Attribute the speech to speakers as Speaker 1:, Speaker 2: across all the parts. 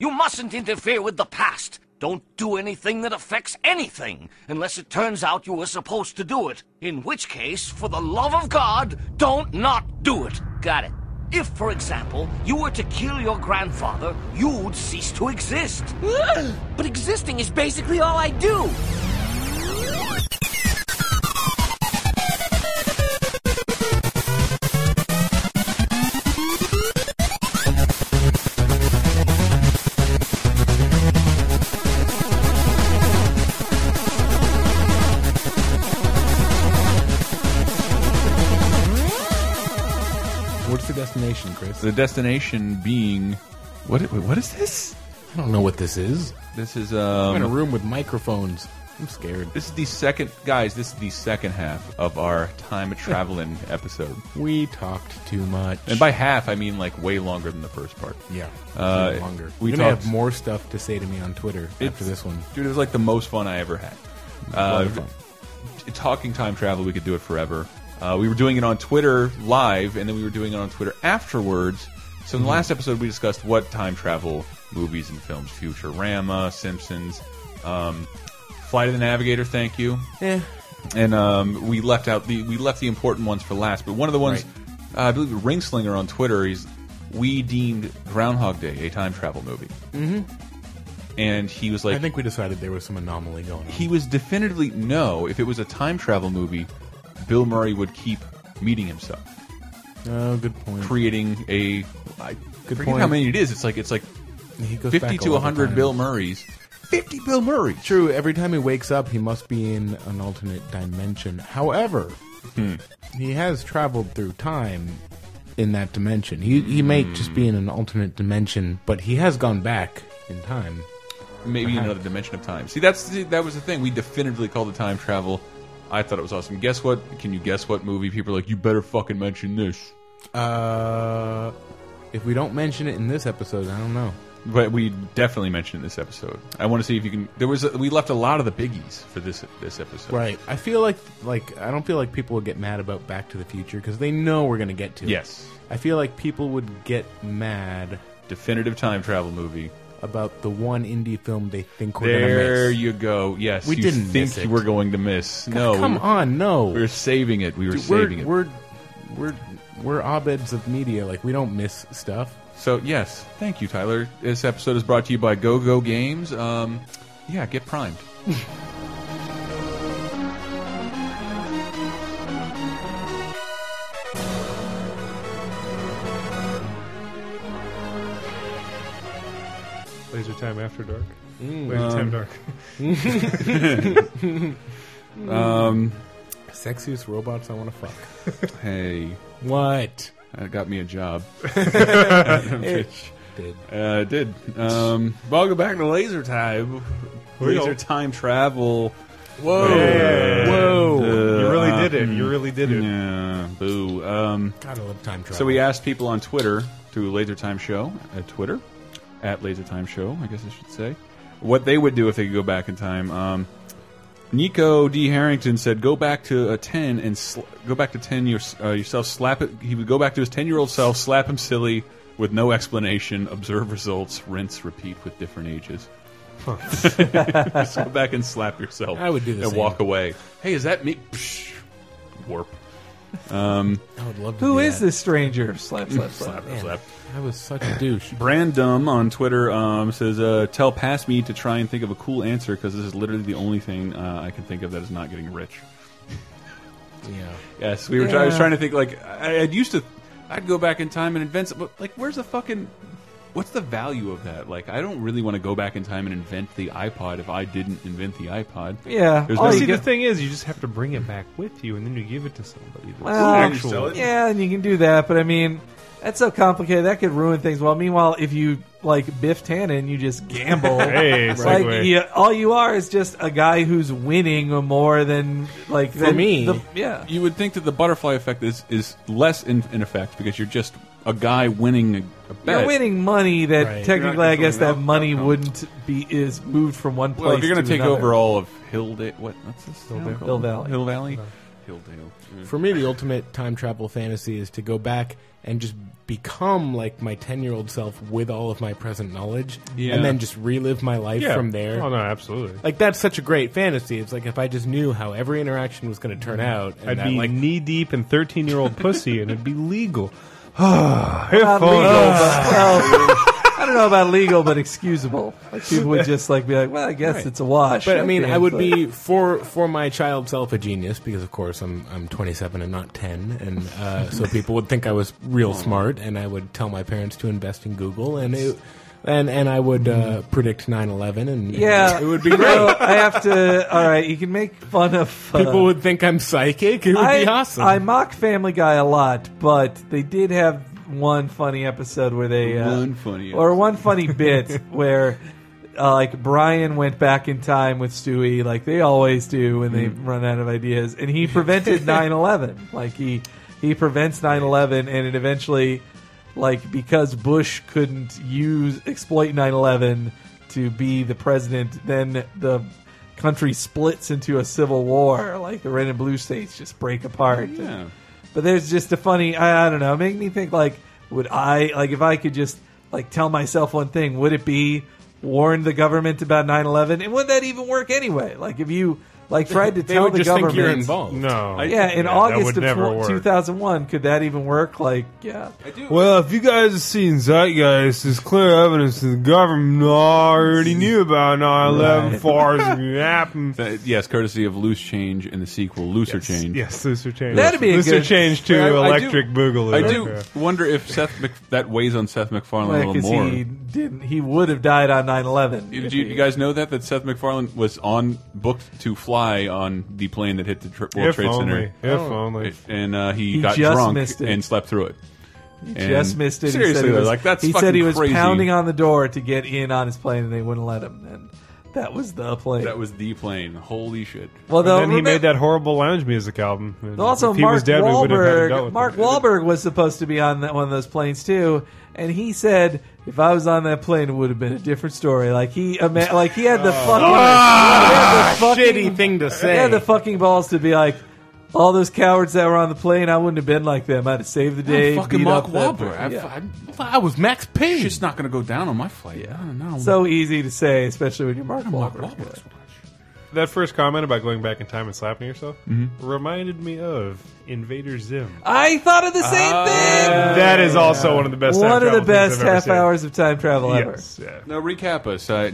Speaker 1: You mustn't interfere with the past. Don't do anything that affects anything, unless it turns out you were supposed to do it. In which case, for the love of God, don't not do it. Got it? If, for example, you were to kill your grandfather, you'd cease to exist.
Speaker 2: but existing is basically all I do.
Speaker 3: What's the destination, Chris?
Speaker 4: The destination being what? wait, What is this?
Speaker 3: I don't know what this is.
Speaker 4: This is
Speaker 3: I'm in a
Speaker 4: um.
Speaker 3: room with microphones. I'm scared.
Speaker 4: This is the second, guys. This is the second half of our time traveling episode,
Speaker 3: We talked too much.
Speaker 4: and by half I mean like way longer than the first part.
Speaker 3: yeah,
Speaker 4: Uh,
Speaker 3: it's longer.
Speaker 4: we
Speaker 3: We may
Speaker 4: talked-
Speaker 3: have more stuff to say to me on Twitter after
Speaker 4: It's-
Speaker 3: this one.
Speaker 4: dude. It was like the most fun I ever had.
Speaker 3: lot
Speaker 4: Uh,
Speaker 3: of fun.
Speaker 4: t- talking time travel, we could do it forever. Uh, we were doing it on Twitter live, and then we were doing it on Twitter afterwards. So
Speaker 3: Mm-hmm.
Speaker 4: in the last episode, we discussed what time travel movies and films: Futurama, Simpsons, um, Flight of the Navigator. Thank you.
Speaker 3: Eh.
Speaker 4: And um, we left out the we left the important ones for last. But one of the ones, uh, I believe, Ringslinger on Twitter. He's we deemed Groundhog Day a time travel movie, mm-hmm. and he was like,
Speaker 3: I think we decided there was some anomaly going on.
Speaker 4: he was definitively no. If it was a time travel movie, Bill Murray would keep meeting himself,
Speaker 3: oh, good point.
Speaker 4: creating a. I
Speaker 3: Good
Speaker 4: forget
Speaker 3: point.
Speaker 4: how many it is. It's like it's like
Speaker 3: he goes back
Speaker 4: fifty
Speaker 3: a
Speaker 4: to
Speaker 3: lot of
Speaker 4: hundred
Speaker 3: times.
Speaker 4: Bill Murrays. Fifty Bill Murrays.
Speaker 3: True. Every time he wakes up, he must be in an alternate dimension. However,
Speaker 4: Hmm.
Speaker 3: he has traveled through time in that dimension. He he may
Speaker 4: Hmm.
Speaker 3: just be in an alternate dimension, but he has gone back in time.
Speaker 4: Maybe
Speaker 3: Uh-huh.
Speaker 4: another dimension of time. See, that's the, that was the thing. We definitively called the time travel. I thought it was awesome. Guess what? Can you guess what movie? People are like, you better fucking mention this.
Speaker 3: Uh, if we don't mention it in this episode, I don't know.
Speaker 4: But we definitely mentioned it in this episode. I want to see if you can. There was a, we left a lot of the biggies for this this episode.
Speaker 3: Right. I feel like like I don't feel like people would get mad about Back to the Future because they know we're gonna get to it.
Speaker 4: Yes.
Speaker 3: I feel like people would get mad
Speaker 4: Definitive time travel movie.
Speaker 3: about the one indie film they think we're
Speaker 4: There
Speaker 3: gonna miss.
Speaker 4: you go. Yes,
Speaker 3: We
Speaker 4: you
Speaker 3: didn't
Speaker 4: think
Speaker 3: miss
Speaker 4: you
Speaker 3: it.
Speaker 4: were going to miss. no,
Speaker 3: Come
Speaker 4: we,
Speaker 3: on, no.
Speaker 4: we were saving it. We were
Speaker 3: Dude,
Speaker 4: saving
Speaker 3: we're,
Speaker 4: it.
Speaker 3: we're we're we're obeds of media. Like we don't miss stuff.
Speaker 4: so yes, thank you, Tyler. This episode is brought to you by Go Go Games. Um, yeah, get primed.
Speaker 5: Laser time after dark. Laser time dark.
Speaker 3: Sexiest robots I want to fuck.
Speaker 4: Hey,
Speaker 3: What?
Speaker 4: that got me a job.
Speaker 3: Did
Speaker 4: Uh, it did. Um, welcome back to Laser Time. Laser Time travel.
Speaker 3: whoa whoa?
Speaker 5: you really did it. You really did it.
Speaker 4: Yeah, boo. Um,
Speaker 3: Gotta love time travel.
Speaker 4: So we asked people on Twitter through Laser Time Show at Twitter at Laser Time Show, I guess I should say, what they would do if they could go back in time. Um, Nico D Harrington said, "Go back to a ten and sl go back to ten your, uh, yourself. Slap it. He would go back to his ten-year-old self, slap him silly with no explanation. Observe results, rinse, repeat with different ages." Just go back and slap yourself.
Speaker 3: I would do the
Speaker 4: and
Speaker 3: same.
Speaker 4: walk away. Hey, is that me? Psh, warp.
Speaker 3: I would love to
Speaker 2: Who
Speaker 3: do
Speaker 2: is
Speaker 3: that.
Speaker 2: this stranger? Slap, slap, slap.
Speaker 4: Slap, slap.
Speaker 3: I was such a douche.
Speaker 4: Brandum on Twitter um, says, uh, "Tell past me to try and think of a cool answer because this is literally the only thing uh, I can think of that is not getting rich."
Speaker 3: yeah.
Speaker 4: Yes, we were. Try I was
Speaker 2: Yeah.
Speaker 4: trying to think. Like I, I'd used to, I'd go back in time and invent. But like, where's the fucking? What's the value of that? Like, I don't really want to go back in time and invent the iPod if I didn't invent the iPod.
Speaker 2: Yeah.
Speaker 4: There's
Speaker 2: all
Speaker 4: no-
Speaker 2: Oh, you
Speaker 5: See,
Speaker 2: get-
Speaker 5: the thing is, you just have to bring it back with you, and then you give it to somebody. That's
Speaker 2: Well,
Speaker 4: actual- sell it.
Speaker 2: Yeah, and you can do that, but I mean, that's so complicated. That could ruin things. Well, meanwhile, if you like Biff Tannen, you just gamble.
Speaker 5: Hey,
Speaker 2: like
Speaker 5: segue.
Speaker 2: you, all you are is just a guy who's winning more than like
Speaker 3: For
Speaker 2: than
Speaker 3: me,
Speaker 2: the- yeah.
Speaker 4: You would think that the butterfly effect is is less in, in effect because you're just a guy winning a, a bet.
Speaker 2: You're winning money that
Speaker 3: Right.
Speaker 2: technically, I guess, that
Speaker 4: controlling the
Speaker 2: money
Speaker 4: outcome.
Speaker 2: wouldn't be is moved from one place.
Speaker 4: Well, if you're
Speaker 2: going
Speaker 4: gonna
Speaker 2: to
Speaker 4: take
Speaker 2: another.
Speaker 4: over all of Hill, da- what? What's this? town
Speaker 2: Valley.
Speaker 4: called?
Speaker 2: Hill Valley.
Speaker 4: Hill Valley. Hill Dale. Mm.
Speaker 3: For me, the ultimate time travel fantasy is to go back and just become like my 10 year old self with all of my present knowledge
Speaker 4: Yeah.
Speaker 3: and then just relive my life
Speaker 5: Yeah.
Speaker 3: from there.
Speaker 5: Oh no, absolutely.
Speaker 3: Like, that's such a great fantasy. It's like if I just knew how every interaction was going to turn out. And
Speaker 5: I'd
Speaker 3: that,
Speaker 5: be
Speaker 3: like,
Speaker 5: knee deep in thirteen year old pussy, and it'd be legal. If uh,
Speaker 2: Not legal,
Speaker 5: only-
Speaker 2: but, well, I don't know about legal, but excusable. Like people would just like be like, "Well, I guess it's a wash."
Speaker 3: But I mean,
Speaker 2: Okay,
Speaker 3: I would
Speaker 2: but-
Speaker 3: be for for my child self a genius because, of course, I'm I'm 27 and not 10, and uh, so people would think I was real smart, and I would tell my parents to invest in Google, and it, and and I would uh, predict 9/11, and
Speaker 2: Mm-hmm. Yeah,
Speaker 3: it would be
Speaker 2: you
Speaker 3: great.
Speaker 2: know, I have to. All right, you can make fun of uh,
Speaker 3: People would think I'm psychic. It would
Speaker 2: I,
Speaker 3: be awesome.
Speaker 2: I mock Family Guy a lot, but they did have one funny episode where they uh,
Speaker 4: One funny
Speaker 2: or one funny bit where uh, like Brian went back in time with Stewie, like they always do when they run out of ideas, and he prevented 9/11. Like he he prevents 9/11, and it eventually like because Bush couldn't use exploit 9/11 to be the president, then the country splits into a civil war. Like the red and blue states just break apart.
Speaker 4: Yeah.
Speaker 2: But there's just a funny. I, I don't know. Make me think like, would I like if I could just like tell myself one thing? Would it be warn the government about 9/11? And would that even work anyway? Like if you like tried to
Speaker 3: they
Speaker 2: tell
Speaker 3: would
Speaker 2: the
Speaker 3: just
Speaker 2: government
Speaker 3: think you're involved.
Speaker 5: no,
Speaker 2: Yeah, in
Speaker 5: that
Speaker 2: August
Speaker 5: would
Speaker 2: of
Speaker 5: never
Speaker 2: tw-
Speaker 5: work.
Speaker 2: 2001, could that even work? Like, yeah,
Speaker 5: Well, if you guys have seen Zeitgeist, there's clear evidence that the government already knew about 9 11
Speaker 2: Right.
Speaker 5: far as it happened.
Speaker 4: That- yes, courtesy of Loose Change in the sequel, Looser Change.
Speaker 5: Yes, looser change.
Speaker 2: That'd be a
Speaker 5: looser
Speaker 2: good-
Speaker 5: change to
Speaker 4: I- I do-
Speaker 5: electric boogaloo.
Speaker 4: I do
Speaker 5: Okay.
Speaker 4: wonder if Seth Mac- that weighs on Seth MacFarlane a
Speaker 2: because
Speaker 4: little more.
Speaker 2: he didn't. He would have died on 9/11.
Speaker 4: Did
Speaker 2: if
Speaker 4: you,
Speaker 2: he-
Speaker 4: you guys know that that Seth MacFarlane was on booked to fly on the plane that hit the tri- World
Speaker 5: If
Speaker 4: Trade
Speaker 5: only.
Speaker 4: Center,
Speaker 2: Oh.
Speaker 5: If only.
Speaker 4: and uh, he,
Speaker 2: He
Speaker 4: got
Speaker 2: just
Speaker 4: drunk
Speaker 2: missed it.
Speaker 4: and slept through it. He
Speaker 2: just missed it.
Speaker 4: Seriously,
Speaker 2: he said he
Speaker 4: though,
Speaker 2: was,
Speaker 4: like that's
Speaker 2: he
Speaker 4: fucking
Speaker 2: said he was
Speaker 4: crazy.
Speaker 2: pounding on the door to get in on his plane, and they wouldn't let him. And that was the plane.
Speaker 4: That was the plane. Holy shit!
Speaker 2: well,
Speaker 5: And
Speaker 2: though,
Speaker 5: then he
Speaker 2: remember-
Speaker 5: made that horrible lounge music album. And
Speaker 2: Also,
Speaker 5: if he
Speaker 2: Mark
Speaker 5: was dead, we would have had to deal
Speaker 2: Wahlberg.
Speaker 5: with
Speaker 2: Mark
Speaker 5: him.
Speaker 2: Wahlberg was supposed to be on that, one of those planes too, and he said, "If I was on that plane, it would have been a different story." Like he, ima- like he had the
Speaker 5: Oh.
Speaker 2: fucking,
Speaker 4: Ah,
Speaker 2: he had the fucking
Speaker 3: Shitty thing to
Speaker 2: He
Speaker 3: say.
Speaker 2: had the fucking balls to be like, "All those cowards that were on the plane, I wouldn't have been like them. I'd have saved the day."
Speaker 4: fucking
Speaker 2: beat
Speaker 4: Mark
Speaker 2: up that
Speaker 4: Wahlberg.
Speaker 2: person."
Speaker 4: I've-
Speaker 2: Yeah.
Speaker 3: I, was Max Payne.
Speaker 4: Shit's not gonna go down on my flight. I don't know.
Speaker 2: So easy to say, especially when you're Mark
Speaker 4: Mark
Speaker 2: Wahlberg.
Speaker 4: Wahlberg's watch.
Speaker 5: That first comment about going back in time and slapping yourself
Speaker 4: Mm-hmm.
Speaker 5: reminded me of Invader Zim.
Speaker 2: I thought of the same
Speaker 4: Uh,
Speaker 2: thing.
Speaker 5: that is also one of the best. time
Speaker 2: One of
Speaker 5: travel
Speaker 2: the
Speaker 5: things
Speaker 2: best
Speaker 5: I've ever
Speaker 2: half
Speaker 5: seen.
Speaker 2: hours of time travel ever.
Speaker 5: Yes, yeah.
Speaker 4: Now recap us. Uh, I,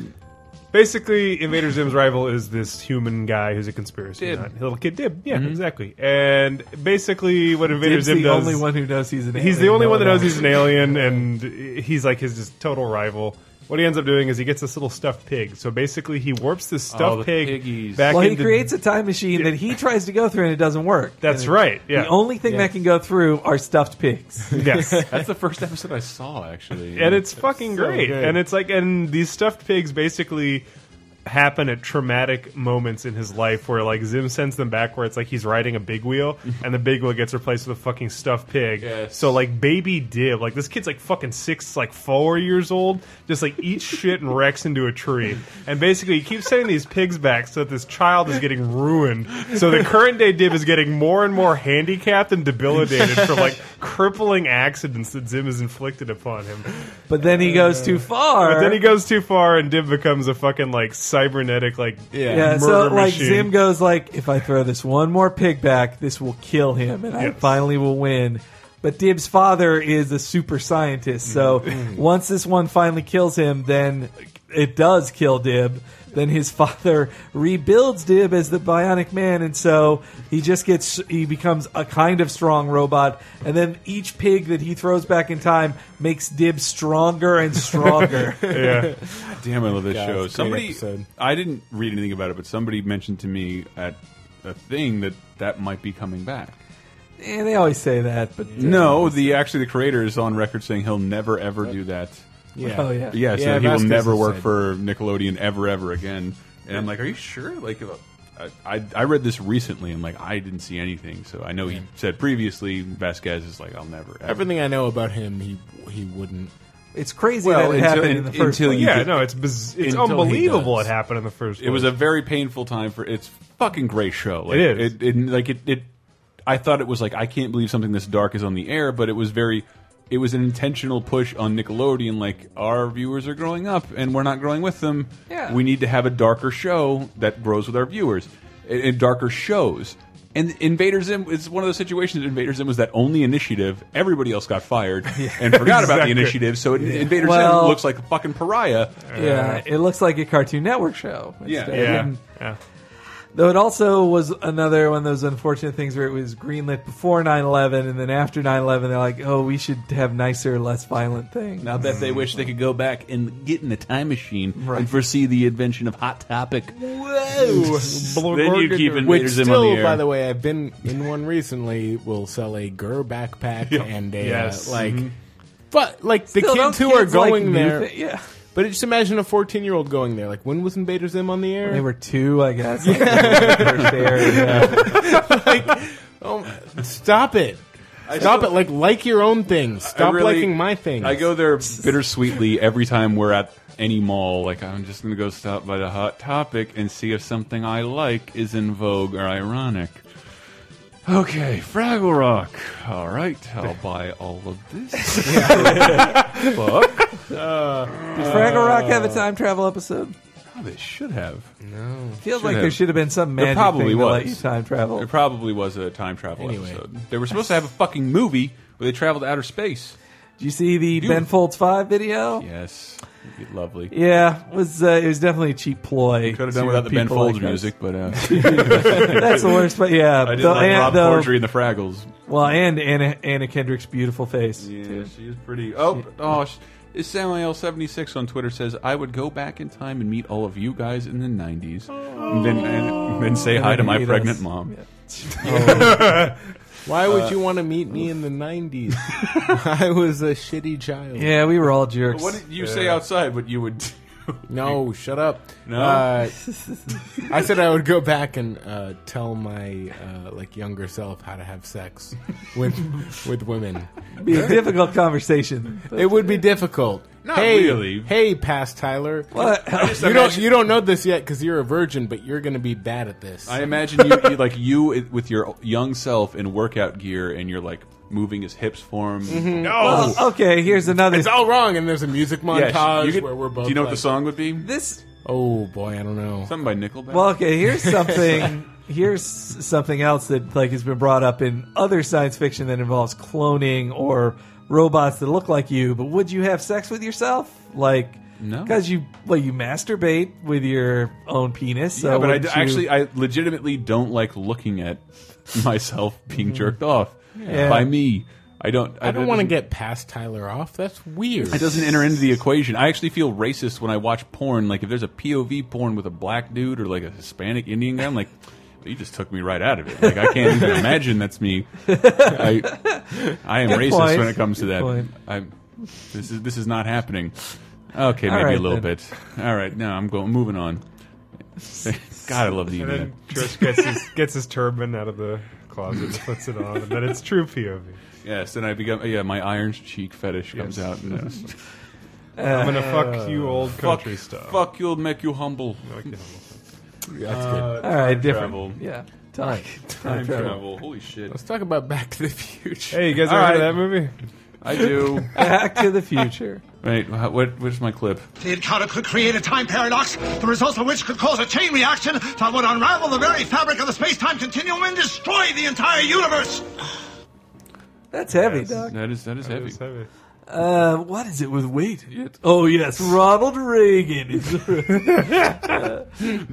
Speaker 5: Basically, Invader Zim's rival is this human guy who's a conspiracy
Speaker 4: Dib.
Speaker 5: nut. Little kid Dib. Yeah, exactly. And basically, what Invader
Speaker 2: Dib's
Speaker 5: Zim
Speaker 2: the
Speaker 5: does.
Speaker 2: only one who knows he's an
Speaker 5: he's the
Speaker 2: alien.
Speaker 5: only
Speaker 2: No
Speaker 5: one that knows
Speaker 2: else.
Speaker 5: he's an alien, and he's like his just total rival. What he ends up doing is he gets this little stuffed pig. So basically, he warps this stuffed
Speaker 4: the
Speaker 5: pig
Speaker 4: piggies.
Speaker 5: back
Speaker 2: Well, he
Speaker 5: into.
Speaker 2: creates a time machine that he tries to go through and it doesn't work.
Speaker 5: that's
Speaker 2: And
Speaker 5: right. Yeah.
Speaker 2: The only thing that can go through are stuffed pigs.
Speaker 5: yes.
Speaker 4: that's the first episode I saw actually,
Speaker 5: and it's fucking
Speaker 3: so
Speaker 5: great.
Speaker 3: good.
Speaker 5: And it's like, and these stuffed pigs basically happen at traumatic moments in his life where like Zim sends them back where it's like he's riding a big wheel and the big wheel gets replaced with a fucking stuffed pig.
Speaker 4: Yes.
Speaker 5: So like baby Dib, like this kid's like fucking six, like four years old, just like eats shit and wrecks into a tree. And basically he keeps sending these pigs back so that this child is getting ruined. So the current day Dib is getting more and more handicapped and debilitated from like crippling accidents that Zim has inflicted upon him.
Speaker 2: But then he goes too far.
Speaker 5: But then he goes too far, and Dib becomes a fucking like cybernetic like
Speaker 4: Yeah.
Speaker 2: yeah,
Speaker 5: murder
Speaker 2: so like
Speaker 5: machine.
Speaker 2: Zim goes like, if I throw this one more pig back, this will kill him, and I
Speaker 5: Yes.
Speaker 2: finally will win. But Dib's father is a super scientist, so
Speaker 4: Mm-hmm.
Speaker 2: once this one finally kills him, then it does kill Dib. Then his father rebuilds Dib as the Bionic Man, and so he just gets he becomes a kind of strong robot. And then each pig that he throws back in time makes Dib stronger and stronger.
Speaker 5: yeah,
Speaker 4: Damn, I love this
Speaker 3: Yeah,
Speaker 4: show.
Speaker 3: it's a great
Speaker 4: Somebody,
Speaker 3: episode.
Speaker 4: I didn't read anything about it, but somebody mentioned to me at a thing that that might be coming back.
Speaker 2: and Eh, they always say that, but
Speaker 4: No, the actually the creator is on record saying he'll never ever do that.
Speaker 3: yeah.
Speaker 2: Oh, yeah.
Speaker 4: Yeah, so
Speaker 3: Yeah,
Speaker 4: he will
Speaker 3: Vasquez
Speaker 4: never
Speaker 3: has
Speaker 4: work
Speaker 3: said-
Speaker 4: for Nickelodeon ever ever again. And I'm like, are you sure? Like, uh, I, I I read this recently. and like, I didn't see anything. So I know he said previously Vasquez is like, I'll never ever.
Speaker 3: Everything I know about him, he he wouldn't.
Speaker 2: It's crazy
Speaker 4: Well,
Speaker 2: that it
Speaker 4: until-
Speaker 2: happened in the first
Speaker 4: until
Speaker 2: place.
Speaker 4: you
Speaker 5: yeah.
Speaker 4: get-
Speaker 5: No, it's biz- it's
Speaker 3: Until he
Speaker 5: unbelievable it
Speaker 3: does.
Speaker 5: happened in the first.
Speaker 4: It was a very painful time for. It's fucking great show. Like,
Speaker 5: It is.
Speaker 4: It, it- like it. it I thought it was like I can't believe something this dark is on the air, but it was very. It was an intentional push on Nickelodeon, like our viewers are growing up and we're not growing with them.
Speaker 2: Yeah.
Speaker 4: We need to have a darker show that grows with our viewers and, and darker shows. And Invader Zim is one of those situations. Invader Zim was that only initiative. Everybody else got fired and forgot about the
Speaker 5: Exactly.
Speaker 4: initiative. So Invader
Speaker 2: Well-
Speaker 4: Zim looks like a fucking pariah.
Speaker 2: yeah, it looks like a Cartoon Network show.
Speaker 4: Uh, Yeah.
Speaker 2: instead.
Speaker 5: Yeah.
Speaker 2: And-
Speaker 5: yeah.
Speaker 2: Though it also was another one of those unfortunate things where it was greenlit before 9-11, and then after 9-11, they're like, oh, we should have nicer, less violent things.
Speaker 4: Now that they wish they could go back and get in a time machine
Speaker 2: Right.
Speaker 4: and foresee the invention of Hot Topic.
Speaker 2: Whoa!
Speaker 4: Then you'd keep
Speaker 5: it.
Speaker 3: Which
Speaker 4: Invaders Zim on the
Speaker 3: still,
Speaker 4: air.
Speaker 3: by the way, I've been in one recently. Will sell a Gur backpack and a
Speaker 5: Yes.
Speaker 3: uh, like,
Speaker 4: Mm-hmm.
Speaker 3: but like the kids who are
Speaker 2: like,
Speaker 3: going
Speaker 2: new
Speaker 3: there.
Speaker 2: thi- yeah.
Speaker 3: But just imagine a fourteen-year-old going there. Like, when was Invader Zim on the air?
Speaker 2: They were two, I guess. like, first air, yeah.
Speaker 3: oh, stop it! Stop it! Like, like your own things.
Speaker 4: I
Speaker 3: Stop
Speaker 4: really-
Speaker 3: liking my things.
Speaker 4: I go there bittersweetly every time we're at any mall. Like I'm just gonna go stop by the Hot Topic and see if something I like is in vogue or ironic. Okay, Fraggle Rock. All right, I'll buy all of this. Fuck.
Speaker 2: Did Fraggle Rock have a
Speaker 4: Uh,
Speaker 2: time travel episode?
Speaker 4: Oh, they should have.
Speaker 2: Feels like
Speaker 4: have.
Speaker 2: there should have been some magic
Speaker 4: probably
Speaker 2: thing to let
Speaker 4: was.
Speaker 2: you time travel.
Speaker 4: There probably was a time travel
Speaker 3: Anyway.
Speaker 4: episode. They were supposed to have a fucking movie where they traveled to outer space.
Speaker 2: Did you see the Ben Folds Five video?
Speaker 4: Yes, It'd be lovely.
Speaker 2: Yeah, it was uh, it was definitely a cheap ploy.
Speaker 4: Could have
Speaker 2: to
Speaker 4: done without the Ben
Speaker 2: people
Speaker 4: Folds
Speaker 2: like us.
Speaker 4: music, but uh,
Speaker 2: That's the worst. But yeah,
Speaker 4: I did
Speaker 2: the-
Speaker 4: like
Speaker 2: and
Speaker 4: Rob
Speaker 2: the-
Speaker 4: Corddry and the Fraggles.
Speaker 2: Well, and Anna, Anna Kendrick's beautiful face.
Speaker 4: Yeah, she is pretty. Oh, oh, sh- is Samuel seventy six on Twitter says I would go back in time and meet all of you guys in the nineties, and then and then say hi to
Speaker 2: then
Speaker 4: my
Speaker 2: meet
Speaker 4: pregnant
Speaker 2: us.
Speaker 4: mom.
Speaker 3: Why
Speaker 4: uh,
Speaker 3: would you want to meet me in the '90s? I was a shitty child.
Speaker 2: Yeah, we were all jerks.
Speaker 4: What did you say outside? What you would? do?
Speaker 3: No, shut up.
Speaker 4: No?
Speaker 3: Uh, I said I would go back and uh, tell my uh, like younger self how to have sex with with women.
Speaker 2: It'd be a difficult conversation.
Speaker 4: Oh.
Speaker 3: It would be difficult.
Speaker 4: Not
Speaker 3: hey,
Speaker 4: really.
Speaker 3: Hey, past Tyler.
Speaker 2: But-
Speaker 3: You don't you don't know this yet because you're a virgin, but you're gonna be bad at this.
Speaker 4: I imagine you, you like you i- with your young self in workout gear, and you're like moving his hips for him.
Speaker 2: Mm-hmm.
Speaker 5: No.
Speaker 2: well, Oh, okay, here's another.
Speaker 3: it's all wrong, and there's a music
Speaker 4: Yeah, sh-
Speaker 3: montage
Speaker 4: you could-
Speaker 3: where we're both.
Speaker 4: Do you know what
Speaker 3: like,
Speaker 4: the song would be?
Speaker 2: This.
Speaker 3: Oh boy, I don't know.
Speaker 4: Something by Nickelback.
Speaker 2: Well, okay, here's something. here's something else that like has been brought up in other science fiction that involves cloning or robots that look like you. But would you have sex with yourself? Like,
Speaker 4: No.
Speaker 2: because you well you masturbate with your own penis. So
Speaker 4: yeah, but I
Speaker 2: wouldn't
Speaker 4: d-
Speaker 2: you-
Speaker 4: actually, I legitimately don't like looking at myself being jerked off
Speaker 2: Mm-hmm. Yeah.
Speaker 4: by me. I don't.
Speaker 3: I don't want to
Speaker 4: to
Speaker 3: get past Tyler off. That's weird.
Speaker 4: It doesn't enter into the equation. I actually feel racist when I watch porn. Like if there's a POV porn with a black dude or like a Hispanic Indian guy, I'm like, you just took me right out of it. Like I can't even imagine that's me. I, I am racist
Speaker 2: point.
Speaker 4: when it comes to
Speaker 2: Good
Speaker 4: that.
Speaker 2: point.
Speaker 4: I'm, this is this is not happening. Okay,
Speaker 2: All
Speaker 4: maybe a
Speaker 2: right,
Speaker 4: little
Speaker 2: then.
Speaker 4: bit. All right, no, I'm going moving on. God, I love the
Speaker 5: And
Speaker 4: internet.
Speaker 5: then Trish gets his, gets his turban out of the closet and puts it on, and then it's true POV.
Speaker 4: Yes, and I become yeah. My iron cheek fetish comes out. And, uh,
Speaker 5: I'm gonna fuck you, old
Speaker 4: fuck,
Speaker 5: country stuff.
Speaker 4: fuck you'll make you humble. Uh,
Speaker 5: Like, you know,
Speaker 3: That's good.
Speaker 2: all right different.
Speaker 4: travel.
Speaker 2: Yeah,
Speaker 3: All right,
Speaker 4: Time travel. Holy shit!
Speaker 3: let's talk about Back to the Future.
Speaker 5: Hey, you guys
Speaker 4: All
Speaker 5: ever heard of
Speaker 4: right.
Speaker 5: that movie?
Speaker 4: I do.
Speaker 2: Back to the Future.
Speaker 4: Wait, wha- what? Where's my clip?
Speaker 6: The encounter could create a time paradox, the results of which could cause a chain reaction that would unravel the very fabric of the space-time continuum and destroy the entire universe.
Speaker 2: That's heavy,
Speaker 5: Yes.
Speaker 2: Doc.
Speaker 4: That is that is heavy.
Speaker 5: It's heavy.
Speaker 2: Uh, what is it with weight? Oh yes, Ronald Reagan. Is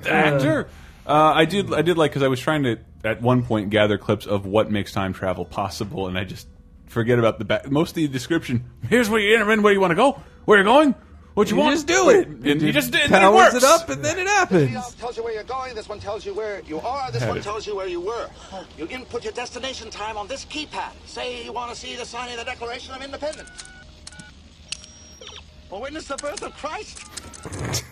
Speaker 4: Actor. Ah, Uh, I did. I did like because I was trying to at one point gather clips of what makes time travel possible, and I just forget about the back. Most of the description. Here's where you enter in. Where you want to go? Where you're going? What you,
Speaker 2: You
Speaker 4: want?
Speaker 2: just do it.
Speaker 4: And you, just did. It
Speaker 2: powers
Speaker 4: works.
Speaker 2: it up, and then it happens.
Speaker 7: This tells you where you're going. This one tells you where you are. This one tells you where you were. You input your destination time on this keypad. Say you want to see the signing of the Declaration of Independence. Or witness the birth of Christ.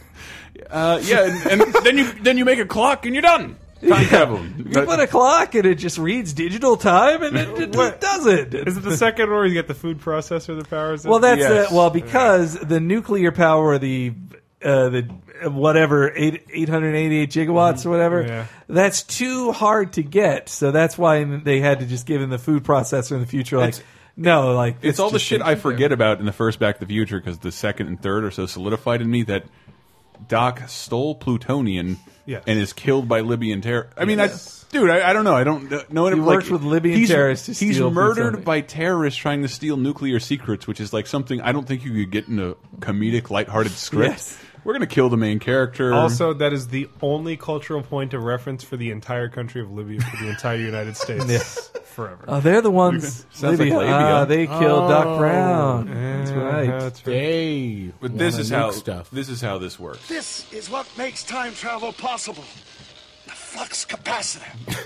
Speaker 4: Uh, yeah, and, and then you then you make a clock and you're done. Time travel.
Speaker 2: You put a clock, and it just reads digital time, and it, it
Speaker 5: What?
Speaker 2: does it.
Speaker 5: Is it the second one where you get the food processor that powers it?
Speaker 2: Well, that's
Speaker 4: Yes.
Speaker 2: uh, well because the nuclear power, the uh, the whatever eight eight hundred eighty eight gigawatts or whatever.
Speaker 5: Yeah.
Speaker 2: That's too hard to get. So that's why they had to just give him the food processor in the future. Like
Speaker 4: It's-
Speaker 2: no, like
Speaker 4: It's, all the
Speaker 2: just-
Speaker 4: shit I forget about in the first Back to the Future because the second and third are so solidified in me that Doc stole plutonium
Speaker 5: Yes.
Speaker 4: and is killed by Libyan terror. I mean, I, dude, I, I don't know. I don't uh, know. It,
Speaker 2: He
Speaker 4: like,
Speaker 2: worked with Libyan
Speaker 4: he's-
Speaker 2: terrorists to
Speaker 4: he's
Speaker 2: steal
Speaker 4: murdered
Speaker 2: plutonium.
Speaker 4: by terrorists trying to steal nuclear secrets, which is like something I don't think you could get in a comedic, lighthearted script.
Speaker 2: Yes.
Speaker 4: We're gonna kill the main character.
Speaker 5: Also, that is the only cultural point of reference for the entire country of Libya for the entire United States forever.
Speaker 2: Oh, they're the ones.
Speaker 4: Sounds like
Speaker 2: Libya.
Speaker 4: Labia.
Speaker 2: Ah, they killed Doc Brown. That's right.
Speaker 5: That's right.
Speaker 3: They
Speaker 4: but this
Speaker 3: wanna
Speaker 4: is
Speaker 3: nuke
Speaker 4: how
Speaker 3: stuff.
Speaker 4: this is how this works.
Speaker 7: This is what makes time travel possible. The flux capacitor.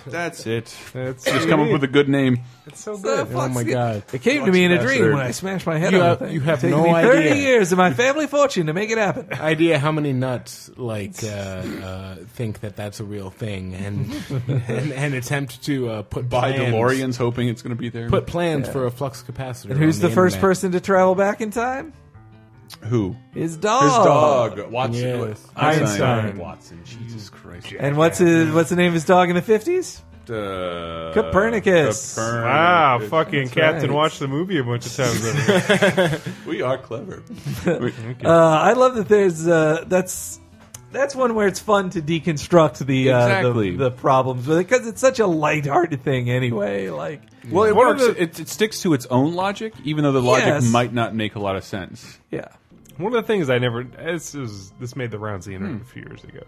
Speaker 4: That's it.
Speaker 5: That's
Speaker 4: Just come up with a good name.
Speaker 5: It's so good.
Speaker 3: Oh my god!
Speaker 2: It came to me in a
Speaker 4: That's
Speaker 2: dream
Speaker 4: weird.
Speaker 2: when I smashed my head
Speaker 3: You
Speaker 2: on
Speaker 3: have-
Speaker 2: the thing.
Speaker 3: you have
Speaker 2: It's taken
Speaker 3: no
Speaker 2: me Thirty
Speaker 3: idea.
Speaker 2: years of my family fortune to make it happen.
Speaker 3: Idea how many nuts like uh, uh, think that that's a real thing and and, and attempt to uh, put
Speaker 4: By
Speaker 3: plans-
Speaker 4: DeLoreans, hoping it's gonna be there.
Speaker 3: put plans for a flux capacitor.
Speaker 2: And who's
Speaker 3: on
Speaker 2: the, first
Speaker 3: internet.
Speaker 2: person to travel back in time?
Speaker 4: who?
Speaker 2: His dog.
Speaker 4: His dog, Watson.
Speaker 3: Yes.
Speaker 5: Einstein.
Speaker 4: Watson. Jesus Christ.
Speaker 2: And what's his what's the name of his dog in the fifties?
Speaker 4: Uh,
Speaker 2: Copernicus.
Speaker 4: Copernicus.
Speaker 5: Wow, Ah, fucking Captain
Speaker 2: right.
Speaker 5: watched the movie a bunch of times. over.
Speaker 4: We are clever.
Speaker 2: Uh, I love that there's uh, that's that's one where it's fun to deconstruct the uh,
Speaker 4: Exactly.
Speaker 2: the, the problems with it because it's such a lighthearted thing anyway. Like
Speaker 4: well, it
Speaker 5: One
Speaker 4: works.
Speaker 5: of the-
Speaker 4: It, it sticks to its own logic, even though the logic
Speaker 2: Yes.
Speaker 4: might not make a lot of sense.
Speaker 2: yeah,
Speaker 5: One of the things I never this was this made the rounds of the internet a few years ago,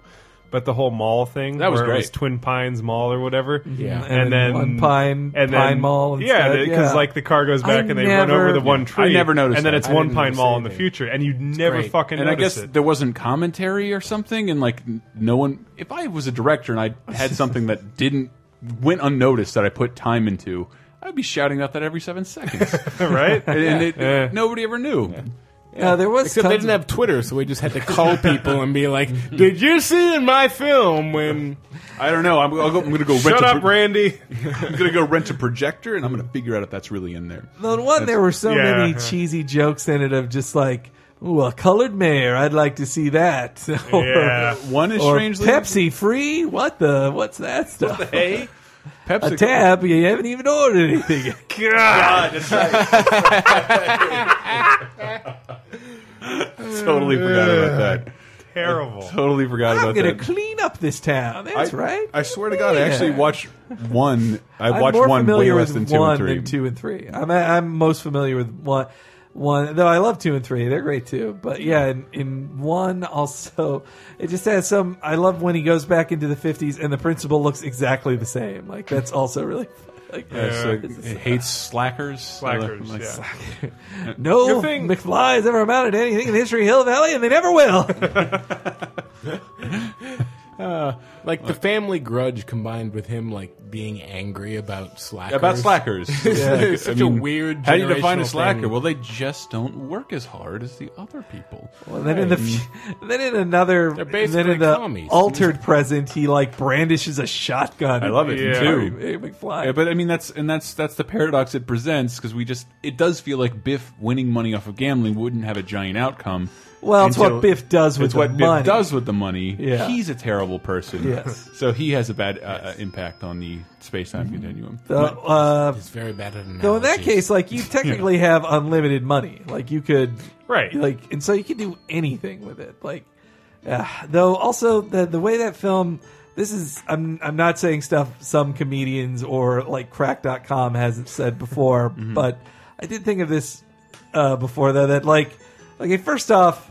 Speaker 5: but the whole mall thing
Speaker 4: That was
Speaker 5: where it was
Speaker 4: great.
Speaker 5: Twin Pines Mall or whatever. Yeah,
Speaker 2: And then one Pine- Pine Mall
Speaker 5: Yeah,
Speaker 2: instead,
Speaker 5: because
Speaker 2: yeah.
Speaker 5: like the car goes back
Speaker 2: I
Speaker 5: and they run over the
Speaker 2: never-
Speaker 5: one tree.
Speaker 4: never noticed
Speaker 5: And then
Speaker 4: that.
Speaker 5: it's
Speaker 4: I
Speaker 5: one
Speaker 4: didn't
Speaker 5: Pine
Speaker 4: notice
Speaker 5: Mall in the
Speaker 3: anything.
Speaker 5: future, and you never
Speaker 3: great.
Speaker 5: fucking
Speaker 4: And I
Speaker 5: notice
Speaker 4: guess
Speaker 5: it.
Speaker 4: there wasn't commentary or something, and like n- no one. If I was a director and I had something that didn't went unnoticed that I put time into, I'd be shouting out that every seven seconds,
Speaker 5: right?
Speaker 4: and, and it,
Speaker 5: Yeah.
Speaker 4: nobody ever knew.
Speaker 2: Uh, there was
Speaker 3: Except they
Speaker 2: tons
Speaker 3: didn't
Speaker 2: of-
Speaker 3: have Twitter, so we just had to call people and be like, "Did you see in my film when?"
Speaker 4: I don't know. I'm, I'll go, I'm going to go. rent
Speaker 5: Shut
Speaker 4: a
Speaker 5: up,
Speaker 4: pro-
Speaker 5: Randy.
Speaker 4: I'm going to go rent a projector, and I'm going to figure out if that's really in there.
Speaker 2: the one there were so
Speaker 5: yeah,
Speaker 2: many
Speaker 5: yeah.
Speaker 2: cheesy jokes in it of just like ooh a colored mayor I'd like to see that or,
Speaker 5: Yeah.
Speaker 4: One is
Speaker 2: or
Speaker 4: strangely
Speaker 2: Pepsi free what the what's that stuff
Speaker 4: Hey, Pepsi.
Speaker 2: a tab you haven't even ordered anything
Speaker 5: God.
Speaker 4: Totally forgot about that.
Speaker 5: Terrible.
Speaker 4: Totally
Speaker 2: I'm
Speaker 4: forgot about
Speaker 2: gonna
Speaker 4: that.
Speaker 2: clean up this town. That's
Speaker 4: I,
Speaker 2: right.
Speaker 4: I swear to God, I actually watched one. I
Speaker 2: I'm
Speaker 4: watched
Speaker 2: more
Speaker 4: one way
Speaker 2: familiar
Speaker 4: less
Speaker 2: with
Speaker 4: than two
Speaker 2: one
Speaker 4: and three.
Speaker 2: than two and three. I'm I'm most familiar with one. One though I love two and three. They're great too. But yeah, in, in one also, it just has some. I love when he goes back into the 50s and the principal looks exactly the same. Like that's also really. Like,
Speaker 4: Yeah, so eh, it hates slackers.
Speaker 5: Slackers, yeah.
Speaker 2: No
Speaker 5: Good thing-
Speaker 2: McFly has ever amounted to anything in the history of Hill Valley, and they never will.
Speaker 3: Like the family grudge combined with him like being angry about slackers.
Speaker 4: About slackers.
Speaker 3: It's such a weird
Speaker 4: How do you define a
Speaker 3: generational thing.
Speaker 4: slacker? Well, they just don't work as hard as the other people.
Speaker 2: Well, then in the
Speaker 4: Mm.
Speaker 2: fu- then in another then
Speaker 3: basically
Speaker 2: in the
Speaker 3: commies.
Speaker 2: altered present he like brandishes a shotgun.
Speaker 4: I love it
Speaker 5: Yeah.
Speaker 4: too.
Speaker 2: Hey, McFly.
Speaker 4: Yeah, Uh, but I mean that's and that's that's the paradox it presents because we just it does feel like Biff winning money off of gambling wouldn't have a giant outcome.
Speaker 2: well, it's
Speaker 4: until-
Speaker 2: what Biff does with
Speaker 4: it's
Speaker 2: the
Speaker 4: what
Speaker 2: money.
Speaker 4: Biff does with the money.
Speaker 2: Yeah.
Speaker 4: He's a terrible person.
Speaker 2: Yes.
Speaker 4: So he has a bad uh, uh, impact on the space time continuum.
Speaker 2: Uh, uh,
Speaker 3: It's very bad at analogies.
Speaker 2: though in that case, like you technically have unlimited money. Like you could
Speaker 5: Right.
Speaker 2: Like and so you can do anything with it. Like uh, though also the the way that film this is I'm I'm not saying stuff some comedians or like crack.com hasn't said before,
Speaker 4: Mm-hmm.
Speaker 2: but I did think of this uh, before though that like okay first off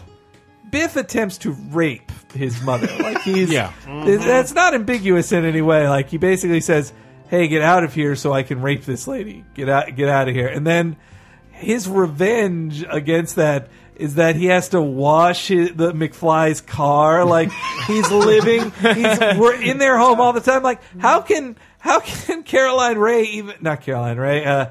Speaker 2: Biff attempts to rape his mother. Like he's
Speaker 3: Yeah.
Speaker 2: th- that's not ambiguous in any way. Like he basically says, "Hey, get out of here, so I can rape this lady. Get out, get out of here." And then his revenge against that is that he has to wash his, the McFly's car. Like he's living, he's we're in their home all the time. Like how can how can Caroline Ray even not Caroline Ray? Uh,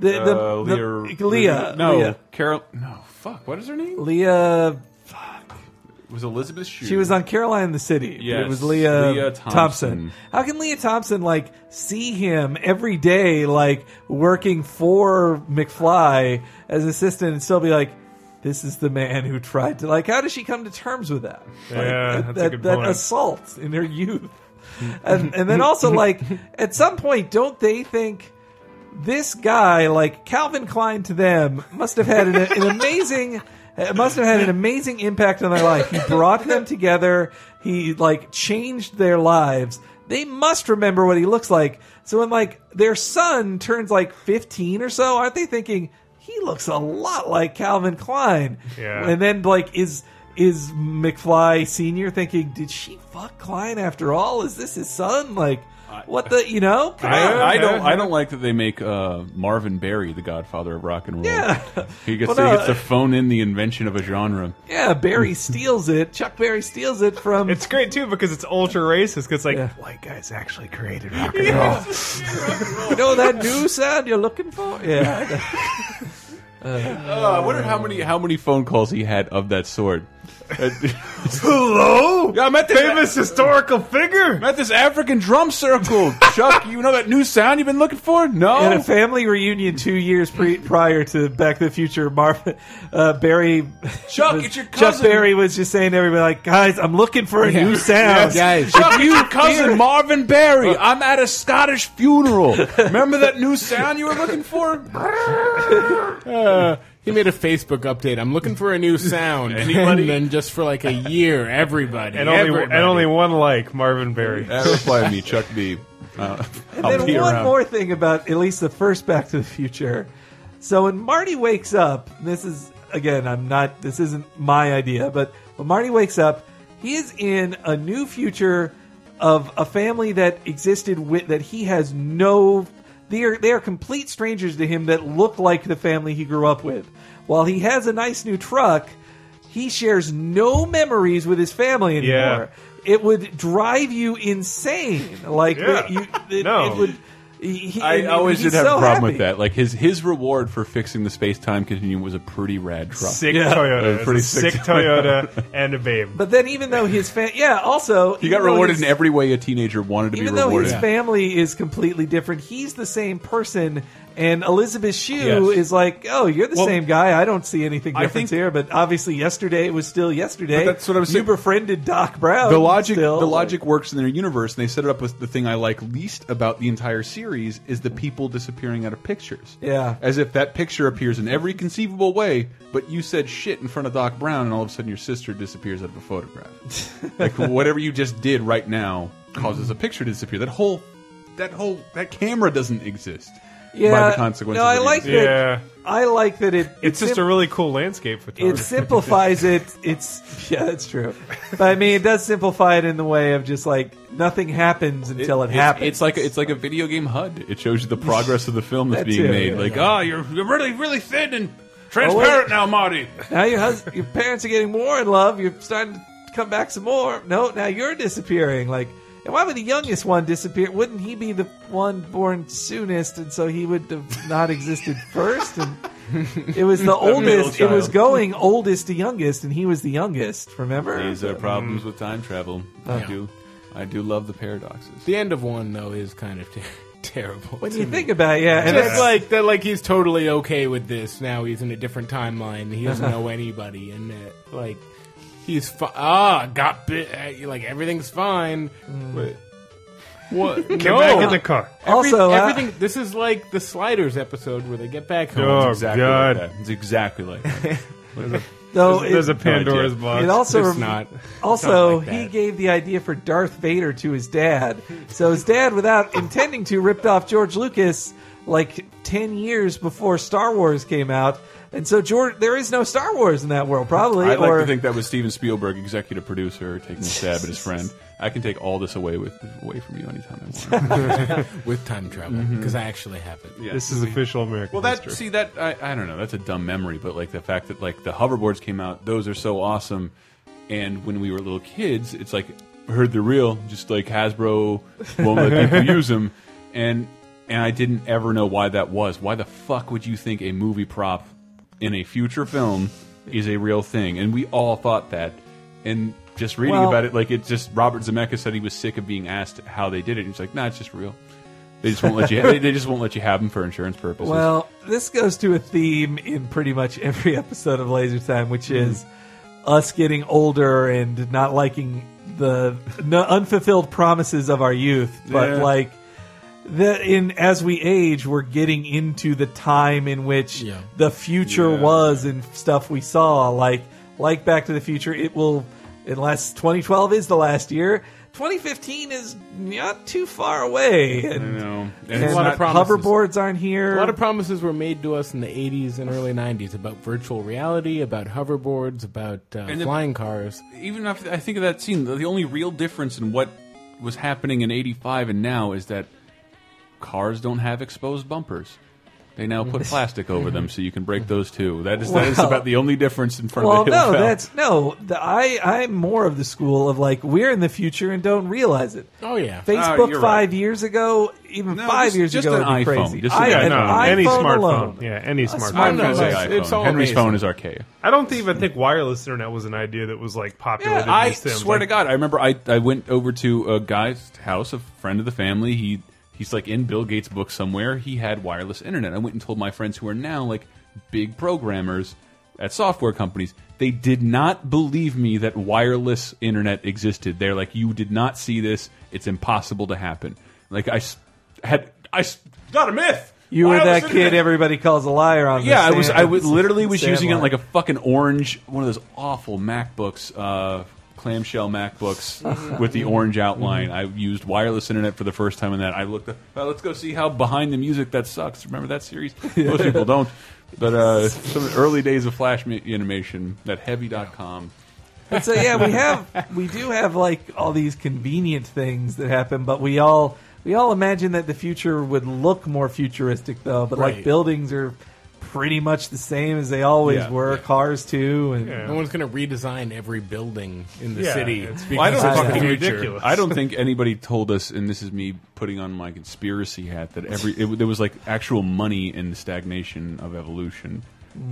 Speaker 2: the, the,
Speaker 4: Uh,
Speaker 2: the-
Speaker 4: Leah-
Speaker 2: Leah,
Speaker 4: No,
Speaker 2: Leah,
Speaker 4: Carol. No, fuck. What is her name?
Speaker 2: Leah
Speaker 4: It was Elizabeth Shue.
Speaker 2: She was on Caroline in the City. but
Speaker 4: Yes,
Speaker 2: It was Leah,
Speaker 4: Leah
Speaker 2: Thompson.
Speaker 4: Thompson.
Speaker 2: How can Leah Thompson like see him every day like working for McFly as assistant and still be like this is the man who tried to like. How does she come to terms with that? Like,
Speaker 5: Yeah,
Speaker 2: that,
Speaker 5: that's a
Speaker 2: that,
Speaker 5: good
Speaker 2: that
Speaker 5: point.
Speaker 2: assault in her youth, and and then also like at some point, don't they think? this guy, like Calvin Klein to them, must have had an, an amazing. It must have had an amazing impact on their life. He brought them together. He like changed their lives. They must remember what he looks like. So when like their son turns like 15 or so, aren't they thinking he looks a lot like Calvin Klein?
Speaker 5: Yeah.
Speaker 2: And then like is is McFly senior thinking, did she fuck Klein after all? Is this his son? Like what the you know? Come on.
Speaker 4: I, I don't. I don't like that they make uh, Marvin Berry the Godfather of rock and roll.
Speaker 2: Yeah.
Speaker 4: he gets,
Speaker 2: Well, no,
Speaker 4: he gets to
Speaker 2: uh,
Speaker 4: phone in the invention of a genre.
Speaker 2: Yeah, Barry steals it. Chuck Berry steals it from.
Speaker 5: It's great too because it's ultra racist. 'cause it's like
Speaker 2: Yeah.
Speaker 5: white guys actually created rock and roll.
Speaker 2: you know that new sound you're looking for? Yeah.
Speaker 4: Oh, I wonder how many how many phone calls he had of that sort. Uh,
Speaker 5: Hello,
Speaker 4: Yeah, I'm at the-
Speaker 5: famous historical figure.
Speaker 4: I'm at this African drum circle, Chuck. You know that new sound you've been looking for? No.
Speaker 2: At a family reunion two years pre- prior to Back to the Future, Marvin uh, Barry
Speaker 4: Chuck,
Speaker 2: was-
Speaker 4: it's your
Speaker 2: Chuck
Speaker 4: cousin.
Speaker 2: Berry was just saying to everybody, like, guys, I'm looking for a new sound.
Speaker 3: Yes.
Speaker 2: If
Speaker 4: Chuck, it's
Speaker 2: you
Speaker 4: your cousin
Speaker 2: hear-
Speaker 4: Marvin Berry. I'm at a Scottish funeral. Remember that new sound you were looking for?
Speaker 3: Uh, He made a Facebook update. I'm looking for a new sound.
Speaker 4: Anybody?
Speaker 3: and then just for like a year, everybody.
Speaker 5: And only
Speaker 3: everybody.
Speaker 5: and only one like Marvin Berry.
Speaker 4: Uh, reply to me, Chuck B. Uh, I'll
Speaker 2: And
Speaker 4: be
Speaker 2: then one
Speaker 4: around.
Speaker 2: more thing about at least the first Back to the Future. So when Marty wakes up, this is again, I'm not. This isn't my idea, but when Marty wakes up, he is in a new future of a family that existed with that he has no. They are they are complete strangers to him that look like the family he grew up with. While he has a nice new truck, he shares no memories with his family anymore.
Speaker 5: Yeah.
Speaker 2: It would drive you insane. Like
Speaker 5: Yeah.
Speaker 2: you, it,
Speaker 5: No.
Speaker 2: it would. He,
Speaker 4: I
Speaker 2: mean,
Speaker 4: always
Speaker 2: he's
Speaker 4: did have
Speaker 2: so
Speaker 4: a problem
Speaker 2: happy.
Speaker 4: with that. Like his his reward for fixing the space time continuum was a pretty rad truck.
Speaker 5: Sick
Speaker 2: Yeah.
Speaker 5: Toyota.
Speaker 4: Uh,
Speaker 5: It's
Speaker 4: pretty
Speaker 5: a
Speaker 4: sick
Speaker 5: sick, Toyota and a babe.
Speaker 2: But then, even though his fan, yeah, also
Speaker 4: He got
Speaker 2: even though
Speaker 4: rewarded
Speaker 2: his-
Speaker 4: in every way a teenager wanted to be
Speaker 2: Even though
Speaker 4: rewarded.
Speaker 2: his family is completely different, he's the same person. And Elizabeth Shue
Speaker 4: Yes.
Speaker 2: is like, "Oh, you're the
Speaker 4: Well,
Speaker 2: same guy. I don't see anything
Speaker 4: I
Speaker 2: different
Speaker 4: think-
Speaker 2: here." But obviously, yesterday was still yesterday.
Speaker 4: But that's what I was
Speaker 2: You
Speaker 4: saying.
Speaker 2: befriended Doc Brown.
Speaker 4: the logic
Speaker 2: Oh, still.
Speaker 4: the logic works in their universe and they set it up with the thing i like least about the entire series is the people disappearing out of pictures
Speaker 2: Yeah.
Speaker 4: as if that picture appears in every conceivable way but you said shit in front of doc brown and all of a sudden your sister disappears out of a photograph like whatever you just did right now causes a picture to disappear that whole that whole that camera doesn't exist by the consequences
Speaker 2: No, I
Speaker 4: of it
Speaker 2: like that.
Speaker 4: existing.
Speaker 5: Yeah.
Speaker 2: I like that. It
Speaker 5: It's just
Speaker 2: sim-
Speaker 5: a really cool landscape
Speaker 2: it
Speaker 5: photography.
Speaker 2: simplifies it. It's yeah, that's true. But I mean, it does simplify it in the way of just like nothing happens until it,
Speaker 4: It's-
Speaker 2: happens.
Speaker 4: It's like a, it's like a video game HUD. It shows you the progress of the film that's
Speaker 2: That
Speaker 4: being
Speaker 2: too,
Speaker 4: made.
Speaker 2: yeah.
Speaker 4: Like, ah, you're, you're really really thin and transparent now, Marty.
Speaker 2: now your hus- your parents are getting more in love. You're starting to come back some more. No, now you're disappearing. Like, and why would the youngest one disappear? Wouldn't he be the one born soonest, and so he would have not existed first? And it was the oldest. It was
Speaker 4: child.
Speaker 2: going oldest to youngest, and he was the youngest. Remember?
Speaker 4: These are problems with time travel. I do I do love the paradoxes.
Speaker 3: The end of one though is kind of ter- terrible.
Speaker 2: when you think about it, yeah, and
Speaker 3: Just
Speaker 2: that's like
Speaker 3: like that, like he's totally okay with this. Now he's in a different timeline. He doesn't know anybody, and uh, like he's fi- ah got bit. Uh, like everything's fine. But what?
Speaker 5: Get
Speaker 3: no.
Speaker 5: back in the car.
Speaker 3: Every-
Speaker 2: also uh,
Speaker 3: everything. this is like the Sliders episode where they get back home.
Speaker 5: Oh, God.
Speaker 4: like that. It's exactly like that.
Speaker 2: though
Speaker 5: There's, there's
Speaker 2: it-
Speaker 5: a Pandora's
Speaker 4: idea.
Speaker 5: box.
Speaker 2: It also
Speaker 3: It's not.
Speaker 2: Also,
Speaker 3: Something like
Speaker 2: he
Speaker 3: that.
Speaker 2: gave the idea for Darth Vader to his dad. So his dad, without intending to, ripped off George Lucas like ten years before Star Wars came out. And so George, there is no Star Wars in that world, probably.
Speaker 4: I'd
Speaker 2: or
Speaker 4: like to think that was Steven Spielberg, executive producer, taking a stab at his friend. I can take all this away with away from you anytime I want.
Speaker 3: with time travel because I actually have it.
Speaker 4: Yeah.
Speaker 5: This is official American
Speaker 4: Well, that
Speaker 5: history.
Speaker 4: see that I, I don't know. That's a dumb memory, but like the fact that like the hoverboards came out, those are so awesome. And when we were little kids, it's like heard they're real, just like Hasbro won't let people use them. And and I didn't ever know why that was. Why the fuck would you think a movie prop in a future film is a real thing? And we all thought that. And just reading
Speaker 2: Well-
Speaker 4: about it, like it just Robert Zemeckis said he was sick of being asked how they did it. He's like, nah, it's just real. They just won't let you. They, they just won't let you have them for insurance purposes.
Speaker 2: Well, this goes to a theme in pretty much every episode of Laser Time, which
Speaker 3: Mm-hmm.
Speaker 2: is us getting older and not liking the no, unfulfilled promises of our youth, but
Speaker 4: Yeah.
Speaker 2: like that in as we age, we're getting into the time in which
Speaker 3: Yeah.
Speaker 2: the future
Speaker 4: Yeah.
Speaker 2: was and stuff we saw, like like Back to the Future. It will, unless 2012 is the last year. 2015 is not too far away,
Speaker 4: I
Speaker 2: and,
Speaker 4: know. And
Speaker 2: and
Speaker 4: it's
Speaker 3: Mm-hmm. a lot
Speaker 4: not-
Speaker 3: of promises.
Speaker 2: hoverboards aren't here.
Speaker 3: A lot of promises were made to us in the 80s and early 90s about virtual reality, about hoverboards, about uh,
Speaker 4: the-
Speaker 3: flying cars.
Speaker 4: even after I think of that scene, the, the only real difference in what was happening in '85 and now is that cars don't have exposed bumpers. They now put plastic over them, so you can break those too. That is that is
Speaker 2: Well-
Speaker 4: about the only difference in front
Speaker 2: Well,
Speaker 4: of the hill
Speaker 2: no,
Speaker 4: fell.
Speaker 2: that's no. The, I I'm more of the school of like we're in the future and don't realize it.
Speaker 3: Oh, yeah.
Speaker 4: Oh,
Speaker 2: Facebook
Speaker 4: you're
Speaker 2: five
Speaker 4: right.
Speaker 2: years ago, even
Speaker 4: No,
Speaker 2: five
Speaker 4: just-
Speaker 2: years
Speaker 4: just
Speaker 2: ago, would
Speaker 4: an
Speaker 2: be
Speaker 4: iPhone.
Speaker 2: crazy.
Speaker 4: Just
Speaker 2: I,
Speaker 4: an
Speaker 5: yeah,
Speaker 2: an
Speaker 5: no, any
Speaker 2: iPhone
Speaker 5: smartphone.
Speaker 2: alone.
Speaker 5: Yeah, any smartphone.
Speaker 2: smartphone.
Speaker 4: Don't say
Speaker 3: It's- it's
Speaker 4: iPhone.
Speaker 3: all
Speaker 4: Henry's
Speaker 3: amazing.
Speaker 4: phone is archaic.
Speaker 5: I don't even think wireless internet was an idea that was like popular.
Speaker 4: Yeah,
Speaker 5: to
Speaker 4: I
Speaker 5: these Sims.
Speaker 4: swear to
Speaker 5: Like,
Speaker 4: God, I remember I, I went over to a guy's house, a friend of the family. He he's like in Bill Gates' book somewhere. He had wireless internet. I went and told my friends who are now like big programmers at software companies. They did not believe me that wireless internet existed. They're like, you did not see this. It's impossible to happen. Like I s- had I s- not a myth.
Speaker 2: You were
Speaker 4: Wireless
Speaker 2: that kid
Speaker 4: internet.
Speaker 2: everybody calls a liar on.
Speaker 4: Yeah, I
Speaker 2: the
Speaker 4: was.
Speaker 2: stand-
Speaker 4: I was literally was
Speaker 2: stand
Speaker 4: using it
Speaker 2: line.
Speaker 4: like a fucking orange, one of those awful MacBooks, uh, clamshell MacBooks with the orange outline. I used wireless internet for the first time in that. I looked. Up, well, let's go see how behind the music that sucks. Remember that series? Most people don't. But uh, some early days of Flash ma- animation, that heavy.com.
Speaker 2: And so yeah, we have we do have like all these convenient things that happen, but we all we all imagine that the future would look more futuristic though. But like
Speaker 3: Right.
Speaker 2: buildings are pretty much the same as they always
Speaker 4: Yeah,
Speaker 2: were. Cars too, and
Speaker 5: Yeah.
Speaker 3: No one's going to redesign every building in the
Speaker 5: Yeah,
Speaker 3: city.
Speaker 5: it's
Speaker 3: because
Speaker 4: I don't
Speaker 3: it's
Speaker 4: fucking
Speaker 3: the
Speaker 5: fucking
Speaker 3: future.
Speaker 5: ridiculous.
Speaker 4: I don't think anybody told us, and this is me putting on my conspiracy hat, that every it, there was like actual money in the stagnation of evolution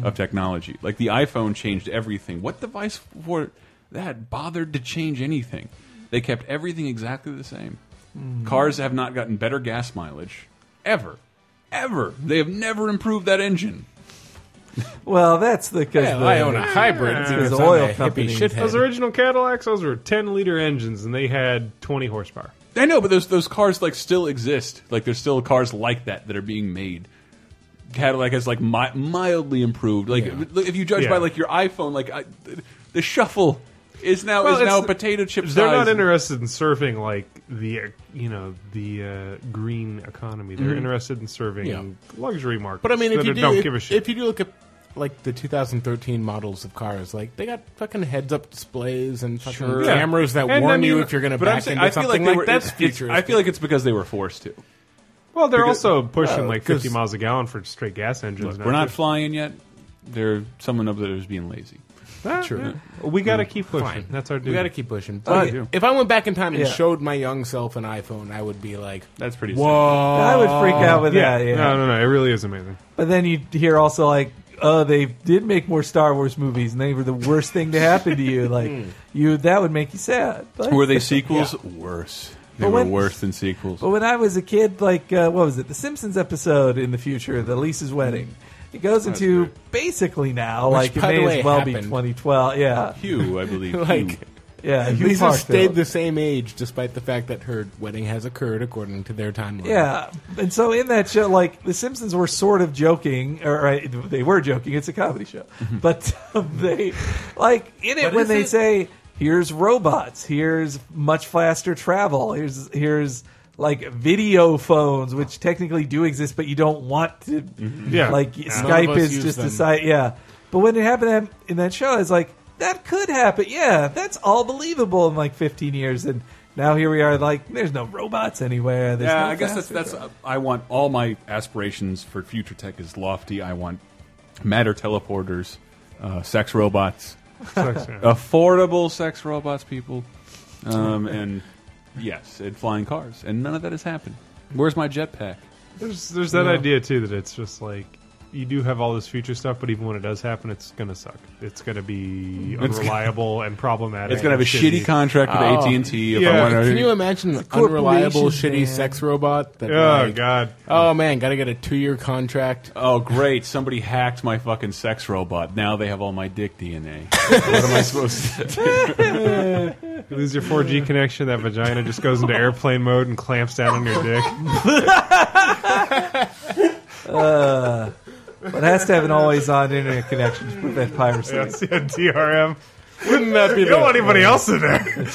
Speaker 4: of technology. Like the iPhone changed everything. What device for that bothered to change anything? They kept everything exactly the same. Cars have not gotten better gas mileage ever, ever. They have never improved that engine.
Speaker 2: Well, that's the because
Speaker 3: Yeah, I own a hybrid because
Speaker 2: the
Speaker 3: I'm
Speaker 2: oil
Speaker 3: a hippie
Speaker 2: companies
Speaker 3: shithead.
Speaker 5: those original Cadillacs, those were ten liter engines, and they had twenty horsepower.
Speaker 4: I know, but those those cars like still exist. Like there's still cars like that that are being made. Cadillac has like mi mildly improved. Like look, if you judge
Speaker 5: Yeah.
Speaker 4: by like your iPhone, like I, the shuffle is now
Speaker 5: Well,
Speaker 4: is now
Speaker 5: it's-
Speaker 4: a potato chip size.
Speaker 5: They're not interested in serving like the uh, you know the uh, green economy. They're interested in serving
Speaker 3: Mm-hmm. Yeah.
Speaker 5: luxury markets.
Speaker 3: But I mean, if
Speaker 5: that
Speaker 3: you
Speaker 5: are-
Speaker 3: do,
Speaker 5: don't
Speaker 3: if,
Speaker 5: give a shit.
Speaker 3: if you do look at like the 2013 models of cars, like they got fucking heads-up displays and fucking
Speaker 4: Sure. Yeah.
Speaker 3: cameras that
Speaker 5: And I
Speaker 3: warn you
Speaker 5: mean-
Speaker 3: if you're going to
Speaker 4: But I'm
Speaker 3: back
Speaker 4: saying,
Speaker 3: into
Speaker 4: I feel
Speaker 3: something
Speaker 4: like, they
Speaker 3: like,
Speaker 4: were,
Speaker 3: that's
Speaker 4: it's- it's-
Speaker 3: futuristic.
Speaker 4: I feel like it's because they were forced to.
Speaker 5: well, they're
Speaker 4: because-
Speaker 5: also pushing like fifty
Speaker 3: 'cause-
Speaker 5: miles a gallon for straight gas engines.
Speaker 4: Look, we're not
Speaker 5: too.
Speaker 4: flying yet. They're someone up there is being lazy.
Speaker 5: Ah,
Speaker 3: True.
Speaker 5: yeah. We
Speaker 2: Mm.
Speaker 5: gotta keep pushing.
Speaker 3: Fine.
Speaker 5: That's our duty.
Speaker 3: We got to keep pushing.
Speaker 4: I
Speaker 3: But
Speaker 4: do.
Speaker 3: if I went back in time and
Speaker 2: Yeah.
Speaker 3: showed my young self an iPhone, I would be like,
Speaker 4: That's pretty.
Speaker 3: "Whoa!"
Speaker 2: I would freak out with
Speaker 5: yeah,
Speaker 2: that. Yeah.
Speaker 5: no, no, no. It really is amazing.
Speaker 2: But then you hear also like, oh, they did make more Star Wars movies, and they were the worst thing to happen to you. Like
Speaker 3: Mm.
Speaker 2: you, that would make you sad. Like,
Speaker 4: Sad. Were they sequels? Worse. They
Speaker 2: But
Speaker 4: were
Speaker 2: when-
Speaker 4: worse than sequels.
Speaker 2: But when I was a kid, like uh, what was it, the Simpsons episode in the future, the
Speaker 3: Mm.
Speaker 2: Lisa's wedding, it goes into basically now, like it
Speaker 3: by the
Speaker 2: may
Speaker 3: way,
Speaker 2: as well be
Speaker 3: happened.
Speaker 2: 2012. Yeah,
Speaker 4: Hugh, I believe.
Speaker 3: Like-
Speaker 4: Hugh.
Speaker 2: yeah. Hugh
Speaker 3: Lisa stayed
Speaker 2: Parkfield.
Speaker 3: the same age despite the fact that her wedding has occurred according to their timeline.
Speaker 2: Yeah, and so in that show, like the Simpsons were sort of joking, or uh, they were joking. It's a comedy show, but um, they like in it
Speaker 3: Mm-hmm. But
Speaker 2: when
Speaker 3: is
Speaker 2: they
Speaker 3: it-
Speaker 2: say, "Here's robots. Here's much faster travel. Here's here's." Like video phones, which technically do exist, but you don't want to.
Speaker 5: Yeah.
Speaker 2: like
Speaker 5: Yeah.
Speaker 3: None
Speaker 2: Skype
Speaker 3: of us
Speaker 2: is
Speaker 3: use
Speaker 2: just a
Speaker 3: them.
Speaker 2: site. Yeah, but when it happened in that show, I was like, "That could happen." Yeah, that's all believable in like 15 years, and now here we are. Like, there's no robots anywhere. There's
Speaker 4: yeah,
Speaker 2: no
Speaker 4: I guess that's
Speaker 2: faster
Speaker 4: that's. Uh, I want all my aspirations for future tech is lofty. I want matter teleporters, uh, sex robots,
Speaker 5: Sucks, yeah.
Speaker 4: affordable sex robots, people, um, and yes, and flying cars. And none of that has happened. Where's my jetpack?
Speaker 5: There's there's that idea too that it's just like you do have all this future stuff, but even when it does happen, it's gonna suck. It's gonna be unreliable and problematic.
Speaker 4: It's gonna have a
Speaker 5: and
Speaker 4: shitty contract with AT and T. If I
Speaker 5: Yeah.
Speaker 4: want
Speaker 3: Can
Speaker 4: to,
Speaker 3: you uh, imagine an unreliable, shitty
Speaker 2: corporation, man.
Speaker 3: sex robot? That
Speaker 5: Oh
Speaker 3: like,
Speaker 5: god.
Speaker 3: Oh man, gotta get a two-year contract.
Speaker 4: oh great, somebody hacked my fucking sex robot. Now they have all my dick DNA. what am I supposed to do?
Speaker 5: You lose your 4G connection, that vagina just goes into airplane mode and clamps down on your dick.
Speaker 2: But it has to have an always-on internet connection to prevent piracy.
Speaker 5: That's the DRM.
Speaker 3: Wouldn't that be
Speaker 5: You don't want anybody else in there.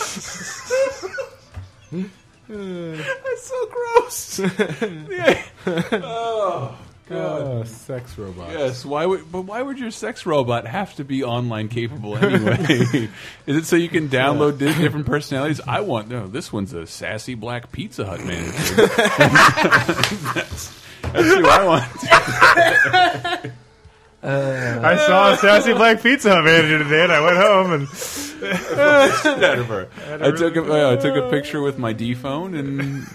Speaker 4: so gross.
Speaker 3: uh, sex robot?
Speaker 4: Yes, why would but why would your sex robot have to be online capable anyway? Is it so you can download di- different personalities? I want no. This one's a sassy black Pizza Hut manager. that's, that's who I want.
Speaker 5: I saw a sassy black pizza Hut manager today, and I went home and
Speaker 4: Out of her. I took a, uh, I took a picture with my D phone and.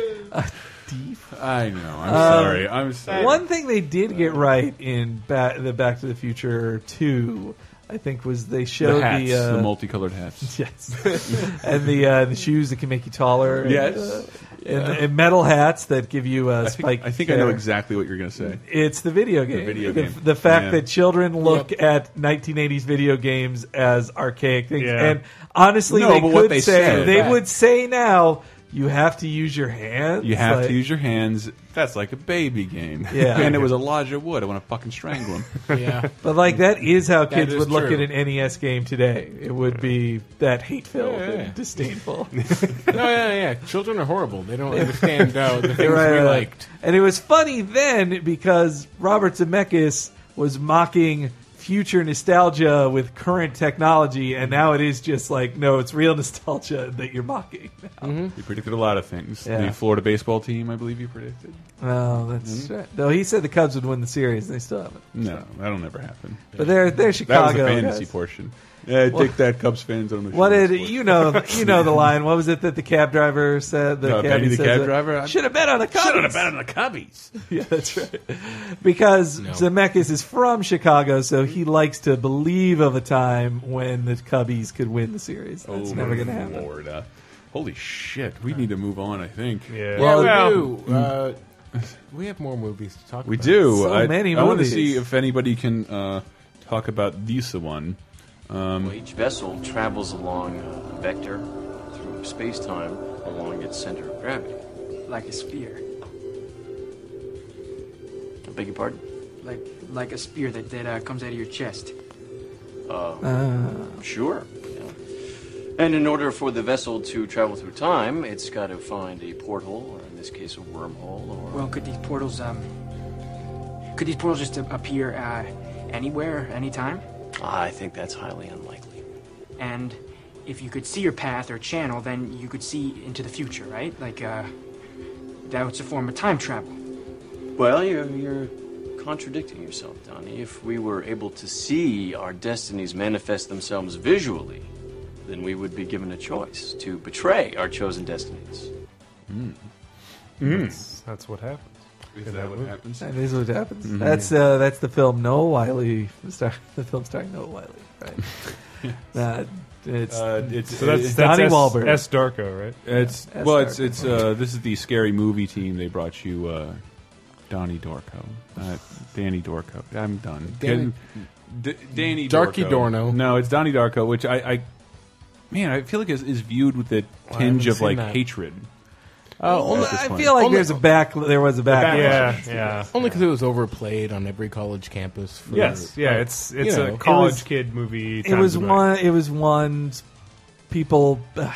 Speaker 4: I know. I'm sorry. I'm sorry.
Speaker 2: Um, One thing they did get right in ba- the Back to the Future Two, I think, was they showed
Speaker 4: the
Speaker 2: the,
Speaker 4: hats, the,
Speaker 2: uh,
Speaker 4: multicolored hats.
Speaker 2: yes, and the uh, the shoes that can make you taller. and,
Speaker 4: Yes.
Speaker 2: uh, and, and metal hats that give you uh,
Speaker 4: I think,
Speaker 2: spike.
Speaker 4: I, think I know
Speaker 2: hair.
Speaker 4: exactly what you're going to say.
Speaker 2: It's the video game.
Speaker 4: video
Speaker 2: the,
Speaker 4: game.
Speaker 2: the fact
Speaker 4: Yeah.
Speaker 2: that children look at 1980s video games as archaic things,
Speaker 5: Yeah.
Speaker 2: and honestly,
Speaker 4: No,
Speaker 2: they
Speaker 4: but
Speaker 2: could
Speaker 4: what they
Speaker 2: say
Speaker 4: said.
Speaker 2: they
Speaker 4: Right.
Speaker 2: would say now you have to use your hands.
Speaker 4: You have
Speaker 2: Like,
Speaker 4: to use your hands. That's like a baby game.
Speaker 2: Yeah.
Speaker 4: and it was Elijah Wood. I want to fucking strangle him.
Speaker 3: Yeah.
Speaker 2: But like that is how kids
Speaker 3: is
Speaker 2: would look
Speaker 3: true.
Speaker 2: at an NES game today. It would be that hate filled and disdainful.
Speaker 3: No, yeah, yeah. Children are horrible. They don't understand uh, the things
Speaker 2: Right,
Speaker 3: we
Speaker 2: right.
Speaker 3: liked.
Speaker 2: And it was funny then because Robert Zemeckis was mocking future nostalgia with current technology, and now it is just like, no, it's real nostalgia that you're mocking.
Speaker 4: You predicted a lot of things.
Speaker 2: Yeah.
Speaker 4: The Florida baseball team, I believe you predicted.
Speaker 2: Oh, that's
Speaker 4: Mm-hmm.
Speaker 2: though he said the Cubs would win the series, and they still haven't.
Speaker 4: No, that'll never happen.
Speaker 2: But they're they're
Speaker 4: That
Speaker 2: Chicago.
Speaker 4: was the fantasy
Speaker 2: guys.
Speaker 4: portion. Yeah, take that, Cubs fans. On the
Speaker 2: What did you know? You know the line. What was it that the cab driver said? The
Speaker 4: Uh, Benny the
Speaker 2: says
Speaker 4: cab
Speaker 2: that,
Speaker 4: driver? I-
Speaker 2: should have bet on the Cubs.
Speaker 4: on the Cubbies.
Speaker 2: Yeah, that's right. Because Zemeckis is from Chicago, so he likes to believe of a time when the Cubbies could win the series. That's
Speaker 4: oh,
Speaker 2: never
Speaker 4: my
Speaker 2: going to happen.
Speaker 4: Lord, uh, Holy shit! We need to move on. I think.
Speaker 5: yeah.
Speaker 3: Yeah, we
Speaker 5: well,
Speaker 3: do. Uh, we have more movies to talk
Speaker 4: We
Speaker 3: about.
Speaker 4: do.
Speaker 2: So
Speaker 4: I,
Speaker 2: many
Speaker 4: I want to
Speaker 2: movies.
Speaker 4: see if anybody can uh, talk about this one.
Speaker 8: Well, each vessel travels along a vector through space-time along its center of gravity.
Speaker 9: Like a spear.
Speaker 8: I beg your pardon?
Speaker 9: Like like a spear that, that uh, comes out of your chest.
Speaker 8: Sure. yeah. And in order for the vessel to travel through time, it's got to find a porthole, or in this case, a wormhole, or
Speaker 9: Well, could these portals um could these portals just a- appear uh, anywhere, anytime?
Speaker 8: I think that's highly unlikely.
Speaker 9: And if you could see your path or channel, then you could see into the future, right? Like uh that's a form of time travel.
Speaker 8: Well, you're, you're contradicting yourself, Donnie. If we were able to see our destinies manifest themselves visually, then we would be given a choice to betray our chosen destinies.
Speaker 5: that's what happens.
Speaker 4: Is that what happens?
Speaker 2: That is what happens.
Speaker 4: Mm-hmm.
Speaker 2: That's uh, that's the film Noah Wiley. The, star, the film starring Noah Wiley. Right. uh, it's
Speaker 4: Uh, it's,
Speaker 5: So that's, that's
Speaker 2: Donnie
Speaker 5: S,
Speaker 2: Wahlberg.
Speaker 5: S. Darko, right?
Speaker 4: It's
Speaker 2: That's
Speaker 4: well,
Speaker 2: our
Speaker 4: it's it's uh, this is the scary movie team. They brought you uh, Donnie Dorco, uh, Danny Dorco. I'm done.
Speaker 3: Danny-
Speaker 4: Getting- D- Danny
Speaker 3: Darky
Speaker 4: Dorco.
Speaker 3: Dorno.
Speaker 4: No, it's Donnie Darko, which I, I man, I feel like is, is viewed with a tinge
Speaker 3: haven't
Speaker 4: of like
Speaker 3: seen that.
Speaker 4: hatred.
Speaker 3: Uh, only
Speaker 4: at this
Speaker 2: I
Speaker 4: point.
Speaker 2: feel like
Speaker 3: Only-
Speaker 2: there's a back. There was a back.
Speaker 5: Yeah, yeah.
Speaker 3: only because it was overplayed on every college campus. For,
Speaker 5: Yes, yeah. It's it's
Speaker 3: You
Speaker 5: a
Speaker 3: know,
Speaker 5: college
Speaker 2: it was-
Speaker 5: kid movie.
Speaker 2: it was
Speaker 5: times a
Speaker 2: one. It was one. s- People. it,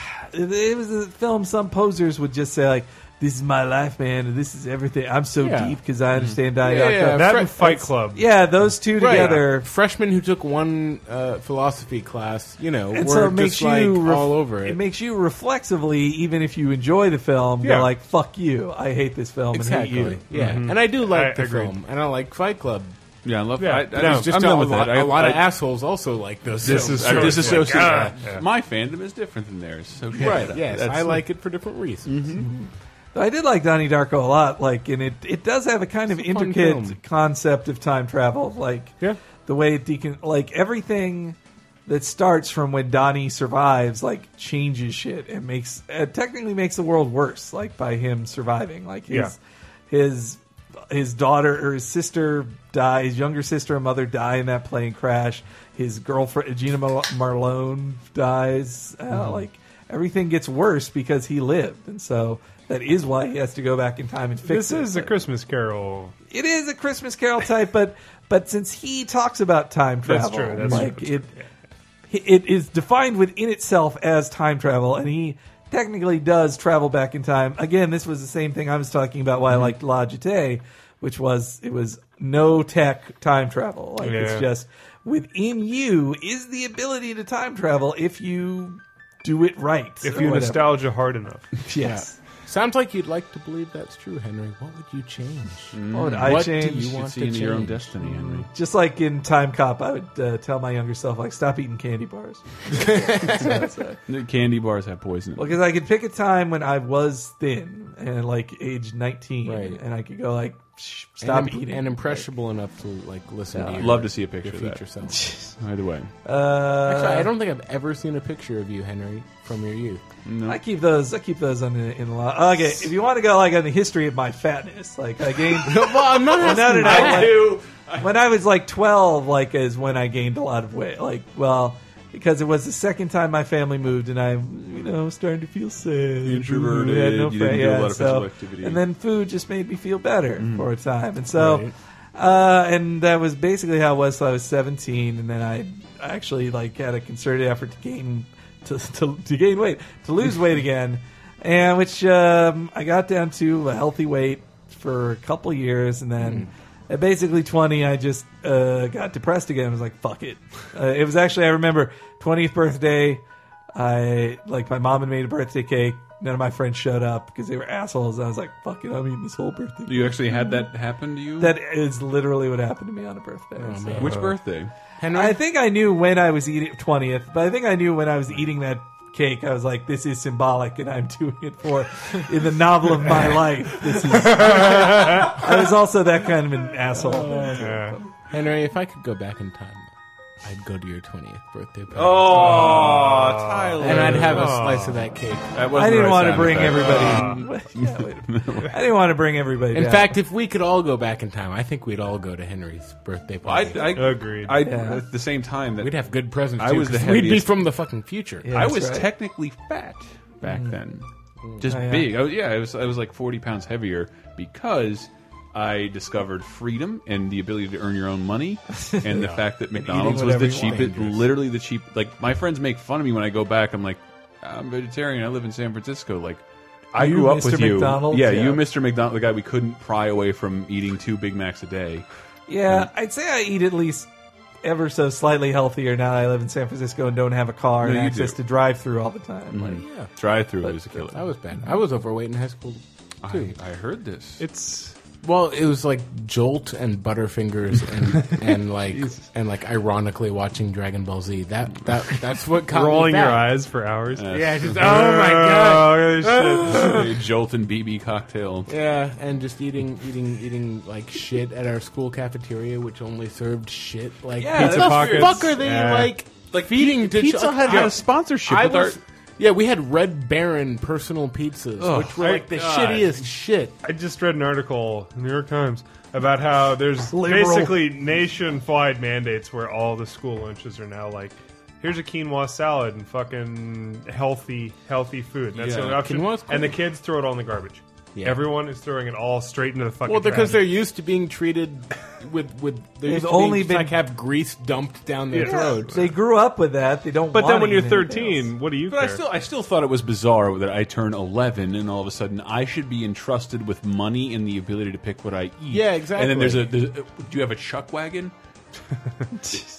Speaker 2: it was a film. Some posers would just say like, "This is my life, man. And this is everything. I'm so deep
Speaker 3: Yeah.
Speaker 2: 'cause deep because I understand Diet
Speaker 3: Yeah, yeah.
Speaker 5: million. That and
Speaker 3: Fre-
Speaker 5: Fight Club.
Speaker 2: Yeah, those two
Speaker 3: Right.
Speaker 2: together.
Speaker 3: Freshmen who took one uh, philosophy class, you know,
Speaker 2: And
Speaker 3: were
Speaker 2: so it
Speaker 3: just
Speaker 2: makes
Speaker 3: like
Speaker 2: you ref-
Speaker 3: all over it.
Speaker 2: It makes you reflexively, even if you enjoy the film, go
Speaker 5: Yeah.
Speaker 2: like, "Fuck you! I hate this film
Speaker 3: exactly.
Speaker 2: and hate you."
Speaker 3: Yeah, and I do like
Speaker 5: I
Speaker 3: the
Speaker 5: agree.
Speaker 3: film, and I like Fight Club.
Speaker 4: Yeah, I love.
Speaker 5: Yeah,
Speaker 4: I, I,
Speaker 5: but
Speaker 4: I'm-
Speaker 3: It's just
Speaker 4: I'm
Speaker 3: a,
Speaker 4: done with
Speaker 3: lot,
Speaker 4: that. I,
Speaker 3: a lot
Speaker 4: I,
Speaker 3: of assholes also like those.
Speaker 5: This
Speaker 3: films.
Speaker 5: is
Speaker 4: I
Speaker 5: true.
Speaker 4: disassociate.
Speaker 5: Yeah.
Speaker 4: My fandom is different than theirs. So shut
Speaker 3: right.
Speaker 4: up.
Speaker 3: Yes,
Speaker 4: That's-
Speaker 3: I like it for different reasons.
Speaker 2: I did like Donnie Darko a lot. Like, and it it does have a kind of
Speaker 3: a fun film.
Speaker 2: intricate concept of time travel. Like,
Speaker 5: Yeah.
Speaker 2: the way it decon like everything that starts from when Donnie survives, like changes shit and makes uh, technically makes the world worse. Like by him surviving, like his
Speaker 5: Yeah.
Speaker 2: his his daughter or his sister die, his younger sister and mother die in that plane crash. His girlfriend Gina Mar- Marlone dies. Uh,
Speaker 5: Mm-hmm.
Speaker 2: Like everything gets worse because he lived, and so that is why he has to go back in time and fix
Speaker 5: This is
Speaker 2: it.
Speaker 5: a Christmas Carol.
Speaker 2: it is a Christmas Carol type, but but since he talks about time travel,
Speaker 5: That's true, that's
Speaker 2: like
Speaker 5: true,
Speaker 2: it it is defined within itself as time travel, and he technically does travel back in time. Again, this was the same thing I was talking about.
Speaker 5: Mm-hmm.
Speaker 2: Why I liked La Jetée, which was it was no tech time travel. Like
Speaker 5: Yeah.
Speaker 2: it's just within you is the ability to time travel if you do it right.
Speaker 5: If
Speaker 2: or
Speaker 5: you
Speaker 2: whatever.
Speaker 5: nostalgia hard enough,
Speaker 2: yes.
Speaker 3: Sounds like you'd like to believe that's true, Henry. What would you change?
Speaker 4: Mm,
Speaker 2: What would I
Speaker 3: what
Speaker 2: change?
Speaker 3: do you
Speaker 4: You
Speaker 3: want
Speaker 4: see
Speaker 3: to
Speaker 4: into your own
Speaker 3: change?
Speaker 4: destiny, Henry.
Speaker 2: Just like in Time Cop, I would uh, tell my younger self, like, stop eating candy bars.
Speaker 4: The candy bars have poison. in them.
Speaker 2: Because I could pick a time when I was thin and like age 19,
Speaker 3: Right.
Speaker 2: and I could go like, Shh,
Speaker 3: And
Speaker 2: stop
Speaker 3: imp-
Speaker 2: eating.
Speaker 3: and impressionable enough to like listen. to
Speaker 4: I'd
Speaker 3: your,
Speaker 4: love to see a picture
Speaker 3: your
Speaker 4: of that.
Speaker 3: future self.
Speaker 4: Either way,
Speaker 2: Uh,
Speaker 3: Actually, I don't think I've ever seen a picture of you, Henry, from your youth.
Speaker 2: I keep those. I keep those on the, in the law. Okay, if you want to go like on the history of my fatness, like I gained.
Speaker 3: well, I'm not
Speaker 2: no, no,
Speaker 3: asking.
Speaker 2: no.
Speaker 3: that.
Speaker 2: like, when I was like 12, like is when I gained a lot of weight. Like, well, because it was the second time my family moved, and I, you know, starting to feel sad.
Speaker 4: Introverted,
Speaker 2: I had no
Speaker 4: you
Speaker 2: friend-
Speaker 4: didn't do a
Speaker 2: yeah,
Speaker 4: lot of
Speaker 2: so-
Speaker 4: physical activity.
Speaker 2: And then food just made me feel better for a time, and so, uh, and that was basically how it was. So I was 17, and then I actually like had a concerted effort to gain to to, to gain weight, to lose weight again, and which um, I got down to a healthy weight for a couple years, and then. At basically 20, I just uh, got depressed again. I was like, fuck it. Uh, it was actually, I remember 20th birthday, I like my mom had made a birthday cake. None of my friends showed up because they were assholes. I was like, "Fuck it, I'm eating this whole birthday." cake."
Speaker 4: you actually had that happen to you.
Speaker 2: That is literally what happened to me on a birthday. so.
Speaker 4: Which birthday?
Speaker 3: Oh, Henry,
Speaker 2: I think I knew when I was eating twentieth, but I think I knew when I was eating that cake. I was like, "This is symbolic, and I'm doing it for in the novel of my life." This is. I was also that kind of an asshole.
Speaker 5: yeah.
Speaker 3: Henry, if I could go back in time, I'd go to your 20th birthday party.
Speaker 4: Oh, Tyler.
Speaker 3: and I'd have a slice of that cake.
Speaker 4: That wasn't
Speaker 2: I
Speaker 4: the
Speaker 2: didn't
Speaker 4: right
Speaker 2: want to
Speaker 4: sound
Speaker 2: bring
Speaker 4: effect.
Speaker 2: everybody. Yeah, wait a minute. I didn't want to bring everybody.
Speaker 3: In
Speaker 2: down.
Speaker 3: fact, if we could all go back in time, I think we'd all go to Henry's birthday party.
Speaker 4: I, I
Speaker 5: Agreed.
Speaker 4: I,
Speaker 2: Yeah.
Speaker 4: At the same time, that
Speaker 3: we'd have good presents.
Speaker 4: I
Speaker 3: too,
Speaker 4: was the
Speaker 3: 'cause we'd be
Speaker 4: heaviest-
Speaker 3: from the fucking future.
Speaker 2: Yeah,
Speaker 4: I
Speaker 2: that's
Speaker 4: was
Speaker 2: right. Mm.
Speaker 4: technically fat back then, just
Speaker 2: Oh, yeah.
Speaker 4: big. I was, yeah, I was I was like forty pounds heavier because I discovered freedom and the ability to earn your own money, and the fact that McDonald's was
Speaker 3: whatever
Speaker 4: the
Speaker 3: you want.
Speaker 4: cheapest, literally the cheap. Like my friends make fun of me when I go back. I'm like, I'm vegetarian. I live in San Francisco. Like. I
Speaker 2: You,
Speaker 4: grew up
Speaker 2: Mr.
Speaker 4: with you.
Speaker 2: McDonald's?
Speaker 4: Yeah,
Speaker 2: Yeah.
Speaker 4: you, Mr. McDonald, the guy we couldn't pry away from eating two Big Macs a day.
Speaker 2: Yeah, I'd say I eat at least ever so slightly healthier now that I live in San Francisco and don't have a car and
Speaker 4: No, you
Speaker 2: access
Speaker 4: do. Mm-hmm.
Speaker 2: to drive through all the time. Like,
Speaker 3: Yeah.
Speaker 4: Drive through is a killer.
Speaker 3: I was bad. I was overweight in high school.
Speaker 4: I, I heard this.
Speaker 5: It's
Speaker 3: Well, it was like Jolt and Butterfingers and, and like and like ironically watching Dragon Ball Z. That that that's what caught me
Speaker 5: rolling your
Speaker 3: back.
Speaker 5: eyes for hours.
Speaker 3: Yeah, just, oh my god.
Speaker 5: Oh, shit.
Speaker 4: a Jolt and BB cocktail.
Speaker 3: Yeah, and just eating eating eating like shit at our school cafeteria, which only served shit like
Speaker 2: Yeah,
Speaker 3: pizza
Speaker 2: that's
Speaker 3: pockets.
Speaker 5: weird.
Speaker 3: Fuck are they
Speaker 5: Yeah.
Speaker 3: like like feeding to
Speaker 4: Pizza
Speaker 3: chil-
Speaker 4: Hut had
Speaker 3: I-
Speaker 4: a sponsorship
Speaker 3: I
Speaker 4: with
Speaker 3: was,
Speaker 4: our-
Speaker 3: yeah, we had Red Baron personal pizzas, which were
Speaker 5: my
Speaker 3: like the
Speaker 5: God.
Speaker 3: shittiest shit.
Speaker 5: I just read an article, New York Times, about how there's
Speaker 2: Liberal.
Speaker 5: basically nationwide mandates where all the school lunches are now like, here's a quinoa salad and fucking healthy, healthy food. And that's
Speaker 4: Yeah.
Speaker 5: the only option.
Speaker 3: Quinoa's cool.
Speaker 5: And the kids throw it all in the garbage.
Speaker 3: Yeah.
Speaker 5: Everyone is throwing it all straight into the fucking.
Speaker 3: Well, because they're
Speaker 5: trash.
Speaker 3: used to being treated with with they
Speaker 2: They've
Speaker 3: used to
Speaker 2: only
Speaker 3: only being,
Speaker 2: been-
Speaker 3: like have grease dumped down their
Speaker 5: Yeah.
Speaker 3: throats.
Speaker 2: They grew up with that. They don't.
Speaker 5: But
Speaker 2: wanna
Speaker 5: then when you're
Speaker 2: eat anything
Speaker 5: 13,
Speaker 2: else.
Speaker 5: what do you
Speaker 4: But I
Speaker 5: care?
Speaker 4: still, I still thought it was bizarre that I turn 11 and all of a sudden I should be entrusted with money and the ability to pick what I eat.
Speaker 3: Yeah, exactly.
Speaker 4: And then there's a, there's a- do you have a chuck wagon?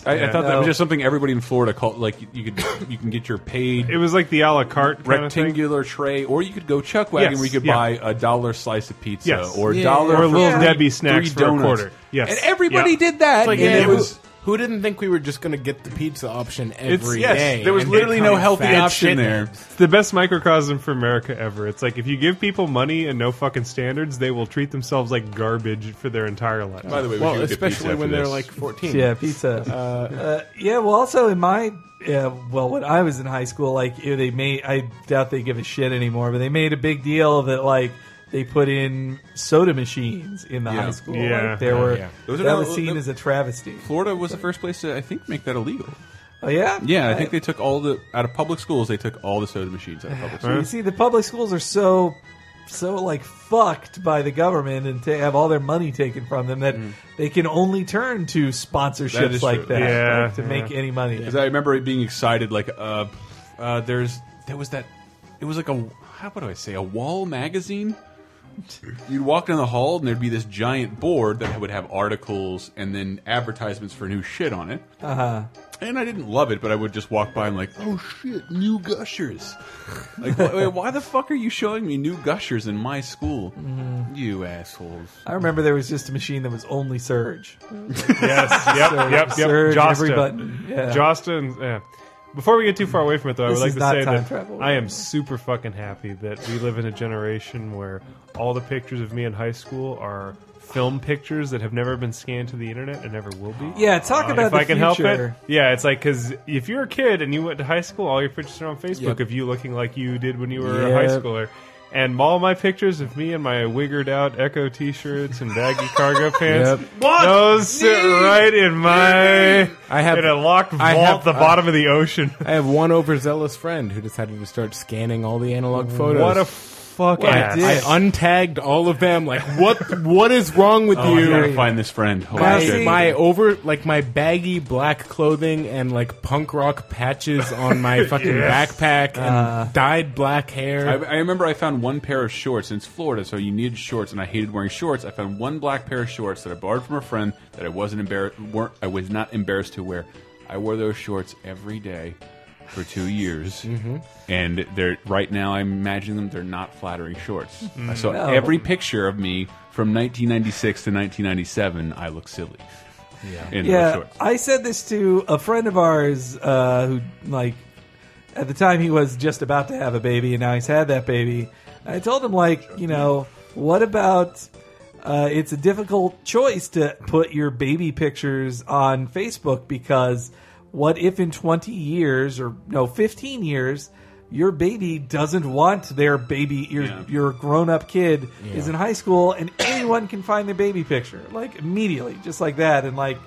Speaker 4: I, I thought that
Speaker 2: No.
Speaker 4: was just something everybody in Florida called like you could you can get your paid
Speaker 5: it was like the a la carte kind of thing.
Speaker 4: rectangular tray, or you could go chuck wagon
Speaker 5: Yes,
Speaker 4: where you could
Speaker 5: yeah.
Speaker 4: buy a dollar slice of pizza
Speaker 5: Yes.
Speaker 4: or a
Speaker 3: Yeah.
Speaker 4: dollar
Speaker 5: Or
Speaker 4: for
Speaker 5: Little
Speaker 4: three-
Speaker 5: Debbie snacks
Speaker 4: three
Speaker 5: for a
Speaker 4: donuts.
Speaker 5: quarter. Yes.
Speaker 4: and everybody
Speaker 5: Yeah.
Speaker 4: did that.
Speaker 3: Like,
Speaker 4: and
Speaker 3: yeah,
Speaker 4: it was.
Speaker 3: who- Who didn't think we were just going to get the pizza option
Speaker 5: It's-
Speaker 3: every day?
Speaker 5: yes,
Speaker 4: There was
Speaker 3: and
Speaker 4: literally no
Speaker 3: become
Speaker 4: healthy
Speaker 3: fat
Speaker 4: option
Speaker 3: shitheads?
Speaker 4: there.
Speaker 5: It's the best microcosm for America ever. It's like if you give people money and no fucking standards, they will treat themselves like garbage for their entire life.
Speaker 4: By the way,
Speaker 3: Well,
Speaker 4: we should get
Speaker 3: especially
Speaker 4: pizza
Speaker 3: when
Speaker 4: after
Speaker 3: they're
Speaker 4: this.
Speaker 3: like 14.
Speaker 2: Yeah, pizza. Uh, yeah, well, also in my yeah, well, when I was in high school, like eh, they made I doubt they give a shit anymore, but they made a big deal that like they put in soda machines in the
Speaker 4: Yeah.
Speaker 2: high school.
Speaker 5: Yeah.
Speaker 2: like, there were
Speaker 3: yeah.
Speaker 4: Those are
Speaker 2: that
Speaker 4: not-
Speaker 2: was seen
Speaker 4: th-
Speaker 2: as a travesty.
Speaker 4: Florida was the first place to, I think, make that illegal.
Speaker 2: Oh yeah,
Speaker 4: Yeah, I think they took all the out of public schools. They took all the soda machines out of public
Speaker 2: You
Speaker 4: schools.
Speaker 2: see, the public schools are so so like fucked by the government and to have all their money taken from them that they can only turn to
Speaker 4: Mm. That
Speaker 2: sponsorships
Speaker 4: is
Speaker 2: like
Speaker 4: true.
Speaker 2: that
Speaker 5: Yeah,
Speaker 2: like, to
Speaker 5: yeah.
Speaker 2: make any money.
Speaker 4: Because I remember it being excited. Like, uh, uh, there's there was that. It was like a how what do I say a wall magazine. You'd walk down the hall and there'd be this giant board that would have articles and then advertisements for new shit on it. Uh huh. And I didn't love it, but I would just walk by and like, oh shit, new gushers. Like, why, wait, why the fuck are you showing me new gushers in my school? You assholes.
Speaker 2: I remember there was just a machine that was only Surge.
Speaker 5: Yes, yep, yep, yep.
Speaker 2: Surge
Speaker 5: Josta.
Speaker 2: every button. Yeah.
Speaker 5: Josta and, yeah. Before we get too far away from it, though,
Speaker 2: This
Speaker 5: I would
Speaker 2: is
Speaker 5: like
Speaker 2: not
Speaker 5: to say
Speaker 2: time
Speaker 5: that
Speaker 2: travel.
Speaker 5: I am super fucking happy that we live in a generation where all the pictures of me in high school are film pictures that have never been scanned to the internet and never will be.
Speaker 2: Yeah, talk about
Speaker 5: Uh, if
Speaker 2: the
Speaker 5: I can
Speaker 2: future.
Speaker 5: help it. Yeah, it's like because if you're a kid and you went to high school, all your pictures are on Facebook
Speaker 3: Yep.
Speaker 5: of you looking like you did when you were a
Speaker 2: Yep.
Speaker 5: high schooler. And all my pictures of me in my wiggered out Echo T-shirts and baggy cargo pants, those sit right in my
Speaker 3: I have-
Speaker 5: in a locked vault
Speaker 3: I have-
Speaker 5: at the bottom of the ocean.
Speaker 3: I have one overzealous friend who decided to start scanning all the analog photos.
Speaker 5: What a fuck
Speaker 2: I
Speaker 5: ass!
Speaker 2: did.
Speaker 3: I untagged all of them. Like, what? what is wrong with
Speaker 4: Oh, I
Speaker 3: you?
Speaker 4: gotta find this friend. Oh, Holy
Speaker 2: Now,
Speaker 4: shit.
Speaker 2: see-
Speaker 3: my, my over like my baggy black clothing and like punk rock patches on my fucking
Speaker 5: Yes.
Speaker 3: backpack and dyed black hair.
Speaker 4: I, I remember I found one pair of shorts. And it's Florida, so you needed shorts, and I hated wearing shorts. I found one black pair of shorts that I borrowed from a friend that I wasn't embarrassed. weren't I was not embarrassed to wear. I wore those shorts every day for two years, and they're right now. I imagine them; they're not flattering shorts. I saw every picture of me from 1996 to 1997. I look silly. Yeah, in those
Speaker 2: Yeah,
Speaker 4: shorts.
Speaker 2: I said this to a friend of ours uh, who, like, at the time he was just about to have a baby, and now he's had that baby. I told him, like, you know, what about? Uh, it's a difficult choice to put your baby pictures on Facebook because what if in 20 years or no 15 years your baby doesn't want their baby your
Speaker 4: Yeah.
Speaker 2: your grown up kid is in high school and anyone can find their baby picture like immediately just like that and like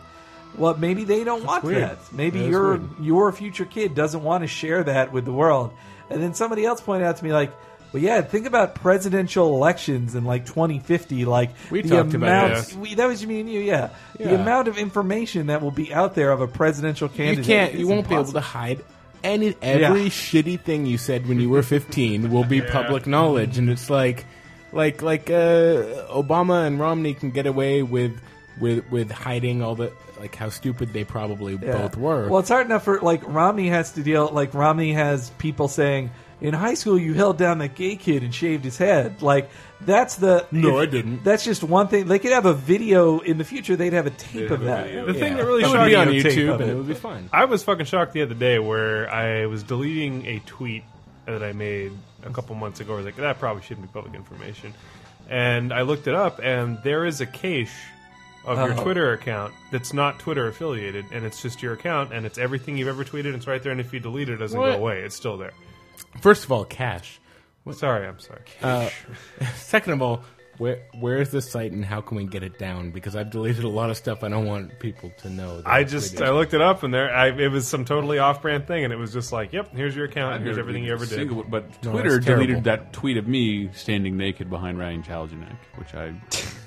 Speaker 2: well maybe they don't want
Speaker 3: weird.
Speaker 2: that maybe
Speaker 3: That is
Speaker 2: your
Speaker 3: weird.
Speaker 2: your future kid doesn't want to share that with the world and then somebody else pointed out to me like well yeah think about presidential elections in like 2050 like
Speaker 3: We
Speaker 2: the
Speaker 3: talked about
Speaker 2: amount
Speaker 3: this.
Speaker 2: we, that was me and you yeah.
Speaker 3: Yeah.
Speaker 2: the amount of information that will be out there of a presidential candidate
Speaker 3: you can't.
Speaker 2: is
Speaker 3: You won't be
Speaker 2: impossible.
Speaker 3: able to hide. Any every
Speaker 2: Yeah.
Speaker 3: shitty thing you said when you were 15 will be public knowledge, and it's like, like, like uh, Obama and Romney can get away with with with hiding all the like how stupid they probably
Speaker 2: Yeah.
Speaker 3: both were.
Speaker 2: Well, it's hard enough for like Romney has to deal. Like Romney has people saying, "In high school, you held down that gay kid and shaved his head." Like that's the
Speaker 3: No, I didn't.
Speaker 2: That's just one thing. They could have a video in the future. They'd have a tape of that.
Speaker 5: The thing that really
Speaker 3: that would
Speaker 5: shocked
Speaker 3: be
Speaker 5: me
Speaker 3: on
Speaker 5: tape
Speaker 3: YouTube,
Speaker 5: of
Speaker 3: and
Speaker 5: it.
Speaker 3: it would be fine.
Speaker 5: I was fucking shocked the other day where I was deleting a tweet that I made a couple months ago. I was like, that probably shouldn't be public information. And I looked it up, and there is a cache of your
Speaker 2: Uh-oh.
Speaker 5: Twitter account that's not Twitter affiliated, and it's just your account, and it's everything you've ever tweeted, and it's right there, and if you delete it, it doesn't go
Speaker 3: What?
Speaker 5: away. It's still there.
Speaker 3: First of all, cash.
Speaker 5: Sorry, I'm sorry.
Speaker 3: Second of all, where where is this site and how can we get it down? Because I've deleted a lot of stuff. I don't want people to know. That
Speaker 5: I
Speaker 3: I've
Speaker 5: just
Speaker 3: deleted.
Speaker 5: I looked it up and there I, it was some totally off-brand thing and it was just like yep here's your account and here's everything you ever did
Speaker 4: Single- but
Speaker 3: No,
Speaker 4: Twitter
Speaker 3: that's terrible.
Speaker 4: deleted that tweet of me standing naked behind Ryan Chaljanek, which I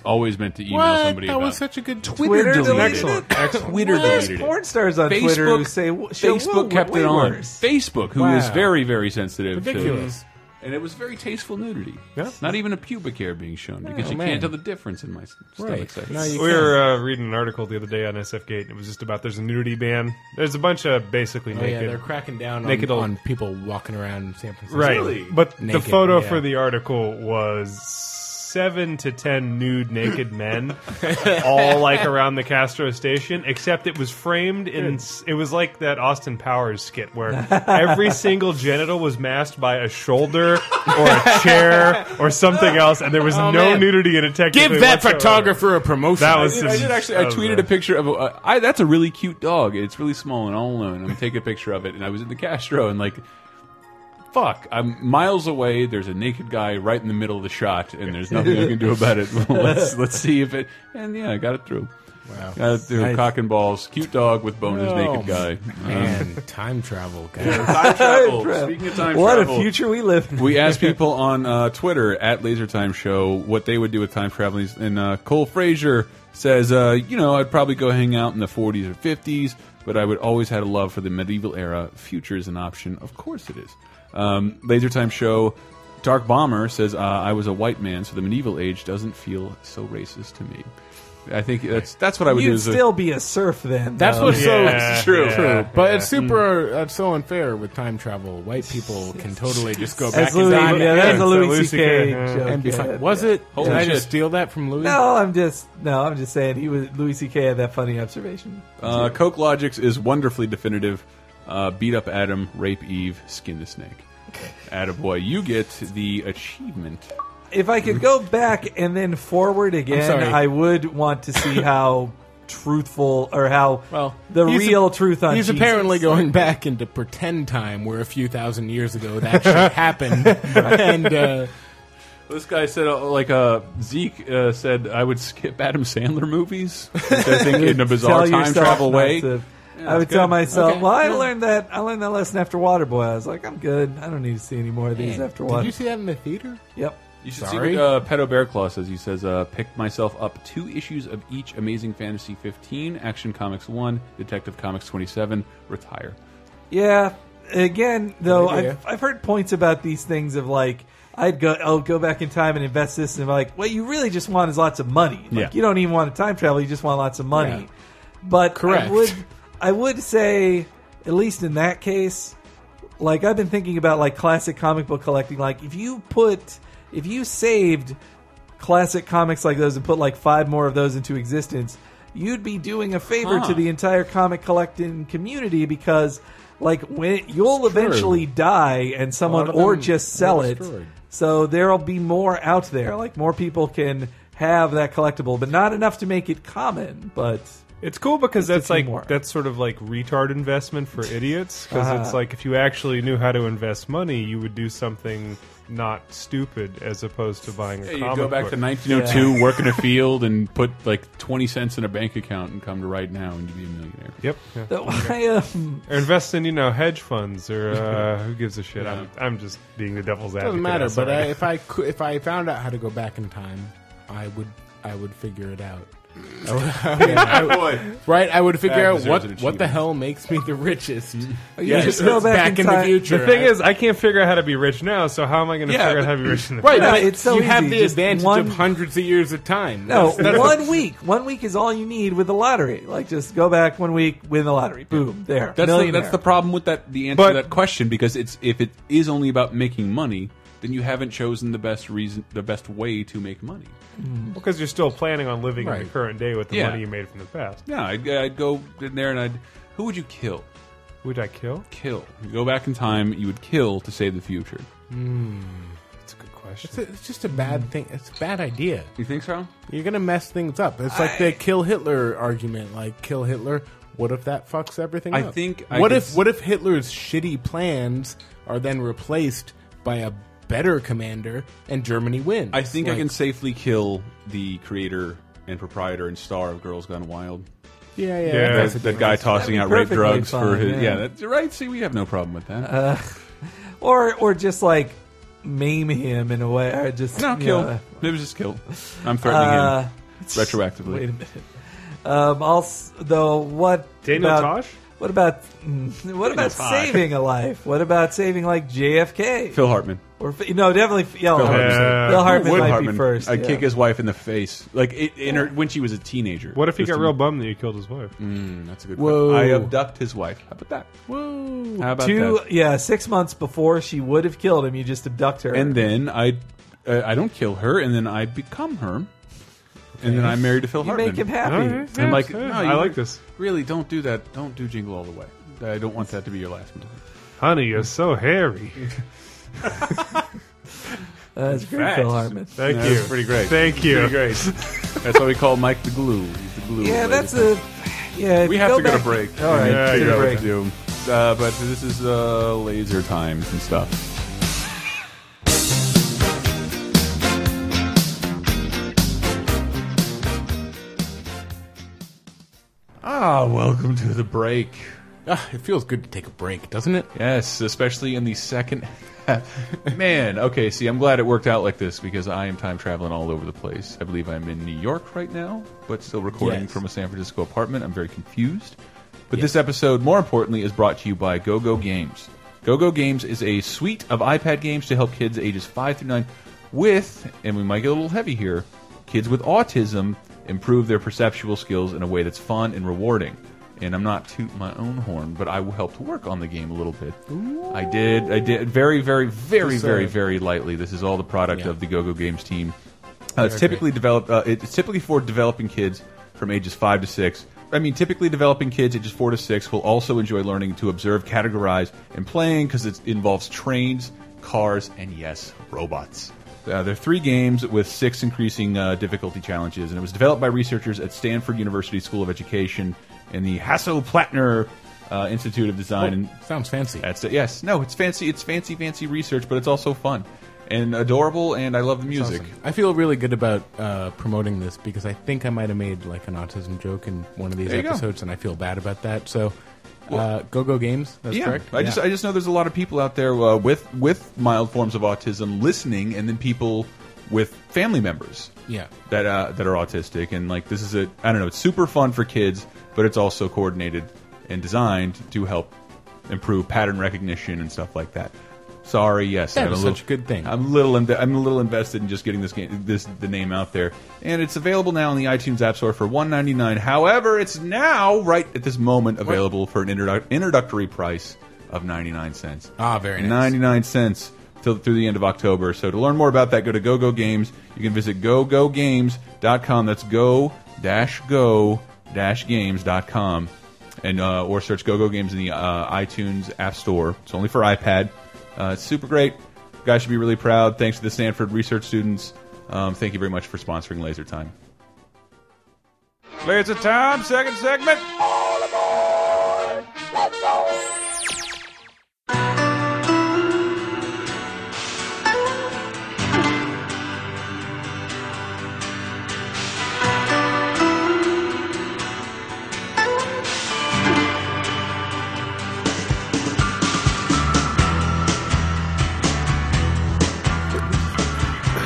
Speaker 4: always meant to email
Speaker 3: what?
Speaker 4: somebody
Speaker 3: That
Speaker 4: about.
Speaker 3: was such a good
Speaker 2: Twitter
Speaker 3: Twitter,
Speaker 2: deleted
Speaker 3: delete.
Speaker 5: Excellent,
Speaker 2: it?
Speaker 5: excellent.
Speaker 4: Twitter
Speaker 2: There's
Speaker 4: deleted
Speaker 2: porn
Speaker 4: it.
Speaker 2: stars on Twitter who say show,
Speaker 4: Facebook
Speaker 2: whoa,
Speaker 4: kept
Speaker 2: way
Speaker 4: it on.
Speaker 2: worse.
Speaker 4: Facebook, who is
Speaker 3: Wow.
Speaker 4: very, very sensitive. to-
Speaker 3: Ridiculous.
Speaker 4: and it was very tasteful nudity.
Speaker 5: Yeah.
Speaker 4: Not even a pubic hair being shown because you
Speaker 3: Oh, man.
Speaker 4: can't tell the difference in my s- stomach
Speaker 3: Right.
Speaker 4: sex.
Speaker 3: Now you
Speaker 5: We were uh, reading an article the other day on SFGate, and it was just about there's a nudity ban. There's a bunch of basically
Speaker 3: Oh, yeah,
Speaker 5: naked.
Speaker 3: they're cracking down
Speaker 5: naked
Speaker 3: on,
Speaker 5: old-
Speaker 3: on people walking around in San Francisco.
Speaker 5: right. But the
Speaker 3: Naked,
Speaker 5: photo
Speaker 3: yeah.
Speaker 5: for the article was seven to ten nude naked men, all like around the Castro station. Except it was framed in it was like that Austin Powers skit where every single genital was masked by a shoulder or a chair or something else, and there was no
Speaker 3: Oh, man.
Speaker 5: nudity in it.
Speaker 3: Give
Speaker 5: Technically,
Speaker 3: that
Speaker 5: whatsoever.
Speaker 3: photographer a promotion.
Speaker 5: That
Speaker 4: I
Speaker 5: was
Speaker 4: did, I did actually. I
Speaker 5: that was
Speaker 4: tweeted
Speaker 5: bad.
Speaker 4: a picture of. A, uh, I that's a really cute dog. It's really small and all alone. I'm gonna take a picture of it. And I was in the Castro and like, fuck. I'm miles away. There's a naked guy right in the middle of the shot, and there's nothing I can do about it. let's let's see if it. And yeah, I got it through.
Speaker 3: Wow.
Speaker 4: Got it through.
Speaker 3: Nice.
Speaker 4: Cock and balls. Cute dog with boners.
Speaker 3: Oh,
Speaker 4: naked guy.
Speaker 3: Man, time travel, guys.
Speaker 4: Time travel. Speaking of time
Speaker 2: What a
Speaker 4: travel.
Speaker 2: future we live in.
Speaker 4: We asked people on uh, Twitter at Laser Time Show what they would do with time traveling, and uh, Cole Frazier says, uh, "You know, I'd probably go hang out in the 40s or 50s, but I would always had a love for the medieval era. Future is an option, of course it is." Um, Laser Time Show. Dark Bomber says, uh, "I was a white man, so the medieval age doesn't feel so racist to me." I think that's that's what I would do.
Speaker 2: You'd
Speaker 4: as a-
Speaker 2: still be a serf then.
Speaker 3: That's
Speaker 2: though.
Speaker 3: what's
Speaker 5: Yeah,
Speaker 3: so true.
Speaker 5: yeah,
Speaker 3: true. But
Speaker 5: yeah.
Speaker 3: it's super. That's so unfair with time travel. White people can totally just go back
Speaker 2: That's
Speaker 3: in
Speaker 2: Louis,
Speaker 3: time
Speaker 2: yeah, that's a
Speaker 5: Yeah,
Speaker 2: Louis
Speaker 5: Louis
Speaker 2: C.K.
Speaker 5: CK, yeah.
Speaker 2: joke,
Speaker 3: and be
Speaker 2: yeah.
Speaker 3: like, "Was it?
Speaker 4: Holy
Speaker 3: Did I
Speaker 4: shit.
Speaker 3: just steal that from Louis?"
Speaker 2: No, I'm just no, I'm just saying he was Louis C.K. had that funny observation.
Speaker 4: Uh, Coke Logics is wonderfully definitive. Uh, beat up Adam, rape Eve, skin the snake. Attaboy, you get the achievement.
Speaker 2: If I could go back and then forward again,
Speaker 3: sorry.
Speaker 2: I would want to see how truthful or how
Speaker 3: Well,
Speaker 2: the
Speaker 3: he's-
Speaker 2: real truth on
Speaker 3: He's
Speaker 2: Jesus.
Speaker 3: apparently going back into pretend time, where a few thousand years ago that shit happened, and uh,
Speaker 4: This guy said, uh, like uh, Zeke uh, said, I would skip Adam Sandler movies. which I think in a bizarre
Speaker 2: Tell
Speaker 4: time
Speaker 2: yourself
Speaker 4: travel
Speaker 2: not
Speaker 4: way.
Speaker 2: to- I would
Speaker 4: that's
Speaker 2: tell
Speaker 4: good.
Speaker 2: myself,
Speaker 3: Okay.
Speaker 2: well, I
Speaker 3: Yeah.
Speaker 2: learned that I learned that lesson after Waterboy. I was like, I'm good. I don't need to see any more of these after
Speaker 3: did
Speaker 2: Water.
Speaker 3: you see that in the theater?
Speaker 2: yep.
Speaker 4: You should
Speaker 3: Sorry.
Speaker 4: see what uh, Pedo Bear Claw says. He says, uh, "Picked myself up two issues of each Amazing Fantasy 15, Action Comics 1, Detective Comics 27. Retire."
Speaker 2: Yeah. Again, though,
Speaker 3: idea.
Speaker 2: I've, I've heard points about these things of like, I'd go, I'll go back in time and invest this, and like, what you really just want is lots of money. Like,
Speaker 4: Yeah.
Speaker 2: you don't even want to time travel; you just want lots of money.
Speaker 3: Yeah.
Speaker 2: But
Speaker 3: Correct.
Speaker 2: I would, I would say, at least in that case, like I've been thinking about like classic comic book collecting. Like, if you put, if you saved classic comics like those and put like five more of those into existence, you'd be doing a favor
Speaker 4: Huh.
Speaker 2: to the entire comic collecting community because like when you'll eventually die and someone
Speaker 3: of them
Speaker 2: or just sell
Speaker 3: were
Speaker 2: it.
Speaker 3: destroyed.
Speaker 2: So there'll be more out there. Like more people can have that collectible, but not enough to make it common, but
Speaker 5: It's cool because
Speaker 2: It's
Speaker 5: that's
Speaker 2: a few
Speaker 5: like
Speaker 2: more.
Speaker 5: that's sort of like retard investment for idiots because
Speaker 3: Ah.
Speaker 5: it's like if you actually knew how to invest money, you would do something not stupid as opposed to buying a
Speaker 4: Yeah, you
Speaker 5: comic
Speaker 4: go back
Speaker 5: book.
Speaker 4: to 1902, work in a field, and put like 20 cents in a bank account and come to right now and you'd be a millionaire.
Speaker 5: Yep. yeah.
Speaker 2: though I um,
Speaker 5: Or invest in, you know, hedge funds or uh, who gives a shit. I'm, I'm just being the devil's advocate.
Speaker 3: Doesn't matter.
Speaker 5: I'm
Speaker 3: But I,
Speaker 5: sorry.
Speaker 3: if I could, if I found out how to go back in time, I would I would figure it out. Oh, Right, I would
Speaker 4: That
Speaker 3: figure out
Speaker 4: deserves an
Speaker 3: what what the
Speaker 4: achievement.
Speaker 3: hell makes me the richest.
Speaker 2: you just go
Speaker 3: It's
Speaker 2: back, in time.
Speaker 3: the future.
Speaker 5: the thing
Speaker 3: I-
Speaker 5: is, I can't figure out how to be rich now, so how am I going to
Speaker 3: Yeah,
Speaker 5: figure out
Speaker 3: but-
Speaker 5: how to be rich in the
Speaker 3: right,
Speaker 2: Yeah,
Speaker 3: but
Speaker 2: it's so
Speaker 3: you have
Speaker 2: easy,
Speaker 3: the
Speaker 2: just
Speaker 3: advantage
Speaker 2: one-
Speaker 3: of hundreds of years of time.
Speaker 2: No,
Speaker 3: That's- that's-
Speaker 2: one week. One week is all you need with the lottery. Like just go back one week, win the lottery. Boom, there.
Speaker 4: That's the,
Speaker 2: Millionaire.
Speaker 4: that's the problem with that the answer
Speaker 5: But-
Speaker 4: to that question because it's if it is only about making money, then you haven't chosen the best reason, the best way to make money.
Speaker 5: Because you're still planning on living in the
Speaker 3: Right.
Speaker 5: current day with the
Speaker 4: Yeah.
Speaker 5: money you made from the past.
Speaker 4: Yeah, I'd, I'd go in there and I'd who would you kill?
Speaker 5: Would I kill?
Speaker 4: Kill. You go back in time, you would kill to save the future.
Speaker 5: That's a good question.
Speaker 3: It's, a, it's just a bad thing. It's a bad idea.
Speaker 4: You think so?
Speaker 3: You're gonna mess things up. It's like the kill Hitler argument. Like kill Hitler. What if that fucks everything
Speaker 4: I
Speaker 3: up?
Speaker 4: think I
Speaker 3: What
Speaker 4: could
Speaker 3: if
Speaker 4: s-
Speaker 3: what if Hitler's shitty plans are then replaced by a better commander and Germany wins?
Speaker 4: I think I
Speaker 3: Like,
Speaker 4: can safely kill the creator and proprietor and star of Girls Gone Wild.
Speaker 3: Yeah, yeah.
Speaker 5: Yeah.
Speaker 4: That,
Speaker 3: that's a
Speaker 4: that guy tossing out rape
Speaker 2: perfectly
Speaker 4: drugs
Speaker 2: fine,
Speaker 4: for his.
Speaker 2: yeah. Uh,
Speaker 4: Yeah, that's right. See, we have no problem with that.
Speaker 2: or or just like maim him in a way, or just
Speaker 4: no,
Speaker 2: you
Speaker 4: kill.
Speaker 2: know,
Speaker 4: it was just kill. I'm threatening
Speaker 2: Uh,
Speaker 4: him retroactively.
Speaker 2: Wait a minute. Um, also, though, what
Speaker 5: Daniel
Speaker 2: about,
Speaker 5: Tosh?
Speaker 2: What about mm, what about saving a life? What about saving like JFK
Speaker 4: Phil Hartman.
Speaker 2: or F- no, definitely yeah, Phil
Speaker 4: Hartman's
Speaker 5: there.
Speaker 2: Phil Hartman
Speaker 4: Would
Speaker 2: might
Speaker 4: Hartman.
Speaker 2: be first.
Speaker 4: I'd
Speaker 2: yeah.
Speaker 4: kick his wife in the face, like it, in her, when she was a teenager.
Speaker 5: What if he
Speaker 4: Just
Speaker 5: got
Speaker 4: to-
Speaker 5: real bummed that you killed his wife?
Speaker 4: That's a good.
Speaker 3: Whoa.
Speaker 4: Whoa! I abduct his wife. How about that? Whoa! How about
Speaker 2: Two
Speaker 4: that?
Speaker 2: yeah, six months before she would have killed him, you just abduct her.
Speaker 4: And then I uh, I don't kill her, and then I become her, and then I'm married to Phil
Speaker 2: You
Speaker 4: Hartman.
Speaker 2: make him happy.
Speaker 4: I'm like,
Speaker 5: Yeah,
Speaker 4: no,
Speaker 5: I
Speaker 4: you
Speaker 5: like this.
Speaker 4: Really, don't do that. Don't do Jingle All the Way. I don't want that to be your last movie.
Speaker 5: Honey, you're so hairy.
Speaker 2: Uh, That's great, Phil Hartman.
Speaker 5: Thank
Speaker 4: That's
Speaker 5: you.
Speaker 4: pretty great.
Speaker 5: Thank you.
Speaker 4: great. That's why we call Mike the glue. He's the glue.
Speaker 2: Yeah,
Speaker 4: of
Speaker 2: that's
Speaker 4: Laser
Speaker 2: a. Yeah,
Speaker 4: We have
Speaker 2: go
Speaker 4: to go
Speaker 2: back-
Speaker 4: to break.
Speaker 2: All right,
Speaker 4: Yeah,
Speaker 2: take
Speaker 4: you
Speaker 2: a
Speaker 4: know what
Speaker 2: break.
Speaker 4: to do. Uh, but this is uh, laser times and stuff. Ah, welcome to the break.
Speaker 3: Ah, it feels good to take a break, doesn't it?
Speaker 4: Yes, especially in the second. Man, okay, see, I'm glad it worked out like this because I am time traveling all over the place. I believe I'm in New York right now, but still recording
Speaker 3: Yes.
Speaker 4: from a San Francisco apartment. I'm very confused. But this episode, more importantly, is brought to you by GoGo Games. GoGo Games is a suite of iPad games to help kids ages 5 through 9 with, and we might get a little heavy here, kids with autism improve their perceptual skills in a way that's fun and rewarding. And I'm not tooting my own horn, but I helped work on the game a little bit. I did. I did very, very, very, very, very lightly. This is all the product
Speaker 3: Yeah.
Speaker 4: of the GoGo Games team. Uh, it's typically developed. Uh, it's typically for developing kids from ages five to six. I mean, typically developing kids ages four to six will also enjoy learning to observe, categorize, and playing because it involves trains, cars, and yes, robots. Uh, there are three games with six increasing uh, difficulty challenges, and it was developed by researchers at Stanford University School of Education and the Hasso-Plattner uh, Institute of Design and
Speaker 3: Oh, Sounds fancy.
Speaker 4: that's it. Yes. No, it's fancy. It's fancy, fancy research, but it's also fun and adorable. And I love the music.
Speaker 3: Awesome. I feel really good about uh, promoting this because I think I might have made like an autism joke in one of these
Speaker 4: There you go.
Speaker 3: episodes, and I feel bad about that. So, uh, Go Go Games, that's
Speaker 4: yeah.
Speaker 3: correct.
Speaker 4: I just, I just know there's a lot of people out there uh, with with mild forms of autism listening, and then people with family members
Speaker 3: yeah,
Speaker 4: that uh, that are autistic, and like this is a, I don't know, it's super fun for kids, but it's also coordinated and designed to help improve pattern recognition and stuff like that. Sorry, yes,
Speaker 3: That
Speaker 4: I'm
Speaker 3: is
Speaker 4: a little-
Speaker 3: such a good thing.
Speaker 4: I'm a little inve- I'm a little invested in just getting this game this the name out there, and it's available now in the iTunes App Store for 1.99. However, it's now right at this moment available for an introduc introductory price of 99 cents.
Speaker 3: Ah, very nice.
Speaker 4: 99 cents till through the end of October. So to learn more about that, go to GoGo Games. You can visit gogogames.com. That's go dash go dash games.com. And, uh, or search GoGo Games in the uh, iTunes App Store. It's only for iPad. Uh, it's super great. You guys should be really proud. Thanks to the Stanford research students. Um, thank you very much for sponsoring Laser Time. Laser Time, second segment.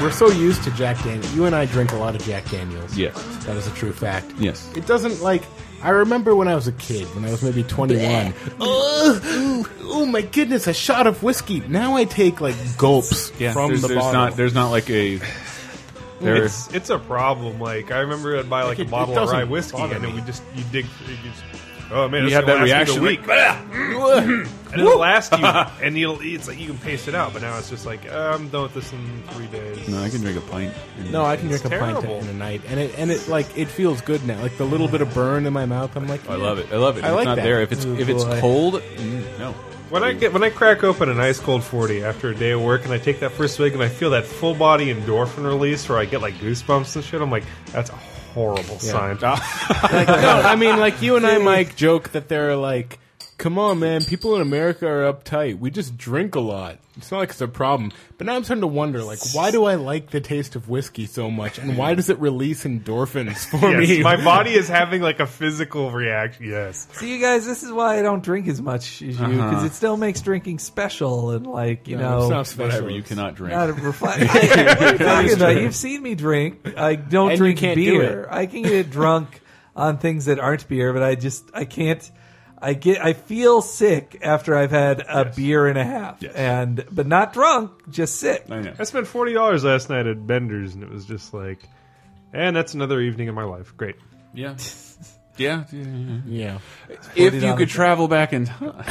Speaker 3: we're so used to Jack Daniels. You and I drink a lot of Jack Daniels.
Speaker 4: Yes.
Speaker 3: that is a true fact.
Speaker 4: Yes.
Speaker 3: it doesn't like. I remember when I was a kid, when I was maybe 21. oh, oh my goodness, a shot of whiskey. Now I take like gulps from
Speaker 4: there's,
Speaker 3: the
Speaker 4: there's
Speaker 3: bottle.
Speaker 4: not there's not like a there's
Speaker 5: It's it's a problem. Like I remember I'd buy like a
Speaker 3: It- it
Speaker 5: bottle of rye
Speaker 3: doesn't
Speaker 5: whiskey,
Speaker 3: bother
Speaker 5: and it
Speaker 3: me.
Speaker 5: would just you dig. You just, oh man,
Speaker 4: You
Speaker 5: this
Speaker 4: have
Speaker 5: is gonna
Speaker 4: that
Speaker 5: last me the
Speaker 4: reaction,
Speaker 5: week, and it'll last you, and you'll it's like you can pace it out. But now it's just like uh, I'm done with this in three days.
Speaker 4: no, I can drink a pint.
Speaker 3: No, I can
Speaker 5: It's
Speaker 3: drink a
Speaker 5: terrible.
Speaker 3: pint in a night, and it and it like it feels good now. Like the little bit of burn in my mouth, I'm like,
Speaker 4: I love it. I love it.
Speaker 3: I
Speaker 4: it's
Speaker 3: like
Speaker 4: not
Speaker 3: that.
Speaker 4: there. If it's
Speaker 2: Ooh,
Speaker 4: if it's
Speaker 2: boy.
Speaker 4: cold, mm, no.
Speaker 5: When I get when I crack open an ice cold forty after a day of work, and I take that first swig, and I feel that full body endorphin release, where I get like goosebumps and shit. I'm like, that's a horrible sign.
Speaker 4: Ah.
Speaker 3: Like, no, I mean, like you and I, Mike, joke that they're like, come on, man, people in America are uptight. We just drink a lot. It's not like it's a problem. But now I'm starting to wonder, like, why do I like the taste of whiskey so much, and why does it release endorphins for
Speaker 5: Yes,
Speaker 3: me?
Speaker 5: my body is having like a physical reaction. Yes,
Speaker 2: See, you guys, this is why I don't drink as much as you
Speaker 4: Uh-huh.
Speaker 2: because it still makes drinking special and like you
Speaker 3: No,
Speaker 2: know.
Speaker 3: it's not special.
Speaker 4: Whatever you cannot drink.
Speaker 2: Not a reflect. You've seen me drink. I don't
Speaker 3: And you
Speaker 2: drink
Speaker 3: can't do
Speaker 2: beer.
Speaker 3: it.
Speaker 2: I can get drunk on things that aren't beer, but I just I can't. I get I feel sick after I've had a beer and a half,
Speaker 4: Yes.
Speaker 2: and but not drunk, just sick.
Speaker 4: I know.
Speaker 5: I spent forty dollars last night at Bender's, and it was just like, and that's another evening in my life. Great.
Speaker 4: Yeah. Yeah. yeah, yeah.
Speaker 3: Yeah.
Speaker 4: If
Speaker 2: it
Speaker 4: you
Speaker 2: on
Speaker 4: could
Speaker 2: a-
Speaker 4: travel back in time,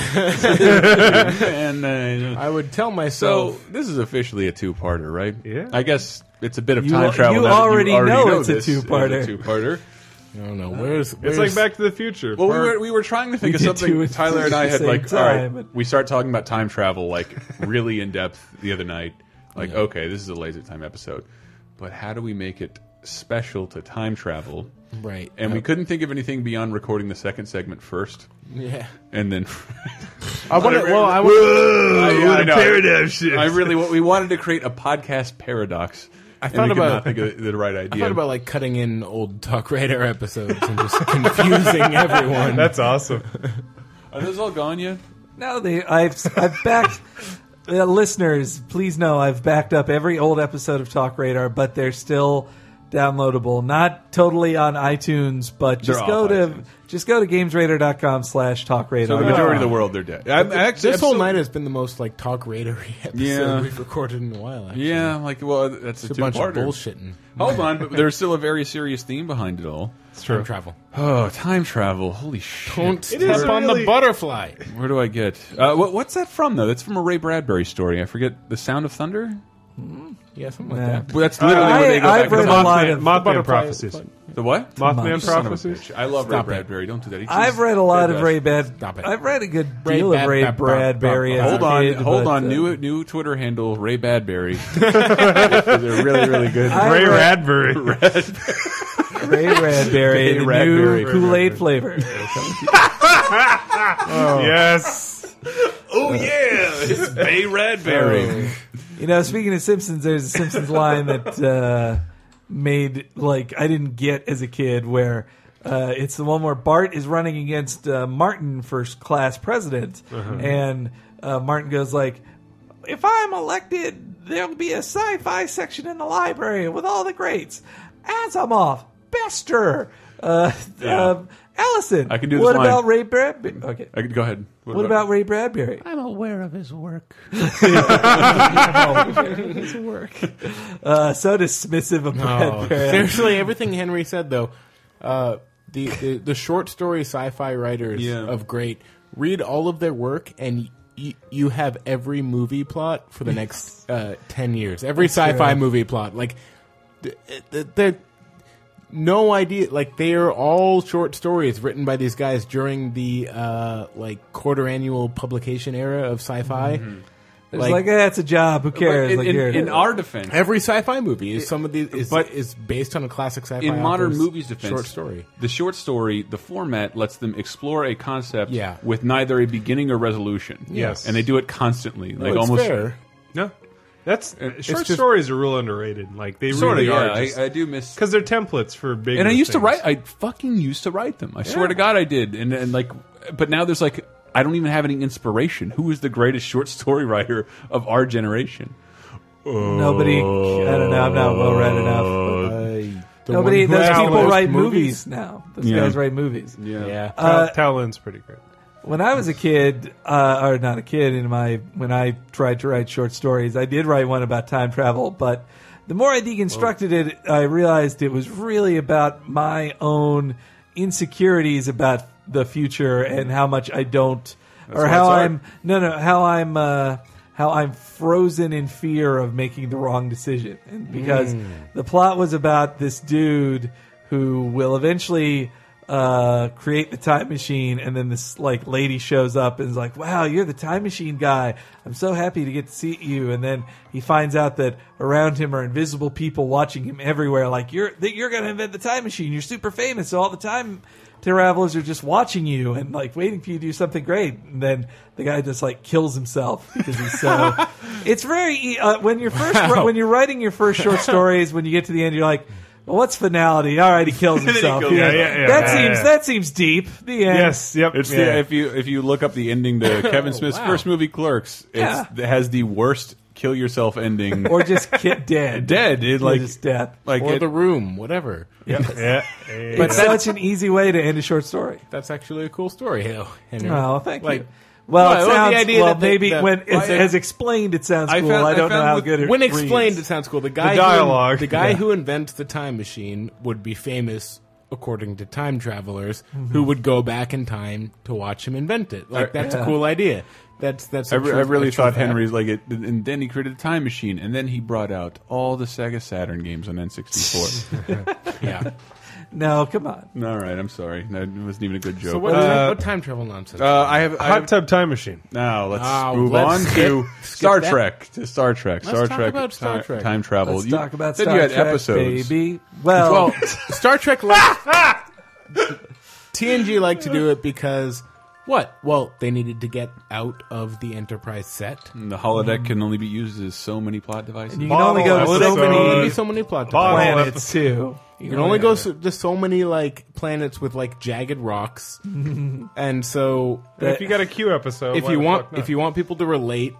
Speaker 4: and uh,
Speaker 3: I would tell
Speaker 4: so
Speaker 3: myself.
Speaker 4: this is officially a two-parter, right?
Speaker 5: Yeah.
Speaker 4: I guess it's a bit of
Speaker 2: You
Speaker 4: time
Speaker 2: al-
Speaker 4: travel.
Speaker 2: you
Speaker 4: now that
Speaker 2: already know it's a
Speaker 4: this is
Speaker 2: two-parter.
Speaker 4: two-parter.
Speaker 3: I don't know. Where's,
Speaker 5: It's
Speaker 3: where's
Speaker 5: like Back to the Future.
Speaker 4: Well, we were, we were trying to think of
Speaker 2: did two
Speaker 4: something.
Speaker 2: at
Speaker 4: Tyler and I
Speaker 2: the
Speaker 4: had
Speaker 2: same
Speaker 4: like, all
Speaker 2: time.
Speaker 4: right, we start talking about time travel like really in depth the other night. Like, okay, this is a laser time episode, but how do we make it special to time travel?
Speaker 3: right?
Speaker 4: And we couldn't think of anything beyond recording the second segment first,
Speaker 3: yeah.
Speaker 4: and then
Speaker 3: I want. Well, I
Speaker 4: Whoa,
Speaker 3: want.
Speaker 5: Oh,
Speaker 4: I, know.
Speaker 5: paradigm shift.
Speaker 4: I really we wanted to create a podcast paradox. I
Speaker 3: thought about-
Speaker 4: think of the, the right idea.
Speaker 3: I thought about like cutting in old Talk Radar episodes and just confusing everyone.
Speaker 5: That's awesome.
Speaker 4: Are those all gone yet?
Speaker 2: No, they. I've I've backed. uh, listeners, please know I've backed up every old episode of Talk Radar, but they're still downloadable. Not totally on iTunes, but just
Speaker 4: off
Speaker 2: go to
Speaker 4: iTunes.
Speaker 2: just go to gamesradar.com slash talk
Speaker 4: So
Speaker 2: radar.
Speaker 4: the majority of the world they're dead. I'm actually
Speaker 3: this whole
Speaker 4: episode-
Speaker 3: night has been the most like Talk Radary episode
Speaker 4: Yeah.
Speaker 3: we've recorded in a while. Actually.
Speaker 4: Yeah, like well, that's
Speaker 3: It's
Speaker 4: a
Speaker 3: a bunch
Speaker 4: two-parter.
Speaker 3: of bullshitting.
Speaker 4: Hold on, but there's still a very serious theme behind it all.
Speaker 5: It's true.
Speaker 3: Time travel.
Speaker 4: Oh, time travel! Holy shit!
Speaker 3: Don't
Speaker 5: is
Speaker 3: step on
Speaker 5: really-
Speaker 3: the butterfly.
Speaker 4: Where do I get? Uh, what, what's that from though? That's from a Ray Bradbury story. I forget. The Sound of Thunder.
Speaker 3: Yeah, something
Speaker 2: Yeah.
Speaker 3: like that.
Speaker 4: Well, that's literally
Speaker 2: Uh, I-
Speaker 4: where they go
Speaker 2: I've
Speaker 4: back. to
Speaker 2: read
Speaker 4: the
Speaker 2: a
Speaker 4: Moth-
Speaker 2: lot of-
Speaker 5: Mothman, Mothman
Speaker 3: Butterfly-
Speaker 5: prophecies.
Speaker 4: The what?
Speaker 5: Mothman
Speaker 2: Son of a
Speaker 5: prophecies.
Speaker 4: I love
Speaker 3: Stop
Speaker 4: Ray
Speaker 3: it.
Speaker 4: Bradbury. Don't do that. He's
Speaker 2: I've
Speaker 4: just-
Speaker 2: read a lot of
Speaker 4: Best.
Speaker 2: Ray Bad.
Speaker 3: Stop it.
Speaker 2: I've read a good
Speaker 3: Ray
Speaker 2: deal of
Speaker 3: Bad-
Speaker 2: Ray
Speaker 3: Bad- Bad-
Speaker 2: Bradbury.
Speaker 3: Bad-
Speaker 2: as a
Speaker 4: Hold on,
Speaker 2: kid,
Speaker 4: hold
Speaker 2: but,
Speaker 4: on.
Speaker 2: uh,
Speaker 4: New new Twitter handle Ray Badberry. They're really really good.
Speaker 2: I
Speaker 5: Ray
Speaker 2: read-
Speaker 5: Radbury.
Speaker 2: Ray
Speaker 4: Ray
Speaker 2: Radberry, the
Speaker 4: Radbury.
Speaker 2: new Kool Aid flavor.
Speaker 5: yes.
Speaker 4: oh yeah, it's Bay Radberry.
Speaker 2: You know, speaking of Simpsons, there's a Simpsons line that uh, made like I didn't get as a kid, where uh, it's the one where Bart is running against uh, Martin for class president,
Speaker 4: Uh-huh.
Speaker 2: and uh, Martin goes like, "If I'm elected, there'll be a sci-fi section in the library with all the greats: Asimov, Bester, uh,
Speaker 4: Yeah.
Speaker 2: um, Allison.
Speaker 4: I can do this
Speaker 2: What
Speaker 4: line.
Speaker 2: about Ray Bradbury? Okay,
Speaker 4: I could go ahead.
Speaker 2: what
Speaker 3: uh,
Speaker 2: about Ray Bradbury?
Speaker 3: I'm aware of his work.
Speaker 2: Uh, so dismissive of Bradbury.
Speaker 3: Seriously, everything Henry said though, uh, the, the the short story sci-fi writers
Speaker 4: Yeah.
Speaker 3: of great read all of their work and. y- You have every movie plot for the next uh, ten years. Every sci-fi movie plot, like th- th- they're no idea. Like they are all short stories written by these guys during the uh, like quarter annual publication era of sci-fi.
Speaker 2: Mm-hmm. It's like, eh, it's a job. Who cares?
Speaker 4: in,
Speaker 2: like,
Speaker 4: in,
Speaker 2: here it
Speaker 4: in
Speaker 2: is.
Speaker 4: our defense,
Speaker 3: Every sci-fi movie is some of these, is,
Speaker 4: but-
Speaker 3: but is based on a classic sci-fi.
Speaker 4: in modern
Speaker 3: author's
Speaker 4: movies defense
Speaker 3: short story.
Speaker 4: the short story the format lets them explore a concept
Speaker 3: Yeah.
Speaker 4: with neither a beginning or resolution
Speaker 5: Yes.
Speaker 4: and they do it constantly like
Speaker 3: it's
Speaker 4: almost
Speaker 3: fair.
Speaker 5: No. That's short
Speaker 3: just-
Speaker 5: stories are real underrated. Like they
Speaker 4: sort of
Speaker 5: really
Speaker 4: yeah
Speaker 5: are. Just,
Speaker 4: I, I do miss
Speaker 5: Because they're templates for big.
Speaker 4: and I used to write I fucking used to write them I swear to god I did and, and like but now there's like I don't even have any inspiration who is the greatest short story writer of our generation
Speaker 2: Nobody, I don't know. I'm not well read enough. but, uh,
Speaker 3: The
Speaker 2: nobody,
Speaker 3: one who
Speaker 2: those
Speaker 5: has
Speaker 2: people
Speaker 5: most
Speaker 2: write movies, now. Those
Speaker 4: Yeah.
Speaker 2: guys write movies.
Speaker 3: Yeah.
Speaker 5: Uh, Talon's pretty great.
Speaker 2: When I was a kid, uh, or not a kid, in my when I tried to write short stories, I did write one about time travel. But the more I deconstructed it, I realized it was really about my own insecurities about the future and how much I don't, or
Speaker 4: why
Speaker 2: how
Speaker 4: it's art.
Speaker 2: I'm no no how I'm uh, how I'm frozen in fear of making the wrong decision, and because
Speaker 4: Hmm.
Speaker 2: the plot was about this dude who will eventually uh, create the time machine, and then this like lady shows up and is like, "Wow, you're the time machine guy! I'm so happy to get to see you." And then he finds out that around him are invisible people watching him everywhere. Like you're that you're gonna invent the time machine. You're super famous, so all the time travelers are just watching you and like waiting for you to do something great and then the guy just like kills himself because he's so it's very uh, when you're first when you're writing your first short stories when you get to the end you're like well, what's finality all right he kills himself
Speaker 4: kills
Speaker 2: You're like,
Speaker 5: himself. Yeah, yeah, yeah.
Speaker 2: that
Speaker 5: Yeah,
Speaker 2: seems
Speaker 5: yeah.
Speaker 2: that seems deep the end
Speaker 5: Yes. Yep.
Speaker 4: It's
Speaker 5: yeah.
Speaker 4: the, if you if you look up the ending to Kevin Smith's first movie, Clerks, it's, it has the worst kill yourself ending.
Speaker 2: or just get dead
Speaker 4: dead, it,
Speaker 2: Or
Speaker 4: like
Speaker 2: just death
Speaker 4: like
Speaker 3: or
Speaker 4: it-
Speaker 3: the room, whatever.
Speaker 5: yeah. Hey.
Speaker 2: but such an easy way to end a short story
Speaker 3: That's actually a cool story, though. Henry.
Speaker 2: oh thank
Speaker 3: Like-
Speaker 2: you well,
Speaker 3: Well,
Speaker 2: it
Speaker 3: the
Speaker 2: sounds,
Speaker 3: idea
Speaker 2: well
Speaker 3: that they-
Speaker 2: maybe
Speaker 3: that-
Speaker 2: when it's,
Speaker 3: I-
Speaker 2: as explained, it sounds
Speaker 4: I
Speaker 2: cool.
Speaker 4: found-
Speaker 2: I
Speaker 4: I
Speaker 2: don't know
Speaker 4: found
Speaker 2: how
Speaker 4: with-
Speaker 2: good it
Speaker 3: when
Speaker 2: reads.
Speaker 3: explained, it sounds cool. The guy,
Speaker 5: dialogue.
Speaker 3: who, the guy
Speaker 5: Yeah.
Speaker 3: who invents the time machine would be famous according to time travelers
Speaker 2: Mm-hmm.
Speaker 3: who would go back in time to watch him invent it. Like that's a cool idea. That's that's.
Speaker 4: I,
Speaker 3: a
Speaker 4: re-
Speaker 3: true-
Speaker 4: I really
Speaker 3: a true
Speaker 4: thought
Speaker 3: fact.
Speaker 4: Henry's like it, and then he created a time machine, and then he brought out all the Sega Saturn games on N sixty four.
Speaker 3: Yeah.
Speaker 2: No, come on.
Speaker 4: All right, I'm sorry, that wasn't even a good joke.
Speaker 3: So what,
Speaker 4: Uh,
Speaker 3: what time travel nonsense?
Speaker 4: uh, I have I
Speaker 5: Hot
Speaker 4: have,
Speaker 5: tub time machine.
Speaker 4: now. Let's
Speaker 3: Ah,
Speaker 4: move
Speaker 3: let's
Speaker 4: on
Speaker 3: skip-
Speaker 4: to
Speaker 3: skip
Speaker 4: Star
Speaker 3: that.
Speaker 4: Trek. To Star Trek.
Speaker 3: Let's
Speaker 4: Star
Speaker 3: talk
Speaker 4: Trek.
Speaker 3: about Star
Speaker 4: ti-
Speaker 3: Trek.
Speaker 4: Time travel.
Speaker 2: Let's
Speaker 4: You-
Speaker 2: talk about
Speaker 4: then
Speaker 2: Star
Speaker 4: you had
Speaker 2: Trek,
Speaker 4: episodes.
Speaker 2: baby. Well,
Speaker 3: well, Star Trek. Like, TNG liked to do it because what? Well, they needed to get out of the Enterprise set.
Speaker 4: And the holodeck can only be used as so many plot devices.
Speaker 2: you can only go to
Speaker 5: Bottle
Speaker 2: so
Speaker 5: episode.
Speaker 2: many
Speaker 3: There's so many plot
Speaker 5: Bottle
Speaker 3: devices.
Speaker 2: planets too.
Speaker 3: You can only go so, there's so many like planets with like jagged rocks, and so
Speaker 5: But if you got a Q episode,
Speaker 3: if
Speaker 5: why
Speaker 3: you
Speaker 5: the
Speaker 3: want
Speaker 5: fuck not?
Speaker 3: if you want people to relate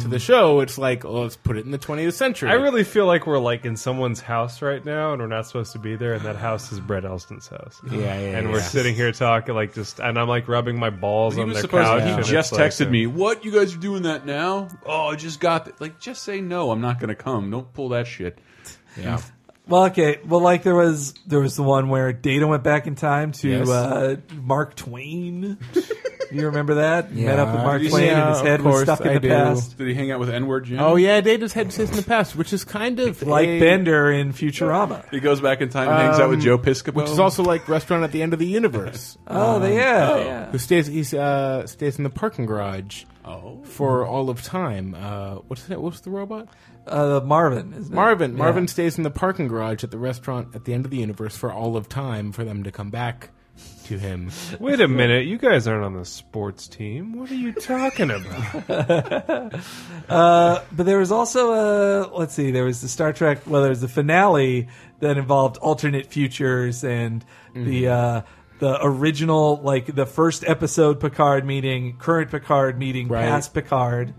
Speaker 3: to the show, it's like oh, let's put it in the 20th century.
Speaker 5: I really feel like we're like in someone's house right now, and we're not supposed to be there. And that house is Brett Elston's house.
Speaker 3: yeah, yeah,
Speaker 5: and
Speaker 3: yeah.
Speaker 5: we're sitting here talking like just, and I'm like rubbing my balls
Speaker 4: He
Speaker 5: on
Speaker 4: was
Speaker 5: the
Speaker 4: supposed to-
Speaker 5: couch.
Speaker 4: he
Speaker 5: and
Speaker 4: just
Speaker 5: it's like
Speaker 4: texted
Speaker 5: a-
Speaker 4: me, "What you guys are doing that now? Oh, I just got that. Like, just say no. I'm not going to come. Don't pull that shit."
Speaker 3: yeah.
Speaker 2: Well, okay. Well, like there was there was the one where Data went back in time to
Speaker 3: Yes.
Speaker 2: uh, Mark Twain. you remember that? Met up with
Speaker 3: Yeah.
Speaker 2: Mark
Speaker 3: Yeah,
Speaker 2: Twain, and his
Speaker 3: of
Speaker 2: head was
Speaker 3: course
Speaker 2: stuck in
Speaker 3: I
Speaker 2: the
Speaker 3: do.
Speaker 2: past,
Speaker 4: Did he hang out with N word Jim?
Speaker 3: Oh yeah, Data's head sits in the past, which is kind of
Speaker 2: like
Speaker 3: a-
Speaker 2: Bender in Futurama.
Speaker 4: He goes back in time and hangs out with
Speaker 3: Um,
Speaker 4: Joe Piscopo.
Speaker 3: which is also like Restaurant at the End of the Universe,
Speaker 2: Oh, they, yeah, yeah.
Speaker 3: who stays he's, uh, stays in the parking garage
Speaker 4: oh,
Speaker 3: for all of time. Uh, what's that? What's the robot? Oh.
Speaker 2: Uh, Marvin, isn't it?
Speaker 3: Marvin.
Speaker 2: Yeah.
Speaker 3: Marvin stays in the parking garage at the restaurant at the end of the universe for all of time for them to come back to him.
Speaker 5: Wait a minute, you guys aren't on the sports team. What are you talking about?
Speaker 2: But there was also a let's see, there was the Star Trek. Well, there was the finale that involved alternate futures and the
Speaker 3: Mm-hmm.
Speaker 2: uh, the original, like the first episode Picard meeting, current Picard meeting,
Speaker 3: Right.
Speaker 2: past Picard,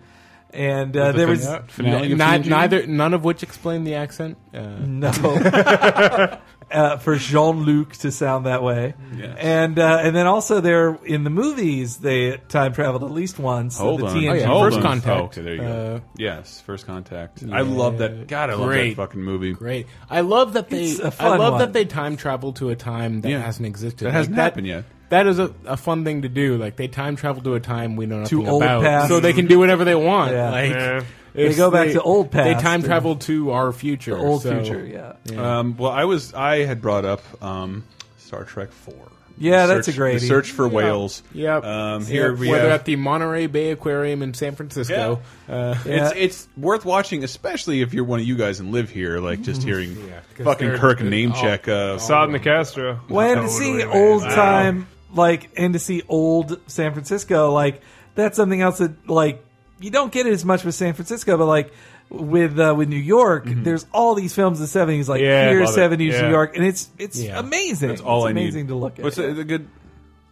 Speaker 2: and uh, there was
Speaker 4: finale of
Speaker 3: Not,
Speaker 4: TNG?
Speaker 3: neither, none of which explain the accent. Uh,
Speaker 2: no uh, for Jean Luc to sound that way,
Speaker 4: Yes.
Speaker 2: and uh, and then also there in the movies they time traveled at least once.
Speaker 4: Hold
Speaker 2: the
Speaker 4: on.
Speaker 2: TNG
Speaker 3: Oh, yeah.
Speaker 4: Hold
Speaker 3: First
Speaker 4: on.
Speaker 3: Contact.
Speaker 4: Oh, okay, there you go.
Speaker 3: Uh,
Speaker 4: yes, first contact. I love that. God, I love that
Speaker 3: Great.
Speaker 4: fucking movie.
Speaker 3: Great. I love that they.
Speaker 2: It's a
Speaker 3: I
Speaker 2: fun
Speaker 3: love
Speaker 2: one.
Speaker 3: that they time travel to a time that
Speaker 4: Yeah.
Speaker 3: hasn't existed.
Speaker 4: That
Speaker 3: Like,
Speaker 4: hasn't happened yet.
Speaker 3: That is a, a fun thing to do. Like they time travel to a time we know nothing
Speaker 2: old
Speaker 3: about,
Speaker 2: past.
Speaker 3: so they can do whatever they want.
Speaker 2: Yeah.
Speaker 3: Like
Speaker 5: Yeah.
Speaker 3: it's-
Speaker 2: go back to old
Speaker 3: They
Speaker 2: past
Speaker 3: time
Speaker 2: and-
Speaker 3: travel to our future.
Speaker 2: old
Speaker 3: so-
Speaker 2: future, yeah.
Speaker 4: Um, well, I was I had brought up um, Star Trek Four.
Speaker 2: Yeah,
Speaker 4: The
Speaker 2: that's a
Speaker 4: search-
Speaker 2: great-
Speaker 4: The search for whales.
Speaker 3: Yep.
Speaker 4: Um, here
Speaker 3: Yep.
Speaker 4: we
Speaker 3: whether
Speaker 4: have
Speaker 3: at the Monterey Bay Aquarium in San Francisco. Uh,
Speaker 4: It's it's worth watching, especially if you're one of you guys and live here. Like just hearing
Speaker 3: 'cause
Speaker 4: fucking
Speaker 3: they're-
Speaker 4: Kirk name check. Uh,
Speaker 5: Saad Nicastro.
Speaker 2: Well, and to
Speaker 5: Totally,
Speaker 2: see
Speaker 5: man.
Speaker 2: old
Speaker 5: Wow.
Speaker 2: time, like, and to see old San Francisco, like, that's something else that, like, you don't get it as much with San Francisco, but like with uh, with New York, there's all these films in the '70s, like
Speaker 5: Yeah,
Speaker 2: here
Speaker 5: love it.
Speaker 2: '70s
Speaker 5: Yeah.
Speaker 2: New York, and it's it's
Speaker 3: Yeah.
Speaker 2: amazing.
Speaker 4: that's all
Speaker 2: it's
Speaker 4: I
Speaker 2: amazing
Speaker 4: need.
Speaker 2: to look at.
Speaker 4: What's a, a good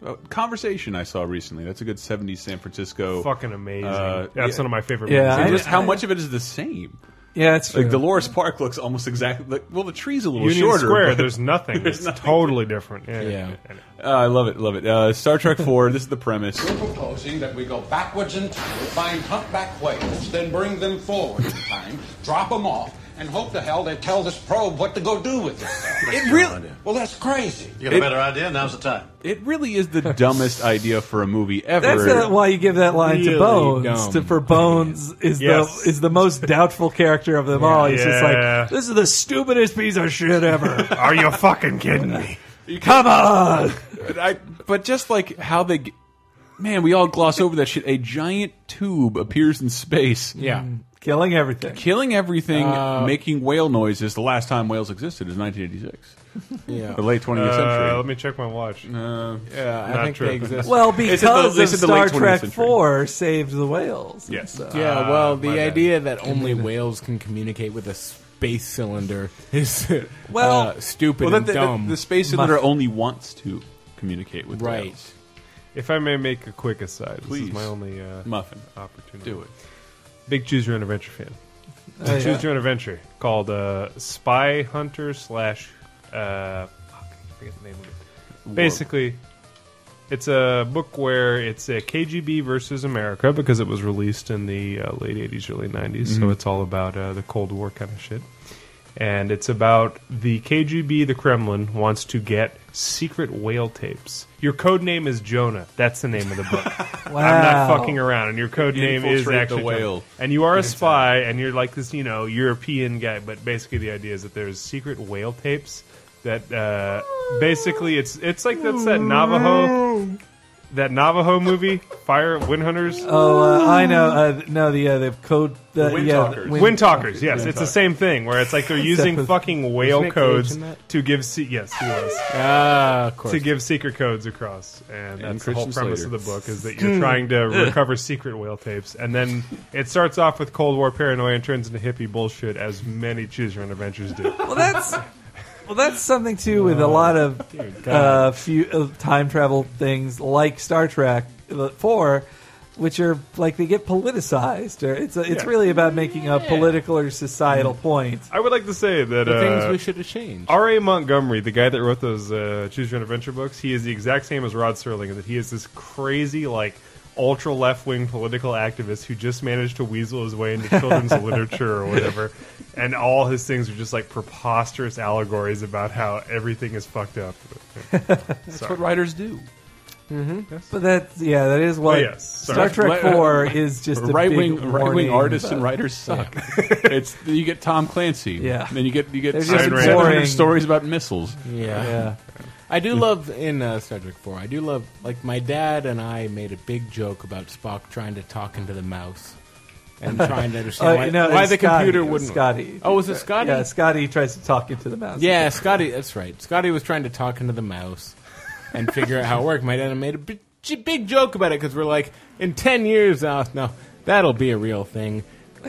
Speaker 4: uh, conversation I saw recently? That's a good '70s San Francisco.
Speaker 5: Fucking amazing.
Speaker 4: Uh,
Speaker 5: That's
Speaker 4: yeah.
Speaker 5: one of my favorite
Speaker 2: Yeah,
Speaker 5: movies.
Speaker 4: And
Speaker 2: I-
Speaker 4: just how much of it is the same?
Speaker 2: yeah, it's true.
Speaker 4: Like Dolores Park looks almost exactly. Like, well, the tree's a little
Speaker 5: Union
Speaker 4: shorter.
Speaker 5: Square,
Speaker 4: but-
Speaker 5: there's nothing.
Speaker 4: There's
Speaker 5: it's
Speaker 4: nothing.
Speaker 5: totally different. Yeah.
Speaker 3: Yeah.
Speaker 4: Uh, I love it, love it. Uh, Star Trek Four. this is the premise.
Speaker 10: proposing that we go backwards in time, find humpback whales, then bring them forward in time, drop them off, and hope to hell they tell this probe what to go do with it. it really? Well, that's crazy.
Speaker 7: You got a better idea? Now's the time.
Speaker 4: It really is the dumbest idea for a movie ever.
Speaker 2: that's the- why you give that line
Speaker 3: Really
Speaker 2: to Bones
Speaker 3: dumb.
Speaker 2: to, for Bones is
Speaker 5: Yes.
Speaker 2: the is the most doubtful character of them all. He's just
Speaker 5: Yeah.
Speaker 2: like, this is the stupidest piece of shit ever.
Speaker 5: Are you fucking kidding me?
Speaker 2: Come on.
Speaker 4: But I, but just like how they, g- man, we all gloss over that shit. A giant tube appears in space,
Speaker 3: yeah.
Speaker 2: killing everything.
Speaker 4: killing everything, making whale noises. The last time whales existed is 1986,
Speaker 3: Yeah.
Speaker 4: the late 20th
Speaker 5: Uh, let
Speaker 4: century. Uh,
Speaker 5: me check my watch.
Speaker 3: Yeah, I
Speaker 5: Not
Speaker 3: think
Speaker 5: true.
Speaker 3: they exist.
Speaker 2: Well,
Speaker 4: the-
Speaker 2: because
Speaker 4: they
Speaker 2: of
Speaker 4: said the
Speaker 2: Star
Speaker 4: late 20th
Speaker 2: Trek
Speaker 4: century.
Speaker 2: Four saved the whales.
Speaker 4: Yes.
Speaker 2: So-
Speaker 3: yeah, well,
Speaker 5: Ah, my
Speaker 3: the
Speaker 5: bad.
Speaker 3: idea that only whales can communicate with a space cylinder is uh,
Speaker 2: Well-
Speaker 3: stupid
Speaker 4: well, that
Speaker 3: and
Speaker 4: the,
Speaker 3: dumb.
Speaker 4: the, the space cylinder only wants to communicate with
Speaker 3: Right.
Speaker 4: whales.
Speaker 5: If I may make a quick aside, this
Speaker 4: Please.
Speaker 5: is my only uh,
Speaker 4: Muffin,
Speaker 5: opportunity.
Speaker 4: do it.
Speaker 5: Big Choose Your Own Adventure fan.
Speaker 2: Oh, yeah.
Speaker 5: Choose Your Own Adventure called uh, Spy Hunter slash. Uh, fuck, I forget the name of it. Basically, it's a book where it's a KGB versus America because it
Speaker 4: Mm-hmm.
Speaker 5: was released in the uh, late 80s, early 90s. So it's all about uh, the Cold War kind of shit. and it's about the KGB, the Kremlin, wants to get secret whale tapes. Your code name is Jonah. That's the name of the book. I'm
Speaker 2: Wow.
Speaker 5: not fucking around, and your code name is
Speaker 4: Infiltrate the
Speaker 5: actually Jonah.
Speaker 4: whale.
Speaker 5: And you are a spy, and you're like this, you know, European guy. But basically, the idea is that there's secret whale tapes that uh, basically it's it's like that's that Navajo that Navajo movie Fire Wind Hunters.
Speaker 2: Oh, uh, I know. Uh, no, the uh, the code. The,
Speaker 4: Wind
Speaker 2: yeah,
Speaker 4: Talkers.
Speaker 5: Wind talkers, yes, it's the same thing where it's like they're using
Speaker 2: was-
Speaker 5: fucking whale
Speaker 3: Nick Cage
Speaker 5: codes
Speaker 3: in that?
Speaker 5: to give se- yes, he was.
Speaker 3: Ah, of course.
Speaker 5: to give secret codes across, and, that's the whole
Speaker 4: Christian
Speaker 5: premise
Speaker 4: Slater.
Speaker 5: of the book is that you're trying to recover secret whale tapes, and then it starts off with Cold War paranoia and turns into hippie bullshit, as many choose your own adventures do.
Speaker 2: Well, that's well, that's something too with a lot of uh, few uh, time travel things like Star Trek uh, Four, which are like they get politicized. Or it's a, it's
Speaker 5: Yeah.
Speaker 2: really about making a political or societal
Speaker 3: Mm.
Speaker 2: point.
Speaker 5: I would like to say that
Speaker 3: the things
Speaker 5: uh,
Speaker 3: we should have changed.
Speaker 5: R.A. Montgomery, the guy that wrote those uh, Choose Your Own Adventure books, he is the exact same as Rod Serling, in that he is this crazy, like, ultra left wing political activist who just managed to weasel his way into children's literature or whatever. And all his things are just, like, preposterous allegories about how everything is fucked up.
Speaker 4: That's what writers do.
Speaker 2: But that yeah, that is what
Speaker 5: Oh, yes.
Speaker 2: Star
Speaker 5: Sorry.
Speaker 2: Trek
Speaker 3: uh,
Speaker 2: Four is just a big
Speaker 4: Right wing,
Speaker 2: warning
Speaker 4: right wing artists
Speaker 2: about-
Speaker 4: and writers suck. it's you get Tom Clancy.
Speaker 2: Yeah.
Speaker 4: then you get you get
Speaker 2: They're just
Speaker 4: 700
Speaker 2: boring.
Speaker 4: stories about missiles.
Speaker 3: Yeah.
Speaker 2: Yeah.
Speaker 3: I do love in uh, Star Trek Four. I do love like my dad and I made a big joke about Spock trying to talk into the mouse and trying to understand
Speaker 2: Uh,
Speaker 3: why,
Speaker 2: no,
Speaker 3: why
Speaker 2: it's
Speaker 3: the
Speaker 2: Scotty.
Speaker 3: computer
Speaker 2: It was
Speaker 3: wouldn't.
Speaker 2: Scotty.
Speaker 3: Oh, was it Scotty?
Speaker 2: Yeah, Scotty tries to talk into the mouse.
Speaker 3: Yeah, Scotty. That's right. Scotty was trying to talk into the mouse and figure out how it worked. My dad made a big, big joke about it because we're like, in ten years, oh, no, that'll be a real thing.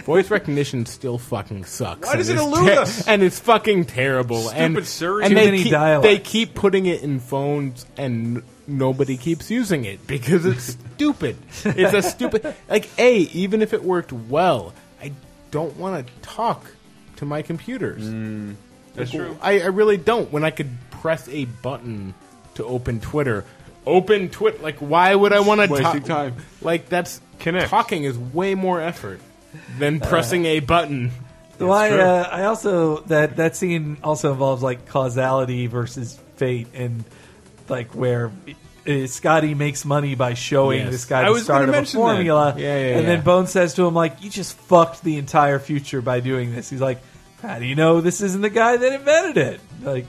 Speaker 3: Voice recognition still fucking sucks. Why
Speaker 4: does it elude us?
Speaker 3: And it's fucking terrible. and
Speaker 4: Stupid Siri.
Speaker 3: and
Speaker 2: Too
Speaker 3: they
Speaker 2: many
Speaker 3: keep,
Speaker 2: dialects.
Speaker 3: They keep putting it in phones, and n- nobody keeps using it because it's stupid. It's a stupid. Like a, even if it worked well, I don't want to talk to my computers.
Speaker 4: That's true.
Speaker 3: I, I really don't. When I could press a button to open Twitter, open Twitter. Like, why would I want to
Speaker 4: Wasting time.
Speaker 3: Like, that's
Speaker 5: Connect.
Speaker 3: talking is way more effort than pressing a button.
Speaker 2: Well, I, uh, I also that that scene also involves like causality versus fate, and like where uh, Scotty makes money by showing
Speaker 3: Yes.
Speaker 2: this guy
Speaker 4: I
Speaker 2: the
Speaker 4: was
Speaker 2: start
Speaker 4: gonna
Speaker 2: of a
Speaker 4: mention that.
Speaker 2: formula,
Speaker 3: Yeah, yeah,
Speaker 2: and then
Speaker 3: yeah.
Speaker 2: Bone says to him like, "You just fucked the entire future by doing this." He's like, "How do you know this isn't the guy that invented it?" Like,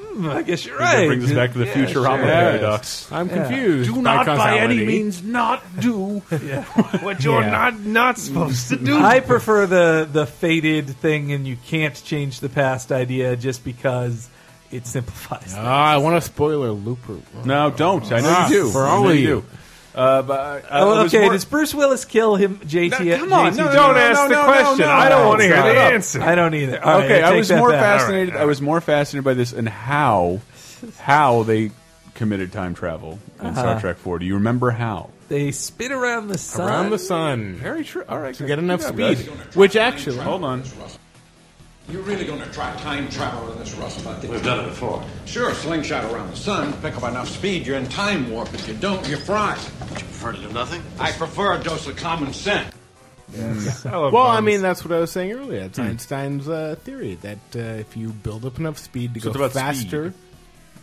Speaker 2: "Hmm, I guess you're right.
Speaker 4: That brings us back to the
Speaker 2: Yeah,
Speaker 4: Futurama
Speaker 2: sure.
Speaker 4: paradox.
Speaker 3: I'm confused.
Speaker 1: Do not by any
Speaker 3: causality.
Speaker 1: means not do
Speaker 5: What you're
Speaker 3: Yeah.
Speaker 5: not, not supposed to do.
Speaker 2: I prefer the the faded thing, and you can't change the past idea just because it simplifies. things.
Speaker 3: Ah, I want a spoiler looper.
Speaker 4: No, don't. I know
Speaker 3: Ah,
Speaker 4: you do.
Speaker 3: for
Speaker 4: I know
Speaker 3: all of
Speaker 4: you.
Speaker 3: you.
Speaker 4: do. Uh, but, uh,
Speaker 2: Oh,
Speaker 4: it was
Speaker 2: okay,
Speaker 4: more-
Speaker 2: does Bruce Willis kill him, JT?
Speaker 4: No, come on,
Speaker 2: JT
Speaker 4: no, no,
Speaker 5: Don't ask the
Speaker 4: no, no,
Speaker 5: question.
Speaker 4: no, no,
Speaker 5: I don't want to hear
Speaker 4: shut
Speaker 5: the
Speaker 4: it up.
Speaker 5: answer.
Speaker 2: I don't either. All right,
Speaker 4: okay, I
Speaker 2: take
Speaker 4: was
Speaker 2: that
Speaker 4: more
Speaker 2: back.
Speaker 4: fascinated. I was more fascinated by this and how how they committed time travel in Star Trek Four. Do you remember how?
Speaker 2: They spin around the sun.
Speaker 3: Around the sun
Speaker 4: Very true. All right,
Speaker 3: to get enough
Speaker 4: guys.
Speaker 3: speed. Which actually,
Speaker 4: Hold on.
Speaker 10: You're really going to try time travel in this rust bucket?
Speaker 8: We've done it before.
Speaker 10: Sure, slingshot around the sun, pick up enough speed, you're in time warp. If you don't, you're fried.
Speaker 8: Heard of nothing?
Speaker 10: I prefer a dose of common sense.
Speaker 3: well, I mean that's what I was saying earlier.
Speaker 4: Hmm.
Speaker 3: It's Einstein's uh, theory that uh, if you build up enough speed to
Speaker 4: So it's
Speaker 3: go
Speaker 4: about
Speaker 3: faster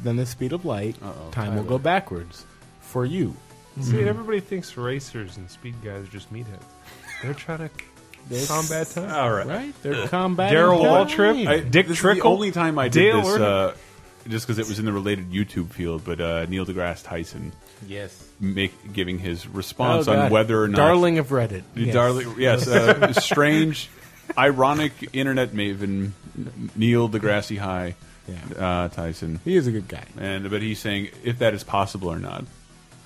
Speaker 3: than the speed of light, time will go backwards for you.
Speaker 5: See,
Speaker 4: Mm-hmm.
Speaker 5: everybody thinks racers and speed guys are just meatheads. They're trying to combat time.
Speaker 4: All right.
Speaker 3: Right? They're combating.
Speaker 5: Daryl
Speaker 3: time.
Speaker 5: Waltrip,
Speaker 4: I,
Speaker 5: Dick
Speaker 4: this Is the
Speaker 5: Trickle,
Speaker 4: only time I did
Speaker 5: Dale
Speaker 4: this,
Speaker 5: Earnhardt.
Speaker 4: uh, just because it was in the related YouTube field. But uh, Neil deGrasse Tyson
Speaker 3: Yes.
Speaker 4: make, giving his response
Speaker 3: Oh,
Speaker 4: on
Speaker 3: God.
Speaker 4: whether or not
Speaker 3: Darling of Reddit. Yes.
Speaker 4: Darling, yes, uh, strange, ironic internet maven Neil deGrasse High
Speaker 3: Yeah.
Speaker 4: uh, Tyson,
Speaker 3: He is a good guy.
Speaker 4: and but he's saying if that is possible or not.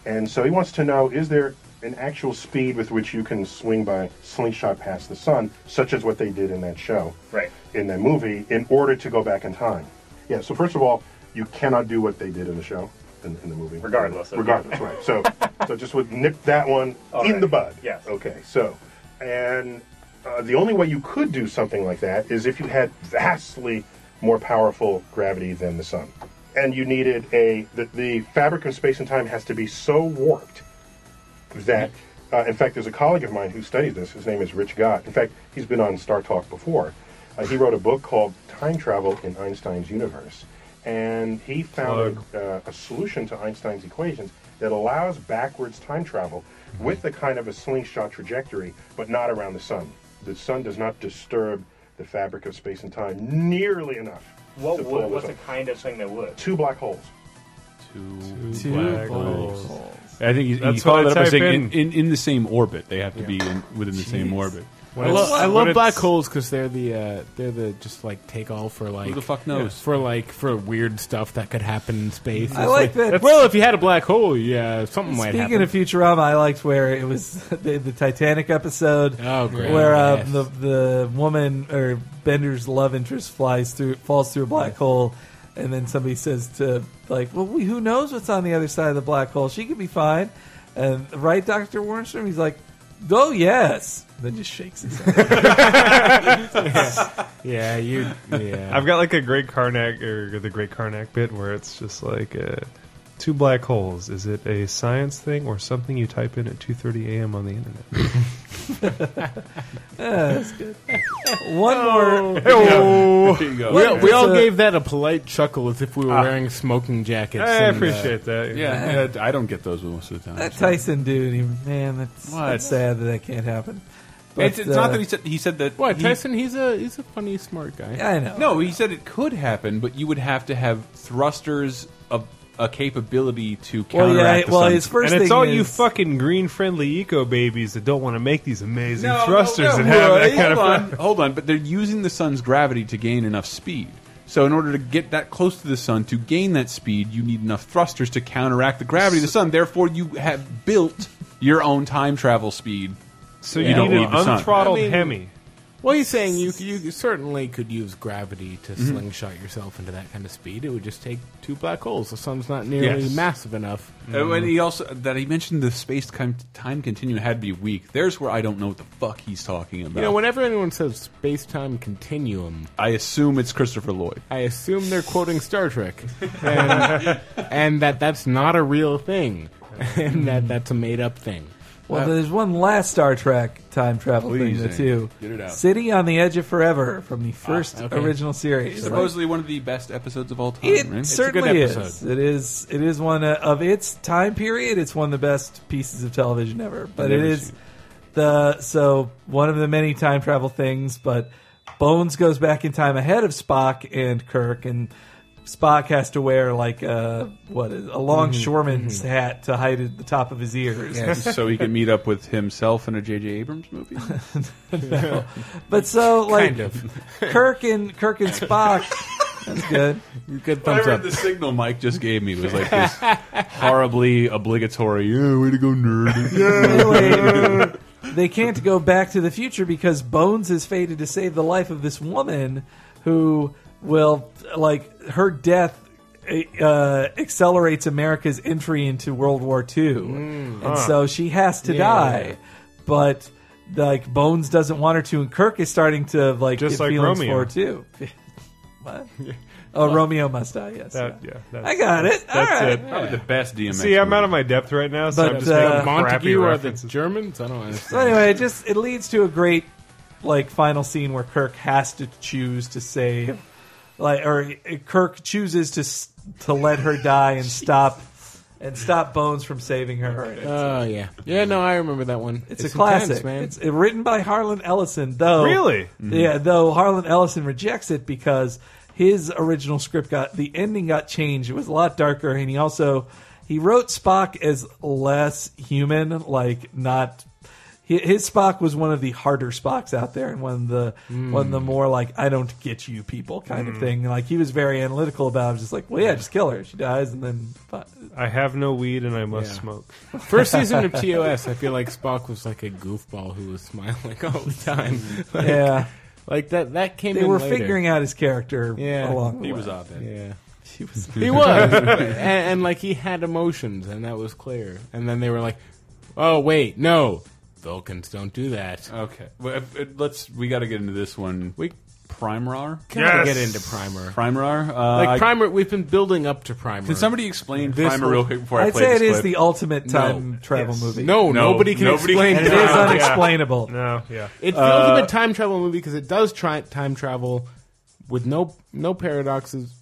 Speaker 11: And so he wants to know is there an actual speed with which you can swing by slingshot past the sun, such as what they did in that show,
Speaker 5: Right.
Speaker 11: in that movie, in order to go back in time? Yeah, so first of all, you cannot do what they did in the show, in, in the movie.
Speaker 5: Regardless of-
Speaker 11: Regardless, right. So, so just would nip that one in
Speaker 5: right.
Speaker 11: the bud.
Speaker 5: Yes.
Speaker 11: Okay, so, and uh, the only way you could do something like that is if you had vastly more powerful gravity than the sun. And you needed a, the, the fabric of space and time has to be so warped that, uh, in fact, there's a colleague of mine who studies this. His name is Rich Gott. In fact, he's been on Star Talk before. Uh, he wrote a book called Time Travel in Einstein's Universe. And he found a, uh, a solution to Einstein's equations that allows backwards time travel
Speaker 12: Mm-hmm.
Speaker 11: with a kind of a slingshot trajectory, but not around the sun. The sun does not disturb the fabric of space and time nearly enough.
Speaker 12: What
Speaker 11: to pull
Speaker 12: would,
Speaker 11: this
Speaker 12: what's
Speaker 11: off.
Speaker 12: the kind of thing that would?
Speaker 11: Two black holes.
Speaker 4: Two,
Speaker 11: Two
Speaker 4: black
Speaker 11: black
Speaker 4: holes.
Speaker 11: holes.
Speaker 4: I think you, you
Speaker 11: That's
Speaker 4: follow
Speaker 11: what I
Speaker 4: that up by
Speaker 11: type
Speaker 4: saying in.
Speaker 11: in.
Speaker 4: In, in the same orbit. They have to be in, within the same
Speaker 3: Jeez.
Speaker 4: orbit.
Speaker 3: I, lo- I love black holes because they're the uh, they're the just like take all for like
Speaker 4: the fuck knows?
Speaker 3: for like for weird stuff that could happen in space.
Speaker 2: I
Speaker 3: It's
Speaker 2: like that-
Speaker 3: Well, if you had a black hole, yeah, something might
Speaker 2: Speaking
Speaker 3: happen.
Speaker 2: of Futurama, I liked where it was the, the Titanic episode,
Speaker 3: Oh, great.
Speaker 2: where uh,
Speaker 3: Yes.
Speaker 2: the the woman or Bender's love interest flies through, falls through a black hole, and then somebody says to like, "Well, we, who knows what's on the other side of the black hole? She could be fine." And right, Doctor Warrenstrom, he's like, "Oh yes," then just shakes his head.
Speaker 3: yeah, you. Yeah.
Speaker 5: I've got like a great Karnak or the great Karnak bit where it's just like uh, two black holes. Is it a science thing or something you type in at 2:30 a.m. on the internet?
Speaker 2: that's good. One more.
Speaker 3: Oh.
Speaker 2: There you go.
Speaker 3: We, all- we all
Speaker 2: It's a-
Speaker 3: gave that a polite chuckle as if we were wearing smoking jackets.
Speaker 2: I
Speaker 3: and, uh,
Speaker 2: appreciate that.
Speaker 4: Yeah, I I don't get those most of the time.
Speaker 2: That
Speaker 4: so.
Speaker 2: Tyson dude, he, man, that's,
Speaker 4: What?
Speaker 2: that's sad that that can't happen.
Speaker 4: it's it's
Speaker 2: uh,
Speaker 4: not that he said he said that.
Speaker 3: Why,
Speaker 4: he-
Speaker 3: Tyson? He's a he's a funny, smart guy.
Speaker 2: uh,
Speaker 4: No, he said it could happen, but you would have to have thrusters of a capability to counteract the sun's-
Speaker 5: and it's all you fucking green friendly eco babies that don't want to make these amazing
Speaker 4: No, no,
Speaker 5: thrusters
Speaker 4: no,
Speaker 5: and have
Speaker 4: Roy,
Speaker 5: that kind
Speaker 4: hold on,
Speaker 5: of
Speaker 4: hold on, but they're using the sun's gravity to gain enough speed. So in order to get that close to the sun to gain that speed, you need enough thrusters to counteract the gravity of the sun. Therefore, you have built your own time travel speed.
Speaker 5: So
Speaker 3: you
Speaker 4: don't
Speaker 3: need an
Speaker 4: need the sun.
Speaker 5: unthrottled
Speaker 3: I mean,
Speaker 5: Hemi.
Speaker 3: Well, he's saying you you certainly could use gravity to slingshot yourself into that kind of speed. It would just take two black holes. The sun's not nearly
Speaker 4: Yes.
Speaker 3: massive enough.
Speaker 4: Uh, and he also that he mentioned the space time, time continuum had to be weak. There's where I don't know what the fuck he's talking about.
Speaker 3: You know, whenever anyone says space time continuum,
Speaker 4: I assume it's Christopher Lloyd.
Speaker 3: I assume they're quoting Star Trek, and, and that that's not a real thing, and that that's a made up thing.
Speaker 2: Well, there's one last Star Trek time travel
Speaker 3: Please,
Speaker 2: thing,
Speaker 3: Zane,
Speaker 2: too.
Speaker 3: get it out.
Speaker 2: City on the Edge of Forever from the first
Speaker 4: okay.
Speaker 2: original series.
Speaker 4: Supposedly one of the best episodes of all time.
Speaker 2: It
Speaker 4: right?
Speaker 2: certainly is. It is. It is one uh, of its time period. It's one of the best pieces of television ever. But it
Speaker 4: never
Speaker 2: is the so one of the many time travel things. But Bones goes back in time ahead of Spock and Kirk, and Spock has to wear like a what is a longshoreman's hat to hide at the top of his ears.
Speaker 4: so he can meet up with himself in a J.J. Abrams movie.
Speaker 2: No. But so like
Speaker 4: Kind of.
Speaker 2: Kirk and Kirk and Spock. That's good.
Speaker 3: Good
Speaker 4: Whatever the signal Mike just gave me was like this horribly obligatory. Yeah, way to go, nerd.
Speaker 2: Anyway, they can't go back to the future because Bones is fated to save the life of this woman who will like her death uh, accelerates America's entry into World War II, and
Speaker 5: Mm, Huh.
Speaker 2: so she has to
Speaker 5: Yeah.
Speaker 2: die. But like Bones doesn't want her to, and Kirk is starting to like
Speaker 5: Just
Speaker 2: get
Speaker 5: like
Speaker 2: feelings
Speaker 5: Romeo.
Speaker 2: for her too. what? Oh, Romeo must die. Yes,
Speaker 5: That-
Speaker 2: yeah,
Speaker 5: yeah,
Speaker 2: I got it. All
Speaker 5: that's
Speaker 2: right.
Speaker 5: it.
Speaker 4: Probably the best DMX.
Speaker 5: See, I'm out of my depth right now, so
Speaker 2: But,
Speaker 5: I'm just
Speaker 2: uh,
Speaker 5: making crappy
Speaker 3: Montague are the
Speaker 5: references.
Speaker 3: Germans. I don't
Speaker 2: So
Speaker 3: understand.
Speaker 2: anyway, it just it leads to a great like final scene where Kirk has to choose to save, like, or uh, Kirk chooses to s- to let her die and stop and stop Bones from saving her.
Speaker 3: Oh yeah, yeah. No, I remember that one.
Speaker 2: It's, a classic.
Speaker 3: intense, man.
Speaker 2: It's uh, written by Harlan Ellison, though. Mm-hmm.
Speaker 5: Really?
Speaker 2: Yeah, though Harlan Ellison rejects it because his original script got the ending got changed. It was a lot darker, and he also he wrote Spock as less human, like not. hi- His Spock was one of the harder Spocks out there, and one of the
Speaker 3: Mm.
Speaker 2: one of the more like I don't get you people kind of
Speaker 5: Mm.
Speaker 2: thing. Like he was very analytical about. It. I was just like, well, yeah, just kill her. She dies, and then. But,
Speaker 5: I have no weed and I must smoke.
Speaker 3: First season of TOS, I feel like Spock was like a goofball who was smiling all the time. Like-
Speaker 2: Yeah.
Speaker 3: like that. That came.
Speaker 2: They
Speaker 3: in
Speaker 2: were
Speaker 3: later.
Speaker 2: figuring out his character
Speaker 3: Yeah,
Speaker 2: along the way.
Speaker 3: Yeah,
Speaker 2: he was.
Speaker 3: He was, and, and like he had emotions, and that was clear. And then they were like, "Oh wait, no, Vulcans don't do that."
Speaker 4: Okay, well, if- if- let's. We got to get into this one.
Speaker 3: We
Speaker 4: Primer?
Speaker 3: Can I Yes. get into Primer?
Speaker 4: Primer. Uh,
Speaker 3: like
Speaker 4: I-
Speaker 3: primer, we've been building up to primer.
Speaker 4: Can somebody explain
Speaker 3: This
Speaker 4: Primer
Speaker 3: will-
Speaker 4: real quick before I
Speaker 2: I'd
Speaker 4: play
Speaker 2: say
Speaker 4: this
Speaker 2: it is
Speaker 4: clip?
Speaker 2: the ultimate time
Speaker 3: No.
Speaker 2: travel
Speaker 3: Yes.
Speaker 2: movie.
Speaker 3: No, nobody can explain
Speaker 2: it. It
Speaker 3: time
Speaker 2: is
Speaker 3: travel.
Speaker 2: unexplainable.
Speaker 5: No, yeah.
Speaker 3: It feels
Speaker 4: Uh,
Speaker 3: like a time travel movie because it does try time travel with no no paradoxes.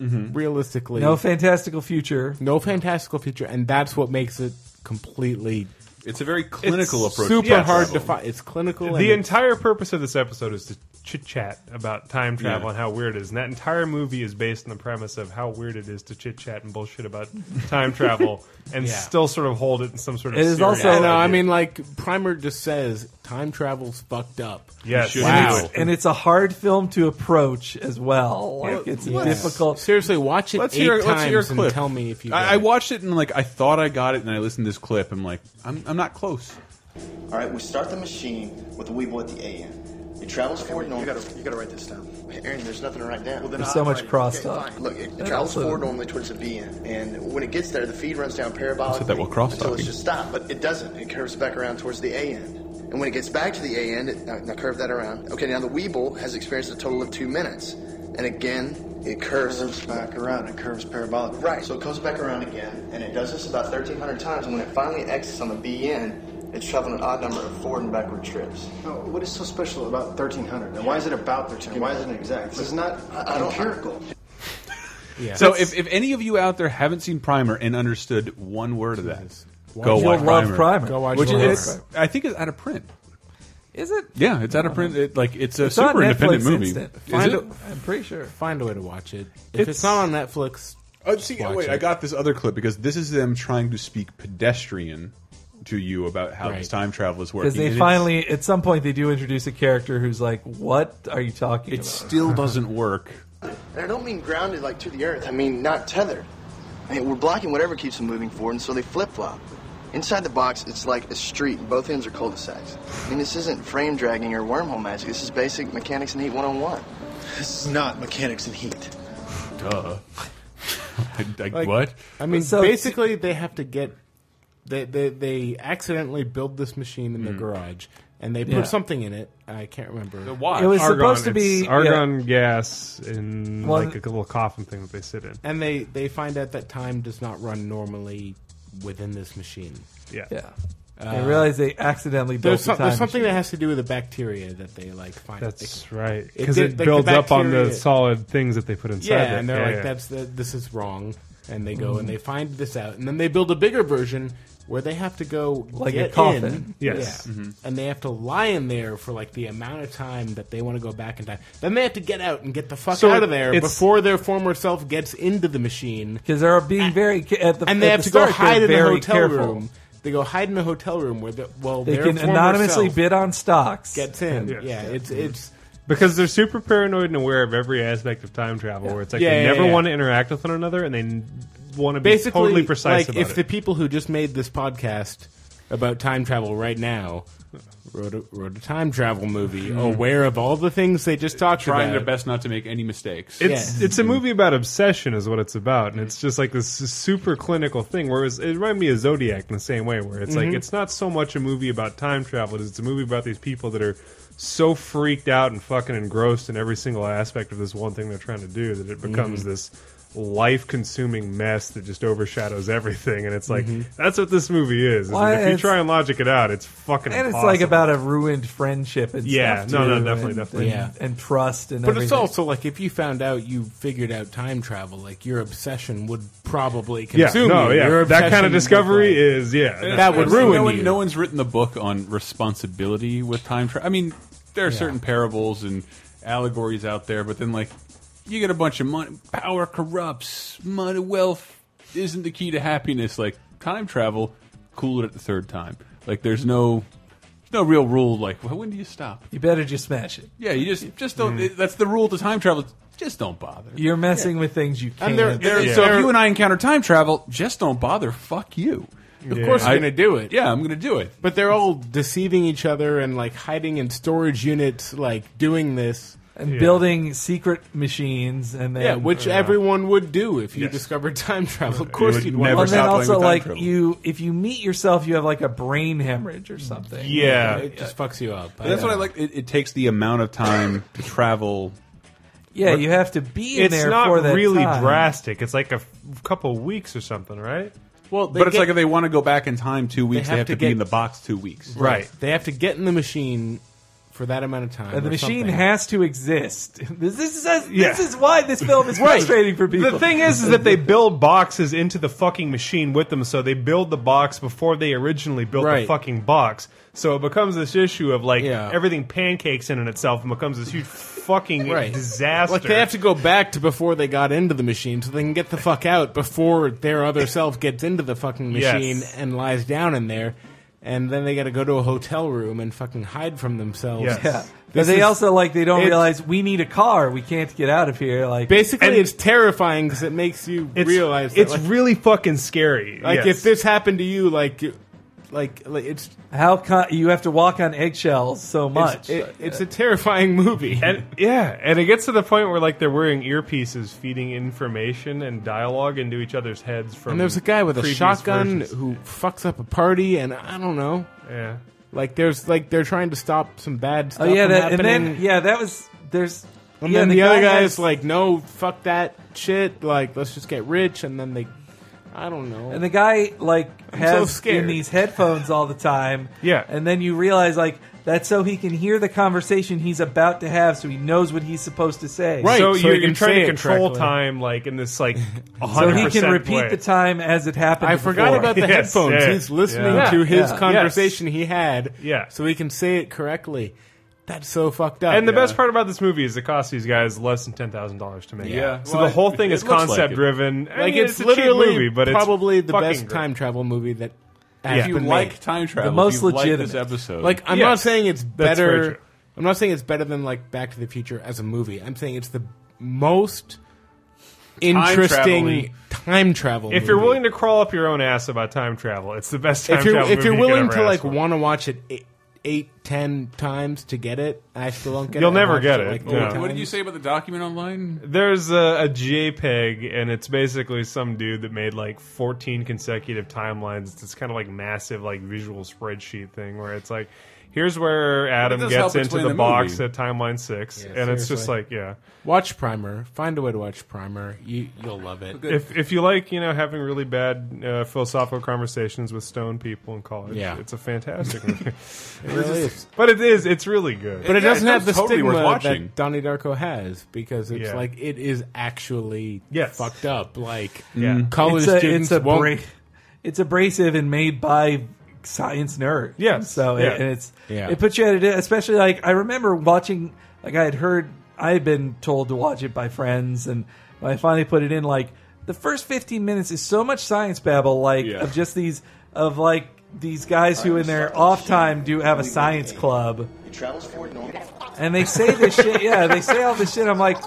Speaker 3: Mm-hmm. Realistically,
Speaker 2: No fantastical future.
Speaker 3: no fantastical future, and that's what makes it completely
Speaker 4: It's a very clinical approach.
Speaker 3: Super
Speaker 4: to time
Speaker 3: hard to
Speaker 4: travel.
Speaker 3: find. It's clinical. and
Speaker 5: The
Speaker 3: it's-
Speaker 5: entire purpose of this episode is to chit chat about time travel
Speaker 4: Yeah.
Speaker 5: and how weird it is. And that entire movie is based on the premise of how weird it is to chit chat and bullshit about time travel and
Speaker 3: Yeah.
Speaker 5: still sort of hold it in some sort of.
Speaker 2: It is
Speaker 5: serious
Speaker 2: also-
Speaker 3: no, uh, I
Speaker 5: idea.
Speaker 3: mean, like Primer just says time travel's fucked up.
Speaker 5: Yes. You shouldn't
Speaker 3: wow.
Speaker 5: do it.
Speaker 2: And it's a hard film to approach as well. Like it's
Speaker 3: Yeah.
Speaker 2: difficult.
Speaker 3: Seriously, watch it
Speaker 4: Let's
Speaker 3: eight
Speaker 4: hear,
Speaker 3: times
Speaker 4: let's hear a
Speaker 3: and
Speaker 4: clip.
Speaker 3: tell me if you. get
Speaker 4: I, I
Speaker 3: it.
Speaker 4: watched it and like I thought I got it, and I listened to this clip. I'm like, I'm, I'm not close.
Speaker 12: All right, we start the machine with the Weevil at the A end. It travels forward normally. You gotta, you gotta write this down. Aaron, there's nothing to write down. Well, then
Speaker 2: There's so much cross talk.
Speaker 12: Look, it,
Speaker 2: And
Speaker 12: travels
Speaker 2: also-
Speaker 12: forward normally towards the V end, and when it gets there, the feed runs down parabolically
Speaker 4: Said that while cross-talking.
Speaker 12: until it's just stopped. But it doesn't. It curves back around towards the A end, and when it gets back to the A end, it, now, now curve that around. Okay, now the Weeble has experienced a total of two minutes, and again it curves. back around. It curves parabolically. Right. So it comes back around again, and it does this about 1,300 times. And when it finally exits on the B end, it's traveling an odd number of forward and backward trips.
Speaker 13: What is so special about 1300? And why is it about 1300? Why isn't it exact? This is not
Speaker 12: I don't-
Speaker 13: empirical.
Speaker 4: So if, if any of you out there haven't seen Primer and understood one word of that, go
Speaker 2: You'll
Speaker 4: watch
Speaker 2: love
Speaker 4: Primer.
Speaker 2: Primer. Go watch
Speaker 4: Which
Speaker 2: Primer.
Speaker 4: is, I think is out of print.
Speaker 2: Is it?
Speaker 4: Yeah, it's out of print. It, like it's a
Speaker 2: It's on
Speaker 4: super independent
Speaker 2: Netflix
Speaker 4: movie.
Speaker 2: Instant.
Speaker 4: Is
Speaker 2: Find
Speaker 4: it?
Speaker 2: it? I'm pretty sure.
Speaker 3: Find a way to watch it. If it's, not on Netflix,
Speaker 4: Oh, see,
Speaker 3: watch
Speaker 4: wait,
Speaker 3: it.
Speaker 4: I got this other clip because this is them trying to speak pedestrian to you about how this
Speaker 3: Right.
Speaker 4: time travel is working.
Speaker 2: Because they
Speaker 4: and
Speaker 2: finally, at some point, they do introduce a character who's like, "What are you talking
Speaker 4: it's, it
Speaker 2: about?"
Speaker 4: still doesn't work.
Speaker 12: And I don't mean grounded like to the earth. I mean not tethered. I mean, we're blocking whatever keeps them moving forward, and so they flip flop. Inside the box, it's like a street. and Both ends are cul-de-sacs. I mean, this isn't frame dragging or wormhole magic. This is basic mechanics and heat 101. This is not mechanics and heat.
Speaker 4: Duh. I, I,
Speaker 3: Like,
Speaker 4: what?
Speaker 3: I mean,
Speaker 2: So-
Speaker 3: basically, they have to get they they they accidentally build this machine in the
Speaker 4: Mm.
Speaker 3: garage, and they put
Speaker 2: Yeah.
Speaker 3: something in it. I can't remember.
Speaker 4: Why?
Speaker 2: It was
Speaker 5: Argon,
Speaker 2: supposed to
Speaker 5: it's
Speaker 2: be yeah.
Speaker 5: argon gas in
Speaker 2: Well,
Speaker 5: like a little coffin thing that they sit in.
Speaker 3: and they they find out that time does not run normally within this machine.
Speaker 5: Yeah.
Speaker 2: Yeah. I realize they accidentally built
Speaker 3: There's,
Speaker 2: the
Speaker 3: some-
Speaker 2: time
Speaker 3: there's something
Speaker 2: machine.
Speaker 3: that has to do with the bacteria that they like find.
Speaker 5: That's
Speaker 3: they-
Speaker 5: right.
Speaker 3: It
Speaker 5: Because
Speaker 3: did-
Speaker 5: it,
Speaker 3: like the
Speaker 5: builds up on the
Speaker 3: bacteria-
Speaker 5: solid things that they put inside.
Speaker 3: yeah,
Speaker 5: there.
Speaker 3: and they're
Speaker 5: Yeah,
Speaker 3: like,
Speaker 5: yeah.
Speaker 3: "That's the, this is wrong," and they go and they find this out, and then they build a bigger version where they have to go
Speaker 2: Like a
Speaker 3: get
Speaker 2: coffin.
Speaker 3: in,
Speaker 5: Yes. Mm-hmm.
Speaker 3: yeah, and they have to lie in there for like the amount of time that they want to go back in time. Then they have to get out and get the fuck
Speaker 5: So
Speaker 3: out of there
Speaker 5: it's-
Speaker 3: before their former self gets into the machine,
Speaker 2: because they're being very ca- at the
Speaker 3: and they
Speaker 2: at
Speaker 3: have
Speaker 2: the
Speaker 3: to go
Speaker 2: start, they're
Speaker 3: hide in the
Speaker 2: very
Speaker 3: hotel
Speaker 2: careful.
Speaker 3: room. They go hide in a hotel room where the well
Speaker 2: They
Speaker 3: their
Speaker 2: can
Speaker 3: former
Speaker 2: anonymously
Speaker 3: self
Speaker 2: bid on stocks.
Speaker 3: gets in.
Speaker 5: Yes.
Speaker 3: Yeah, it's it's
Speaker 5: Because they're super paranoid and aware of every aspect of time travel, where it's like
Speaker 3: Yeah,
Speaker 5: they
Speaker 3: yeah,
Speaker 5: never
Speaker 3: yeah.
Speaker 5: want to interact with one another and they want to be
Speaker 3: basically
Speaker 5: totally precise
Speaker 3: like
Speaker 5: about
Speaker 3: if
Speaker 5: it.
Speaker 3: the people who just made this podcast about time travel right now wrote a, wrote a time travel movie aware of all the things they just talked
Speaker 4: Trying
Speaker 3: about
Speaker 4: their best not to make any mistakes.
Speaker 5: It's
Speaker 3: Yeah.
Speaker 5: it's a movie about obsession, is what it's about, and it's just like this super clinical thing. Whereas it reminded me of Zodiac in the same way, where it's
Speaker 2: Mm-hmm.
Speaker 5: like it's not so much a movie about time travel; it's a movie about these people that are so freaked out and fucking engrossed in every single aspect of this one thing they're trying to do that it becomes
Speaker 2: Mm-hmm.
Speaker 5: this life-consuming mess that just overshadows everything. And it's like that's what this movie is. is
Speaker 2: Mm-hmm. Why,
Speaker 5: if you
Speaker 2: it's-
Speaker 5: try and logic it out, it's fucking.
Speaker 2: and it's
Speaker 5: impossible.
Speaker 2: like about a ruined friendship and
Speaker 5: Yeah,
Speaker 2: stuff.
Speaker 5: no, no,
Speaker 2: too,
Speaker 5: definitely,
Speaker 2: and-
Speaker 5: definitely.
Speaker 2: and- and trust and.
Speaker 3: but it's
Speaker 2: everything.
Speaker 3: also like if you found out you figured out time travel like your obsession would probably
Speaker 5: yeah,
Speaker 3: consume
Speaker 5: no,
Speaker 3: you.
Speaker 5: yeah,
Speaker 3: Your
Speaker 5: that
Speaker 3: obsession
Speaker 5: kind of
Speaker 3: would,
Speaker 5: discovery
Speaker 3: like-
Speaker 5: is yeah.
Speaker 3: that would
Speaker 4: no
Speaker 3: ruin
Speaker 4: one,
Speaker 3: you.
Speaker 4: No one's written the book on responsibility with time travel. I mean, there are certain parables and allegories out there, but then like you get a bunch of money, power corrupts, money, wealth isn't the key to happiness. Like time travel, cool it at the third time. Like there's no, no real rule. Like well, when do you stop?
Speaker 2: you better just smash it.
Speaker 4: Yeah, you just just don't. That's the rule to time travel. Just don't bother.
Speaker 2: You're messing with things you can't.
Speaker 3: and they're, they're,
Speaker 4: So
Speaker 3: they're-
Speaker 4: if you and I encounter time travel, just don't bother. Fuck you.
Speaker 3: of course
Speaker 4: I-
Speaker 3: you're gonna do it
Speaker 4: Yeah, I'm gonna do it.
Speaker 3: but they're all deceiving each other and like hiding in storage units like doing this
Speaker 2: and building secret machines and then
Speaker 3: yeah, which everyone would do if you
Speaker 5: Yes.
Speaker 3: discovered time travel. Of course,
Speaker 4: would
Speaker 3: you'd want
Speaker 4: never
Speaker 2: and then
Speaker 4: stop playing
Speaker 2: also
Speaker 4: with time
Speaker 2: like
Speaker 4: travel.
Speaker 2: you if you meet yourself you have like a brain hemorrhage or something
Speaker 5: Yeah.
Speaker 3: It just fucks you up.
Speaker 4: But that's what I like. It, it takes the amount of time to travel
Speaker 2: Yeah, you have to be in
Speaker 5: it's
Speaker 2: there
Speaker 5: not
Speaker 2: for that
Speaker 5: really
Speaker 2: time.
Speaker 5: drastic. It's like a f- couple weeks or something, right?
Speaker 4: Well, but it's like if they want to go back in time two weeks, they have, to, be
Speaker 3: get-
Speaker 4: in the box two weeks.
Speaker 3: They have to get in the machine for that amount of time.
Speaker 2: And the
Speaker 3: or
Speaker 2: machine
Speaker 3: something.
Speaker 2: has to exist. This, this, is, this
Speaker 3: Yeah.
Speaker 2: is why this film is
Speaker 5: Right.
Speaker 2: frustrating for people.
Speaker 5: The thing is, is that they build boxes into the fucking machine with them, so they build the box before they originally built the
Speaker 2: Right.
Speaker 5: fucking box. So it becomes this issue of like
Speaker 3: Yeah.
Speaker 5: everything pancakes in on itself and becomes this huge fucking
Speaker 3: Right.
Speaker 5: disaster.
Speaker 3: Like they have to go back to before they got into the machine, so they can get the fuck out before their other self gets into the fucking
Speaker 5: Yes.
Speaker 3: machine and lies down in there. And then they got to go to a hotel room and fucking hide from themselves.
Speaker 2: Yeah. But
Speaker 3: This
Speaker 2: they
Speaker 3: is-
Speaker 2: also like they don't
Speaker 3: it's-
Speaker 2: realize we need a car. We can't get out of here. Like
Speaker 3: Basically, it's terrifying because it makes you
Speaker 2: It's-
Speaker 3: realize that,
Speaker 2: it's
Speaker 3: like,
Speaker 5: really fucking scary.
Speaker 3: Like
Speaker 2: yes.
Speaker 3: if this happened to you, like, you- like, like it's
Speaker 2: how con- you have to walk on eggshells so much.
Speaker 3: It's, it- it's a terrifying movie.
Speaker 5: and yeah, and it gets to the point where like they're wearing earpieces, feeding information and dialogue into each other's heads. From
Speaker 3: and there's a guy with a
Speaker 5: previous
Speaker 3: shotgun
Speaker 5: versions.
Speaker 3: who fucks up a party, and I don't know.
Speaker 5: Yeah.
Speaker 3: Like there's like they're trying to stop some bad
Speaker 2: oh
Speaker 3: stuff.
Speaker 2: yeah,
Speaker 3: from
Speaker 2: that, and
Speaker 3: happening.
Speaker 2: then yeah, that was there's
Speaker 3: And
Speaker 2: yeah,
Speaker 3: then the, other
Speaker 2: guy
Speaker 3: guy
Speaker 2: has-
Speaker 3: is like, no, fuck that shit. Like, let's just get rich. And then they, I don't know.
Speaker 2: And the guy like
Speaker 3: I'm so
Speaker 2: has
Speaker 3: scared.
Speaker 2: in these headphones all the time.
Speaker 5: Yeah.
Speaker 2: And then you realize like that's so he can hear the conversation he's about to have so he knows what he's supposed to say.
Speaker 5: So, you're, you're trying to control time, like in this like 100
Speaker 2: So he can repeat
Speaker 5: way.
Speaker 2: the time as it happened.
Speaker 3: I forgot
Speaker 2: before.
Speaker 3: about the headphones. He's listening
Speaker 2: Yeah.
Speaker 3: to his
Speaker 2: Yeah.
Speaker 3: conversation he had.
Speaker 5: Yeah.
Speaker 3: So he can say it correctly. That's so fucked up.
Speaker 5: And the best part about this movie is it costs these guys less than ten thousand dollars to make.
Speaker 3: Yeah.
Speaker 5: So
Speaker 3: Well,
Speaker 5: the whole thing
Speaker 3: it
Speaker 5: is
Speaker 3: looks like
Speaker 5: concept
Speaker 3: it.
Speaker 5: driven. I
Speaker 3: Like,
Speaker 5: mean,
Speaker 3: it's,
Speaker 5: a cheap
Speaker 3: literally
Speaker 5: movie, but it's
Speaker 3: probably the
Speaker 5: fucking
Speaker 3: best
Speaker 5: great.
Speaker 3: time travel movie that.
Speaker 5: Yeah.
Speaker 3: has
Speaker 5: If you
Speaker 3: been made.
Speaker 5: like time
Speaker 4: The
Speaker 5: travel,
Speaker 4: if most you like legitimate. this episode.
Speaker 3: Like, I'm not
Speaker 4: Yes.
Speaker 3: saying it's
Speaker 4: That's very true.
Speaker 3: better. I'm not saying it's better than like Back to the Future as a movie. I'm saying it's the most interesting
Speaker 5: travel-y.
Speaker 3: time travel.
Speaker 5: If you're
Speaker 3: movie.
Speaker 5: willing to crawl up your own ass about time travel, it's the best time
Speaker 3: if you're
Speaker 5: travel
Speaker 3: if
Speaker 5: movie
Speaker 3: you're
Speaker 5: you could
Speaker 3: willing
Speaker 5: ever
Speaker 3: to
Speaker 5: ask
Speaker 3: like
Speaker 5: for.
Speaker 3: want to watch it eight, eight, ten times to get it, I still don't get
Speaker 5: You'll
Speaker 3: it. I
Speaker 5: never
Speaker 3: watched
Speaker 5: get it,
Speaker 3: like,
Speaker 5: no.
Speaker 3: three
Speaker 5: What
Speaker 4: What did
Speaker 3: times.
Speaker 4: you say about the document online?
Speaker 5: There's a, a JPEG, and it's basically some dude that made like 14 consecutive timelines. It's this kind of like massive, like visual spreadsheet thing where it's like, here's where Adam
Speaker 3: does
Speaker 5: gets
Speaker 3: help
Speaker 5: into
Speaker 3: explain
Speaker 5: the,
Speaker 3: the
Speaker 5: box
Speaker 3: movie.
Speaker 5: at timeline six, and it's just
Speaker 3: seriously.
Speaker 5: like, yeah.
Speaker 3: Watch Primer. Find a way to watch Primer. You you'll love it.
Speaker 5: If if you like, you know, having really bad uh, philosophical conversations with stone people in college,
Speaker 3: Yeah.
Speaker 5: it's a fantastic movie.
Speaker 3: It really is.
Speaker 5: But it is. It's really good.
Speaker 3: but it doesn't have the stigma that Donnie Darko has because it's
Speaker 5: Yeah.
Speaker 3: like it is actually fucked up. Like
Speaker 2: Yeah.
Speaker 3: college
Speaker 2: it's a,
Speaker 3: students
Speaker 2: it's a
Speaker 3: won't
Speaker 2: bra- it's abrasive and made by science nerds.
Speaker 3: Yes.
Speaker 2: So
Speaker 3: Yeah.
Speaker 2: it, and it's
Speaker 3: Yeah.
Speaker 2: it puts you at a especially like I remember watching like I had heard I had been told to watch it by friends and when I finally put it in like the first 15 minutes is so much science babble like of just these of like these guys who in their off time do have a science club
Speaker 12: It travels forward normal.
Speaker 2: and they say this shit. Yeah, they say all this shit. I'm like,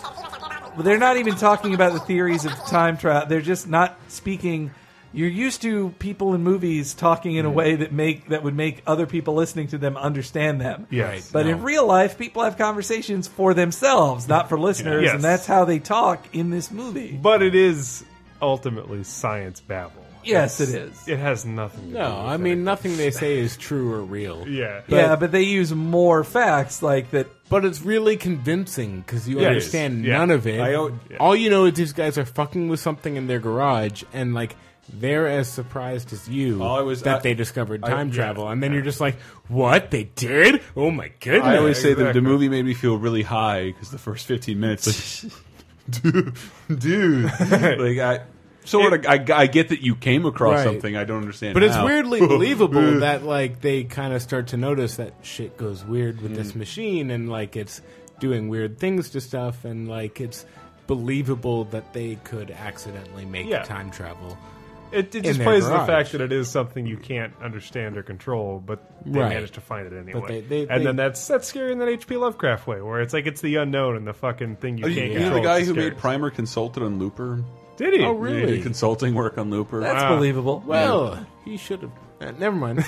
Speaker 2: well, they're not even talking about the theories of time travel. They're just not speaking. You're used to people in movies talking in a way that make that would make other people listening to them understand them.
Speaker 5: Yes. Right,
Speaker 2: but
Speaker 5: no.
Speaker 2: in real life, people have conversations for themselves, not for listeners,
Speaker 5: Yes.
Speaker 2: and that's how they talk in this movie.
Speaker 5: But it is ultimately science babble.
Speaker 2: Yes,
Speaker 5: It's-
Speaker 2: it is.
Speaker 5: It has nothing to do
Speaker 3: No, I mean nothing they say is true or real.
Speaker 5: Yeah.
Speaker 2: yeah, but they use more facts like that.
Speaker 3: But it's really convincing because you
Speaker 2: Yeah, it
Speaker 3: understand
Speaker 2: is. Yeah.
Speaker 3: none of it.
Speaker 2: I o-
Speaker 3: All you know is these guys are fucking with something in their garage, and like they're as surprised as you
Speaker 4: All I was- I-
Speaker 3: that they discovered
Speaker 4: I-
Speaker 3: time
Speaker 4: yeah.
Speaker 3: travel, and then you're just like, "What they did? Oh my goodness!"
Speaker 4: I always say that the movie made me feel really high because the first 15 minutes, like, dude, dude, like I. So what? I, I get that you came across
Speaker 3: Right.
Speaker 4: something I don't understand,
Speaker 3: But it's
Speaker 4: how.
Speaker 3: weirdly believable that like they kind of start to notice that shit goes weird with this
Speaker 4: Mm.
Speaker 3: machine and like it's doing weird things to stuff and like it's believable that they could accidentally make
Speaker 5: Yeah.
Speaker 3: time travel.
Speaker 5: It, it
Speaker 3: in
Speaker 5: just
Speaker 3: their
Speaker 5: plays to the
Speaker 3: garage.
Speaker 5: fact that it is something you can't understand or control, but they
Speaker 3: Right.
Speaker 5: managed to find it anyway.
Speaker 3: But they- they-
Speaker 5: and
Speaker 3: they-
Speaker 5: then that's that's scary in that H.P. Lovecraft way, where it's like it's the unknown and the fucking thing you
Speaker 4: Are you,
Speaker 5: can't
Speaker 4: you know the
Speaker 5: control.
Speaker 4: guy
Speaker 5: It's
Speaker 4: who
Speaker 5: scary.
Speaker 4: made Primer consulted on Looper?
Speaker 5: Did he?
Speaker 3: Oh, really?
Speaker 4: He did consulting work on Looper.
Speaker 3: That's believable. Well, he should have. Uh, never mind.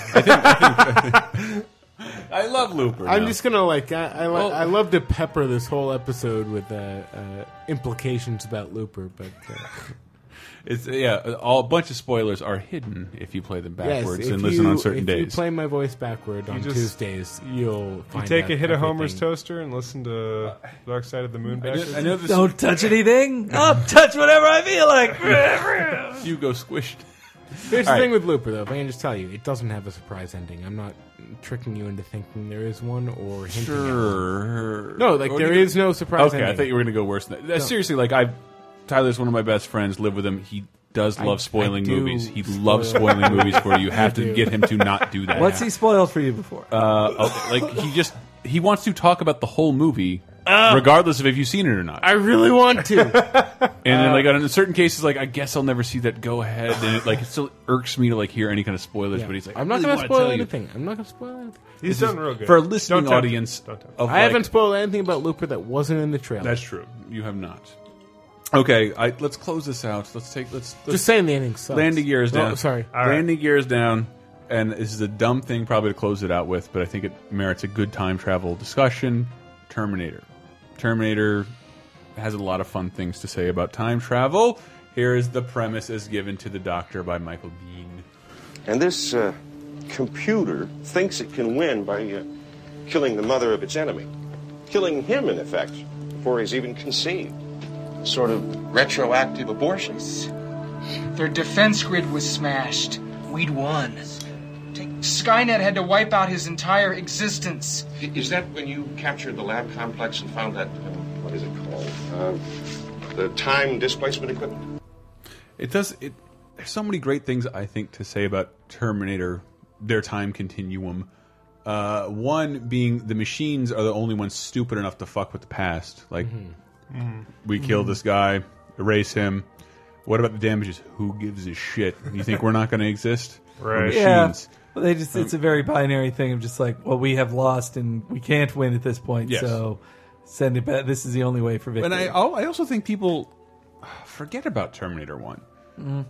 Speaker 4: I love Looper.
Speaker 3: I'm
Speaker 4: now.
Speaker 3: just gonna like I I, li-
Speaker 4: Well-
Speaker 3: I love to pepper this whole episode with uh, uh, implications about Looper, but uh,
Speaker 4: It's yeah, all, a bunch of spoilers are hidden if you play them backwards
Speaker 3: if
Speaker 4: and listen
Speaker 3: you-
Speaker 4: on certain
Speaker 3: if
Speaker 4: days.
Speaker 3: you play my voice backward
Speaker 5: You
Speaker 3: on
Speaker 5: just-
Speaker 3: Tuesdays, you'll
Speaker 5: You
Speaker 3: find
Speaker 5: take
Speaker 3: out
Speaker 5: a hit of
Speaker 3: everything.
Speaker 5: Homer's toaster and listen to Dark Side of the Moon.
Speaker 4: I
Speaker 5: backwards?
Speaker 4: know- I know this-
Speaker 2: Don't touch anything. I'll touch whatever I feel like.
Speaker 4: you go squished.
Speaker 3: Here's
Speaker 4: All right.
Speaker 3: the thing with Looper, though. If I can just tell you, it doesn't have a surprise ending. I'm not tricking you into thinking there is one or hinting at one.
Speaker 4: Sure.
Speaker 3: No, like,
Speaker 4: Or
Speaker 3: there
Speaker 4: do you-
Speaker 3: is no surprise
Speaker 4: Okay, I
Speaker 3: ending.
Speaker 4: thought you were going to go worse than that.
Speaker 3: No.
Speaker 4: Seriously, like I, Tyler's one of my best friends. Live with him. He does
Speaker 2: I-
Speaker 4: love spoiling
Speaker 2: I do
Speaker 4: movies. He loves
Speaker 2: spoil-
Speaker 4: spoiling movies for you. You have
Speaker 2: I
Speaker 4: to
Speaker 2: do.
Speaker 4: get him to not do that.
Speaker 2: What's he spoiled for you before?
Speaker 4: Uh, okay, like he just he wants to talk about the whole movie,
Speaker 3: Ah.
Speaker 4: regardless of if you've seen it or not.
Speaker 3: I really want to.
Speaker 4: And
Speaker 3: Uh,
Speaker 4: then, like in certain cases, like I guess I'll never see that. Go ahead, and it, like it still irks me to like hear any kind of spoilers.
Speaker 3: Yeah.
Speaker 4: But he's like,
Speaker 3: I'm not
Speaker 4: going to
Speaker 3: gonna spoil
Speaker 4: you.
Speaker 3: anything. I'm not going to spoil anything.
Speaker 4: He's This is- done real good. for a listening
Speaker 3: Don't tempt
Speaker 4: audience
Speaker 3: me. Don't tempt
Speaker 4: of,
Speaker 3: me.
Speaker 4: like-
Speaker 3: I haven't spoiled anything about Looper that wasn't in the trailer.
Speaker 4: That's true. You have not. Okay, I, let's close this out. Let's take let's, let's
Speaker 3: Just saying the ending sucks.
Speaker 4: Landing gear is
Speaker 3: No,
Speaker 4: down.
Speaker 3: sorry. All right.
Speaker 4: landing gear is down, and this is a dumb thing probably to close it out with, but I think it merits a good time travel discussion. Terminator, Terminator has a lot of fun things to say about time travel. Here is the premise as given to the Doctor by Michael Bean.
Speaker 14: And this uh, computer thinks it can win by uh, killing the mother of its enemy, killing him, in effect, before he's even conceived. Sort of retroactive abortion.
Speaker 9: Their defense grid was smashed. We'd won. Skynet had to wipe out his entire existence.
Speaker 14: Is that when you captured the lab complex and found that, um, what is it called? Uh, the time displacement equipment?
Speaker 4: It does. It, there's so many great things I think to say about Terminator, their time continuum. Uh, one being the machines are the only ones stupid enough to fuck with the past. Like,
Speaker 5: Mhm.
Speaker 4: we kill this guy, erase him. What about the damages? Who gives a shit? You think we're not going to exist? We're
Speaker 2: Yeah.
Speaker 4: machines.
Speaker 2: Well, they just it's a very binary thing of just like, well, we have lost and we can't win at this point,
Speaker 4: Yes.
Speaker 2: so send it back. This is the only way for victory.
Speaker 4: And I, al- I also think people uh, forget about Terminator One.
Speaker 2: Mm.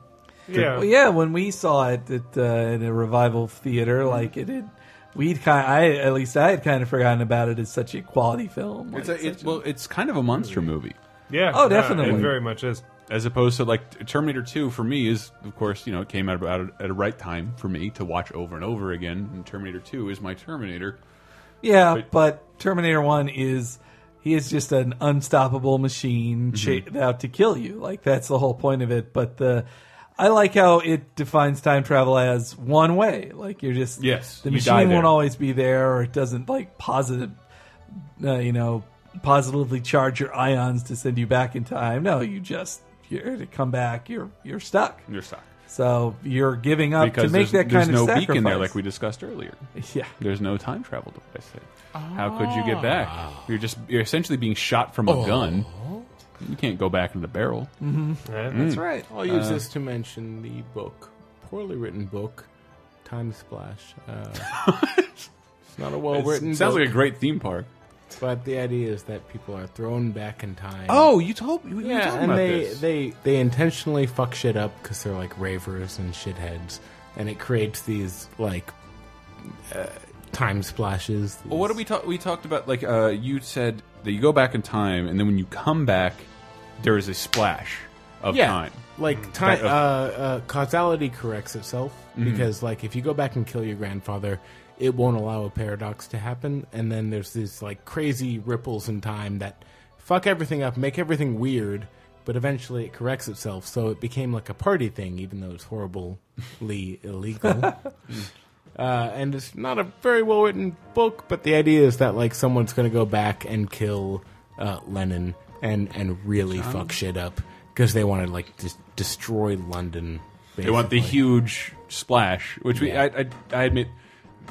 Speaker 4: Yeah.
Speaker 2: Well, yeah. When we saw it at, uh, in a revival
Speaker 4: Mm-hmm.
Speaker 2: theater, like it had, we'd kind. I at least I had kind of forgotten about it as such a quality film.
Speaker 4: It's a, Mm-hmm. it's, well, it's kind of a monster movie.
Speaker 5: Yeah,
Speaker 2: Oh, definitely.
Speaker 5: It very much is.
Speaker 4: As opposed to like Terminator 2 for me is of course, you know, it came out about at a right time for me to watch over and over again and Terminator 2 is my Terminator.
Speaker 2: Yeah, but, Terminator One is he is just an unstoppable machine
Speaker 4: Mhm.
Speaker 2: cha- out to kill you. Like that's the whole point of it. But the I like how it defines time travel as one way. Like you're just
Speaker 4: Yes,
Speaker 2: the
Speaker 4: you die
Speaker 2: machine
Speaker 4: there.
Speaker 2: won't always be there, or it doesn't like positive, uh, you know, positively charge your ions to send you back in time. No, you just you're to come back. You're you're stuck.
Speaker 4: You're stuck.
Speaker 2: So you're giving up to
Speaker 4: because
Speaker 2: make
Speaker 4: there's,
Speaker 2: that
Speaker 4: there's
Speaker 2: kind
Speaker 4: no
Speaker 2: of sacrifice.
Speaker 4: beacon there like we discussed earlier.
Speaker 2: Yeah.
Speaker 4: There's no time travel device there. How could you get back? You're just you're essentially being shot from a
Speaker 3: Oh.
Speaker 4: gun. You can't go back into the barrel.
Speaker 3: Mhm. That's
Speaker 4: Mm.
Speaker 3: right. I'll use
Speaker 4: Uh,
Speaker 3: this to mention the book, poorly written book, Time Splash. Uh, it's not a well written.
Speaker 4: It sounds like a great theme park.
Speaker 3: But the idea is that people are thrown back in time.
Speaker 4: Oh, you told you, you were
Speaker 3: yeah,
Speaker 4: talking
Speaker 3: and
Speaker 4: about
Speaker 3: they,
Speaker 4: this.
Speaker 3: they they intentionally fuck shit up because they're like ravers and shitheads, and it creates these like uh, time splashes.
Speaker 4: Well, what do we talk? We talked about like uh, you said that you go back in time, and then when you come back, there is a splash of
Speaker 3: yeah,
Speaker 4: time. Mm.
Speaker 3: Like time,
Speaker 4: That-
Speaker 3: uh,
Speaker 4: of-
Speaker 3: uh, causality corrects itself
Speaker 4: Mhm.
Speaker 3: because, like, if you go back and kill your grandfather, it won't allow a paradox to happen, and then there's these like crazy ripples in time that fuck everything up, make everything weird, but eventually it corrects itself. So it became like a party thing, even though it's horribly illegal. Uh, and it's not a very well written book, but the idea is that like someone's going to go back and kill uh, Lennon and and really
Speaker 4: John?
Speaker 3: fuck shit up because they want to like just destroy London.
Speaker 4: They want the
Speaker 3: basically.
Speaker 4: huge splash, which we
Speaker 3: Yeah.
Speaker 4: I, I, I admit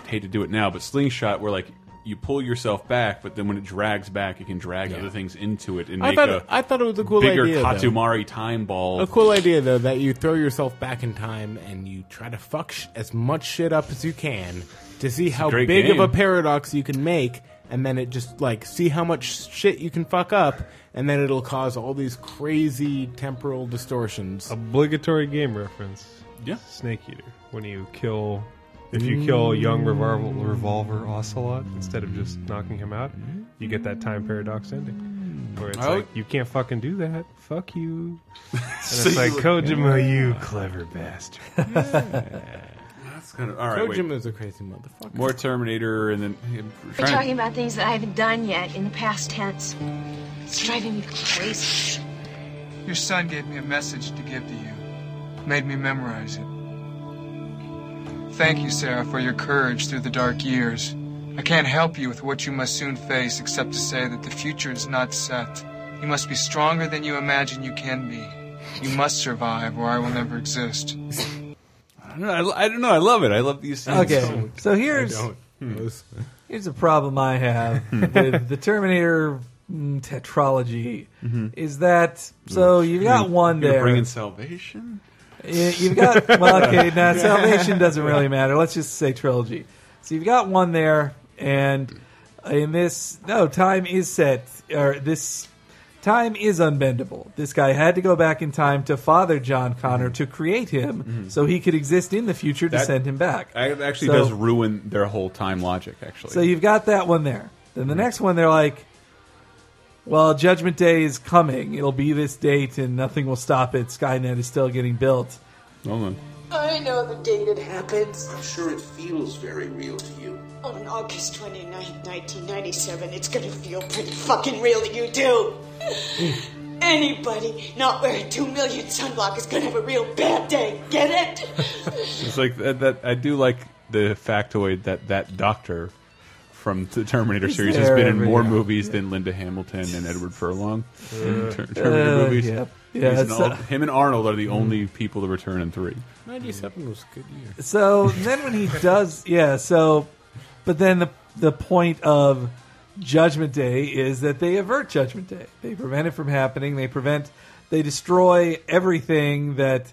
Speaker 4: hate to do it now, but slingshot where like you pull yourself back, but then when it drags back, it can drag other things into it and
Speaker 3: I
Speaker 4: make
Speaker 3: thought
Speaker 4: a
Speaker 3: it- I thought it was a cool
Speaker 4: bigger
Speaker 3: idea, though.
Speaker 4: Katsumari time ball.
Speaker 3: A cool idea though that you throw yourself back in time and you try to fuck sh- as much shit up as you can to see
Speaker 4: It's a
Speaker 3: how
Speaker 4: great
Speaker 3: big of a
Speaker 4: game.
Speaker 3: paradox you can make, and then it just like see how much shit you can fuck up, and then it'll cause all these crazy temporal
Speaker 4: Oh,
Speaker 3: distortions.
Speaker 5: Obligatory game reference.
Speaker 4: Yeah.
Speaker 5: Snake Eater. When you kill. If you kill young revolver, revolver ocelot instead of just knocking him out, you get that time paradox ending. where it's
Speaker 4: Oh.
Speaker 5: like you can't fucking do that. Fuck you. And
Speaker 4: So
Speaker 5: it's like
Speaker 4: you-
Speaker 5: Kojima,
Speaker 4: Yeah.
Speaker 5: you clever bastard.
Speaker 4: That's kind of all right. wait.
Speaker 3: Kojima's a crazy motherfucker.
Speaker 4: More Terminator, and then we're
Speaker 15: They're
Speaker 4: trying-
Speaker 15: talking about things that I haven't done yet in the past tense. It's driving me crazy.
Speaker 16: Your son gave me a message to give to you, made me memorize it. Thank you, Sarah, for your courage through the dark years. I can't help you with what you must soon face except to say that the future is not set. You must be stronger than you imagine you can be. You must survive, or I will never exist.
Speaker 4: I don't know. I, lo- I don't know. I love it. I love these hmm. scenes.
Speaker 2: Okay, so here's here's a problem I have
Speaker 4: Hmm.
Speaker 2: with the Terminator mm, tetralogy
Speaker 4: Mhm.
Speaker 2: is that so you've got one
Speaker 4: You're
Speaker 2: there.
Speaker 4: Bringing salvation.
Speaker 2: Y- You've got well, okay. Now Salvation doesn't really matter. Let's just say trilogy. So you've got one there, and in this, no time is set, or this time is unbendable. This guy had to go back in time to father John Connor to create him,
Speaker 4: Mhm.
Speaker 2: so he could exist in the future to
Speaker 4: Mm-hmm. That-
Speaker 2: send him back.
Speaker 4: It actually
Speaker 2: So-
Speaker 4: does ruin their whole time logic. Actually,
Speaker 2: So you've got that one there. Then
Speaker 4: Mm-hmm.
Speaker 2: the next one, they're like, well, Judgment Day is coming. It'll be this date, and nothing will stop it. Skynet is still getting built.
Speaker 4: Hold on.
Speaker 17: I know the date it happens.
Speaker 18: I'm sure it feels very real to you.
Speaker 17: On August 29, 1997, it's gonna feel pretty fucking real to you, too. Anybody not wearing two million sunblock is gonna have a real bad day. Get it?
Speaker 4: It's like that, that. I do like the factoid that that doctor from the Terminator
Speaker 2: He's
Speaker 4: series has
Speaker 2: there
Speaker 4: been in
Speaker 2: every-
Speaker 4: more
Speaker 2: yeah.
Speaker 4: movies than Linda Hamilton and Edward Furlong in ter-
Speaker 2: Uh,
Speaker 4: Terminator
Speaker 2: uh,
Speaker 4: movies.
Speaker 2: yep. Yeah,
Speaker 4: He's in
Speaker 2: it's,
Speaker 4: all-
Speaker 2: uh,
Speaker 4: him and Arnold are the only people to return in three.
Speaker 3: 97 was a good year.
Speaker 2: So then when he does, yeah. So, but then the the point of Judgment Day is that they avert Judgment Day. They prevent it from happening. They prevent. They destroy everything that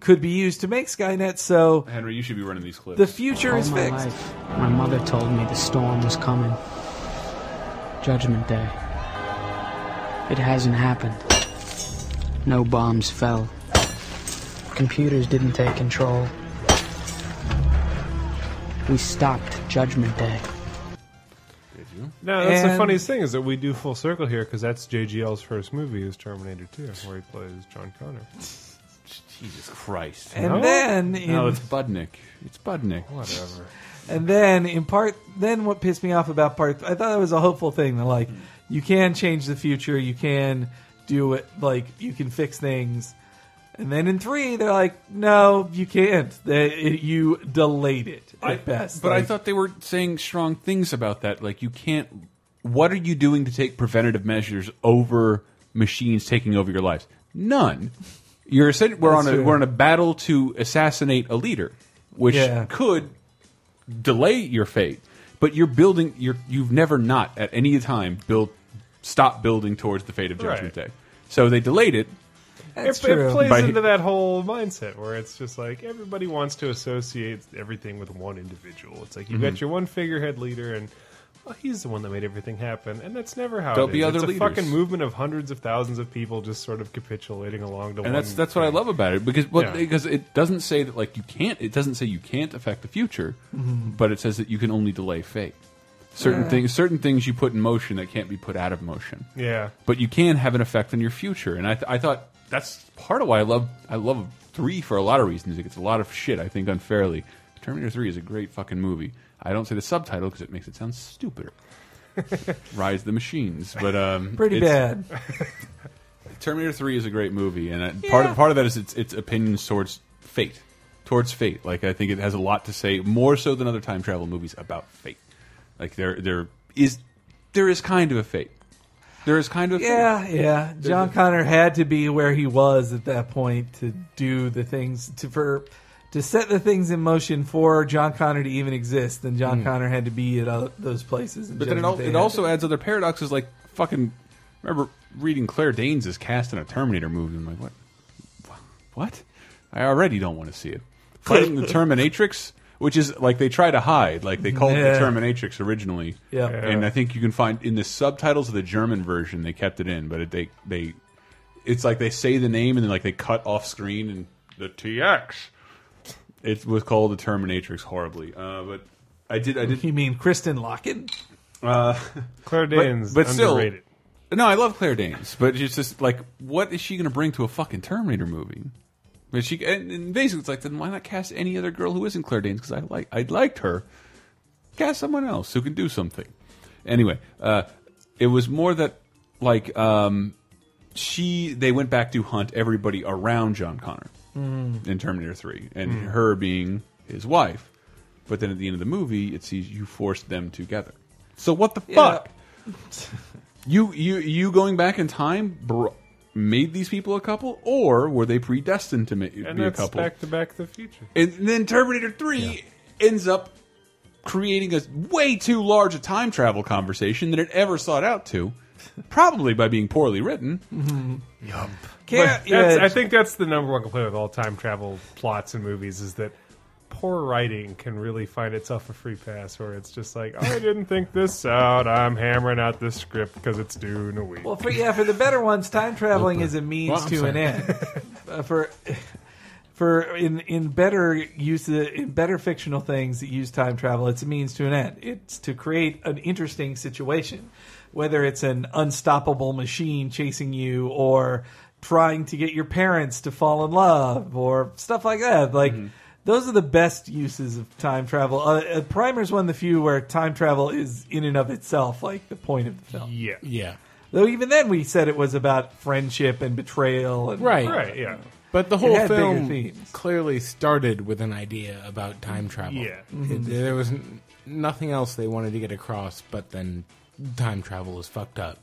Speaker 2: could be used to make Skynet. So
Speaker 4: Henry, you should be running these clips.
Speaker 2: the
Speaker 4: Oh
Speaker 2: future is
Speaker 9: All my
Speaker 2: fixed.
Speaker 9: life, my mother told me the storm was coming. Judgment Day. It hasn't happened. No bombs fell. Computers didn't take control. We stopped Judgment Day.
Speaker 5: No, that's the
Speaker 9: And-
Speaker 5: funniest thing is that we do full circle here because that's JGL's first movie is Terminator 2, where he plays John Connor.
Speaker 4: Jesus Christ!
Speaker 2: And then
Speaker 4: no,
Speaker 2: in-
Speaker 4: it's Budnick. It's Budnick.
Speaker 5: Whatever.
Speaker 2: And then in part, then what pissed me off about part, I thought it was a hopeful thing that
Speaker 4: Hmm.
Speaker 2: like you can change the future, you can do it, like you can fix things. And then in three, they're like, no, you can't. They, it, you delayed it at
Speaker 4: I,
Speaker 2: best.
Speaker 4: But I
Speaker 2: Like,
Speaker 4: thought they were saying strong things about that. Like you can't. What are you doing to take preventative measures over machines taking over your lives? None. You're essen- we're
Speaker 2: That's
Speaker 4: on a
Speaker 2: true.
Speaker 4: we're on a battle to assassinate a leader, which
Speaker 2: Yeah.
Speaker 4: could delay your fate. But you're building. You're you've never not at any time built stop building towards the fate of Judgment Day. So they delayed it.
Speaker 5: it, it plays
Speaker 4: By-
Speaker 5: into that whole mindset where it's just like everybody wants to associate everything with one individual. It's like you've
Speaker 4: Mhm.
Speaker 5: got your one figurehead leader and well, he's the one that made everything happen, and that's never how
Speaker 4: There'll
Speaker 5: it is.
Speaker 4: be other
Speaker 5: it's a
Speaker 4: leaders.
Speaker 5: fucking movement of hundreds of thousands of people just sort of capitulating along to one.
Speaker 4: and that's that's what I love about it because what,
Speaker 5: Yeah.
Speaker 4: because it doesn't say that like you can't it doesn't say you can't affect the future,
Speaker 5: Mhm.
Speaker 4: but it says that you can only delay fate. Certain
Speaker 5: Yeah.
Speaker 4: things certain things you put in motion that can't be put out of motion.
Speaker 5: Yeah.
Speaker 4: but you can have an effect on your future, and I th I thought that's part of why I love I love three for a lot of reasons. It gets a lot of shit I think unfairly. Terminator Three is a great fucking movie. I don't say the subtitle because it makes it sound stupider. Rise the machines, but um,
Speaker 2: Pretty
Speaker 4: it's- Terminator Three is a great movie, and I, part of, part of that is its its opinions towards fate, towards fate. Like I think it has a lot to say more so than other time travel movies about fate. Like there there is there is kind of a fate. There is kind of a
Speaker 2: yeah,
Speaker 4: fate.
Speaker 2: yeah.
Speaker 4: There's
Speaker 2: John
Speaker 4: a-
Speaker 2: Connor had to be where he was at that point to do the things to for to set the things in motion for John Connor to even exist. Then John
Speaker 4: Mm.
Speaker 2: Connor had to be at all, those places. and
Speaker 4: But then it,
Speaker 2: Judgment
Speaker 4: al-
Speaker 2: Day
Speaker 4: it
Speaker 2: happened.
Speaker 4: also adds other paradoxes. Like fucking remember reading Claire Danes is cast in a Terminator movie. I'm like what what? I already don't want to see it. Fighting the Terminatrix, which is like they try to hide, like they called it
Speaker 2: Yeah.
Speaker 4: the Terminatrix originally.
Speaker 2: Yeah.
Speaker 4: And I think you can find in the subtitles of the German version they kept it in, but it, they they it's like they say the name and then like they cut off screen and the TX. It was called the Terminatrix horribly. Uh, but I did I did
Speaker 2: You mean Kristen Locken?
Speaker 4: uh,
Speaker 5: Claire
Speaker 4: but-
Speaker 5: Danes,
Speaker 4: but, still,
Speaker 5: underrated.
Speaker 4: No, I love Claire Danes, but it's just like, what is she going to bring to a fucking Terminator movie? But she and, and basically it's like, then why not cast any other girl who isn't Claire Danes? Because I like I liked her. Cast someone else who can do something. Anyway, uh, it was more that like um, she they went back to hunt everybody around John Connor
Speaker 2: Mm.
Speaker 4: in Terminator Three, and
Speaker 2: Mm.
Speaker 4: her being his wife. But then at the end of the movie, it sees you forced them together. So what the fuck? You you you going back in time br made these people a couple, or were they predestined to ma-
Speaker 5: And
Speaker 4: be a
Speaker 5: that's
Speaker 4: couple?
Speaker 5: back to Back to the Future.
Speaker 4: And then Terminator Three ends up creating a way too large a time travel conversation than it ever sought out to, probably by being poorly written.
Speaker 5: Yup.
Speaker 4: Can't- yeah.
Speaker 5: I think that's the number one complaint with all time travel plots and movies is that poor writing can really find itself a free pass where it's just like, I didn't think this out. I'm hammering out this script because it's due in a week.
Speaker 2: Well, for, yeah, for the better ones, time traveling is a means
Speaker 5: Well, I'm
Speaker 2: to an
Speaker 5: sorry.
Speaker 2: end. Uh, for for in in better use the in better fictional things that use time travel, it's a means to an end. It's to create an interesting situation, whether it's an unstoppable machine chasing you or trying to get your parents to fall in love or stuff like that. Like
Speaker 5: Mm-hmm.
Speaker 2: those are the best uses of time travel. Uh, uh, Primer's one of the few where time travel is in and of itself like the point of the film.
Speaker 5: Yeah.
Speaker 3: Yeah.
Speaker 2: Though even then we said it was about friendship and betrayal and
Speaker 3: Right. But the
Speaker 2: It
Speaker 3: whole
Speaker 2: had bigger
Speaker 3: film
Speaker 2: themes.
Speaker 3: clearly started with an idea about time travel.
Speaker 2: Yeah.
Speaker 3: It- there was n- nothing else they wanted to get across, but then time travel is fucked up.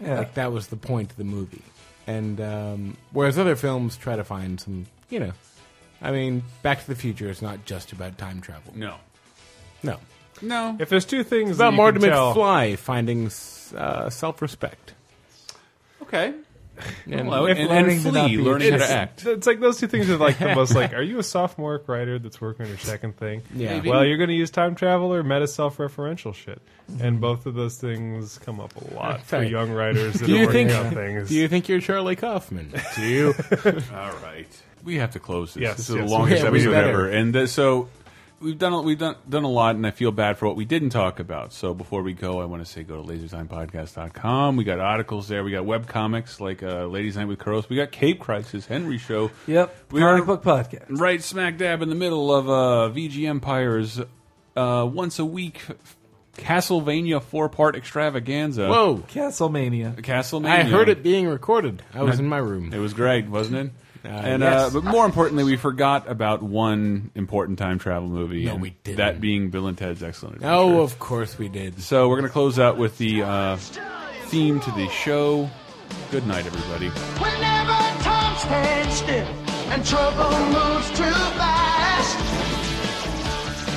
Speaker 2: Yeah.
Speaker 3: Like that was the point of the movie. And um, whereas other films try to find some, you know, I mean, Back to the Future is not just about time travel.
Speaker 4: No.
Speaker 3: No.
Speaker 4: No.
Speaker 5: If there's two things
Speaker 3: It's about
Speaker 5: that you
Speaker 3: Marty
Speaker 5: can tell,
Speaker 3: McFly finding s- uh, self-respect.
Speaker 4: Okay.
Speaker 3: And-
Speaker 4: Well,
Speaker 5: If
Speaker 4: and,
Speaker 5: learning
Speaker 4: and
Speaker 5: to not
Speaker 4: Flea
Speaker 5: be
Speaker 4: learning how to
Speaker 5: it's-
Speaker 4: act.
Speaker 5: It's like those two things are like the most like, are you a sophomore writer that's working on your second thing?
Speaker 4: Yeah. Maybe.
Speaker 5: Well, you're going to use time travel or meta self referential shit. And both of those things come up a lot for
Speaker 3: Sorry.
Speaker 5: young writers that
Speaker 3: do
Speaker 5: are
Speaker 3: you
Speaker 5: working
Speaker 3: think,
Speaker 5: on things.
Speaker 3: Do you think you're Charlie Kaufman? Do you?
Speaker 4: All right. We have to close this.
Speaker 5: Yes,
Speaker 4: this is
Speaker 5: yes,
Speaker 4: the longest
Speaker 5: we- we
Speaker 4: episode
Speaker 5: better.
Speaker 4: ever, and uh, so we've done a- we've done done a lot, and I feel bad for what we didn't talk about. So before we go, I want to say go to lasertimepodcast.com. We got articles there. We got web comics like uh, Ladies Night with Kuros. We got Cape Crisis, Henry Show.
Speaker 2: Yep.
Speaker 4: We
Speaker 2: comic
Speaker 4: are-
Speaker 2: book podcast.
Speaker 4: Right smack dab in the middle of uh, VG Empire's uh, once a week Castlevania four part extravaganza.
Speaker 3: Whoa.
Speaker 2: Castlemania.
Speaker 4: Castlevania.
Speaker 3: I heard it being recorded. I was
Speaker 4: I-
Speaker 3: in my room.
Speaker 4: It was great, wasn't it? and
Speaker 3: yes.
Speaker 4: uh, but more importantly, we forgot about one important time travel movie.
Speaker 3: No,
Speaker 4: and
Speaker 3: we didn't.
Speaker 4: That being Bill and Ted's Excellent Adventure.
Speaker 3: Oh, of course we did.
Speaker 4: So we're going to close out with the uh, theme to the show. Good night, everybody.
Speaker 6: Whenever time stands still and trouble moves too fast,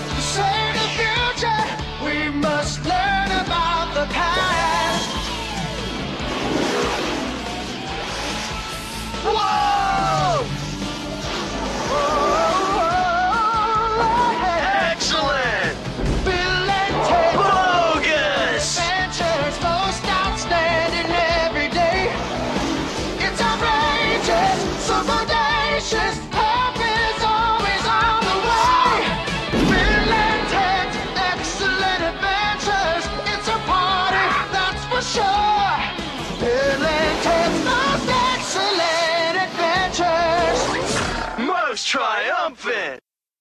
Speaker 6: to save the future, we must learn about the past. Whoa! Whoa! Excellent! Bill and Ted Bogus! Adventures most outstanding every day. It's outrageous, so bodacious. Help is always on the way. Bill and Ted's excellent adventures. It's a party, that's for sure. Bill and Ted's most excellent adventures. Most triumphant.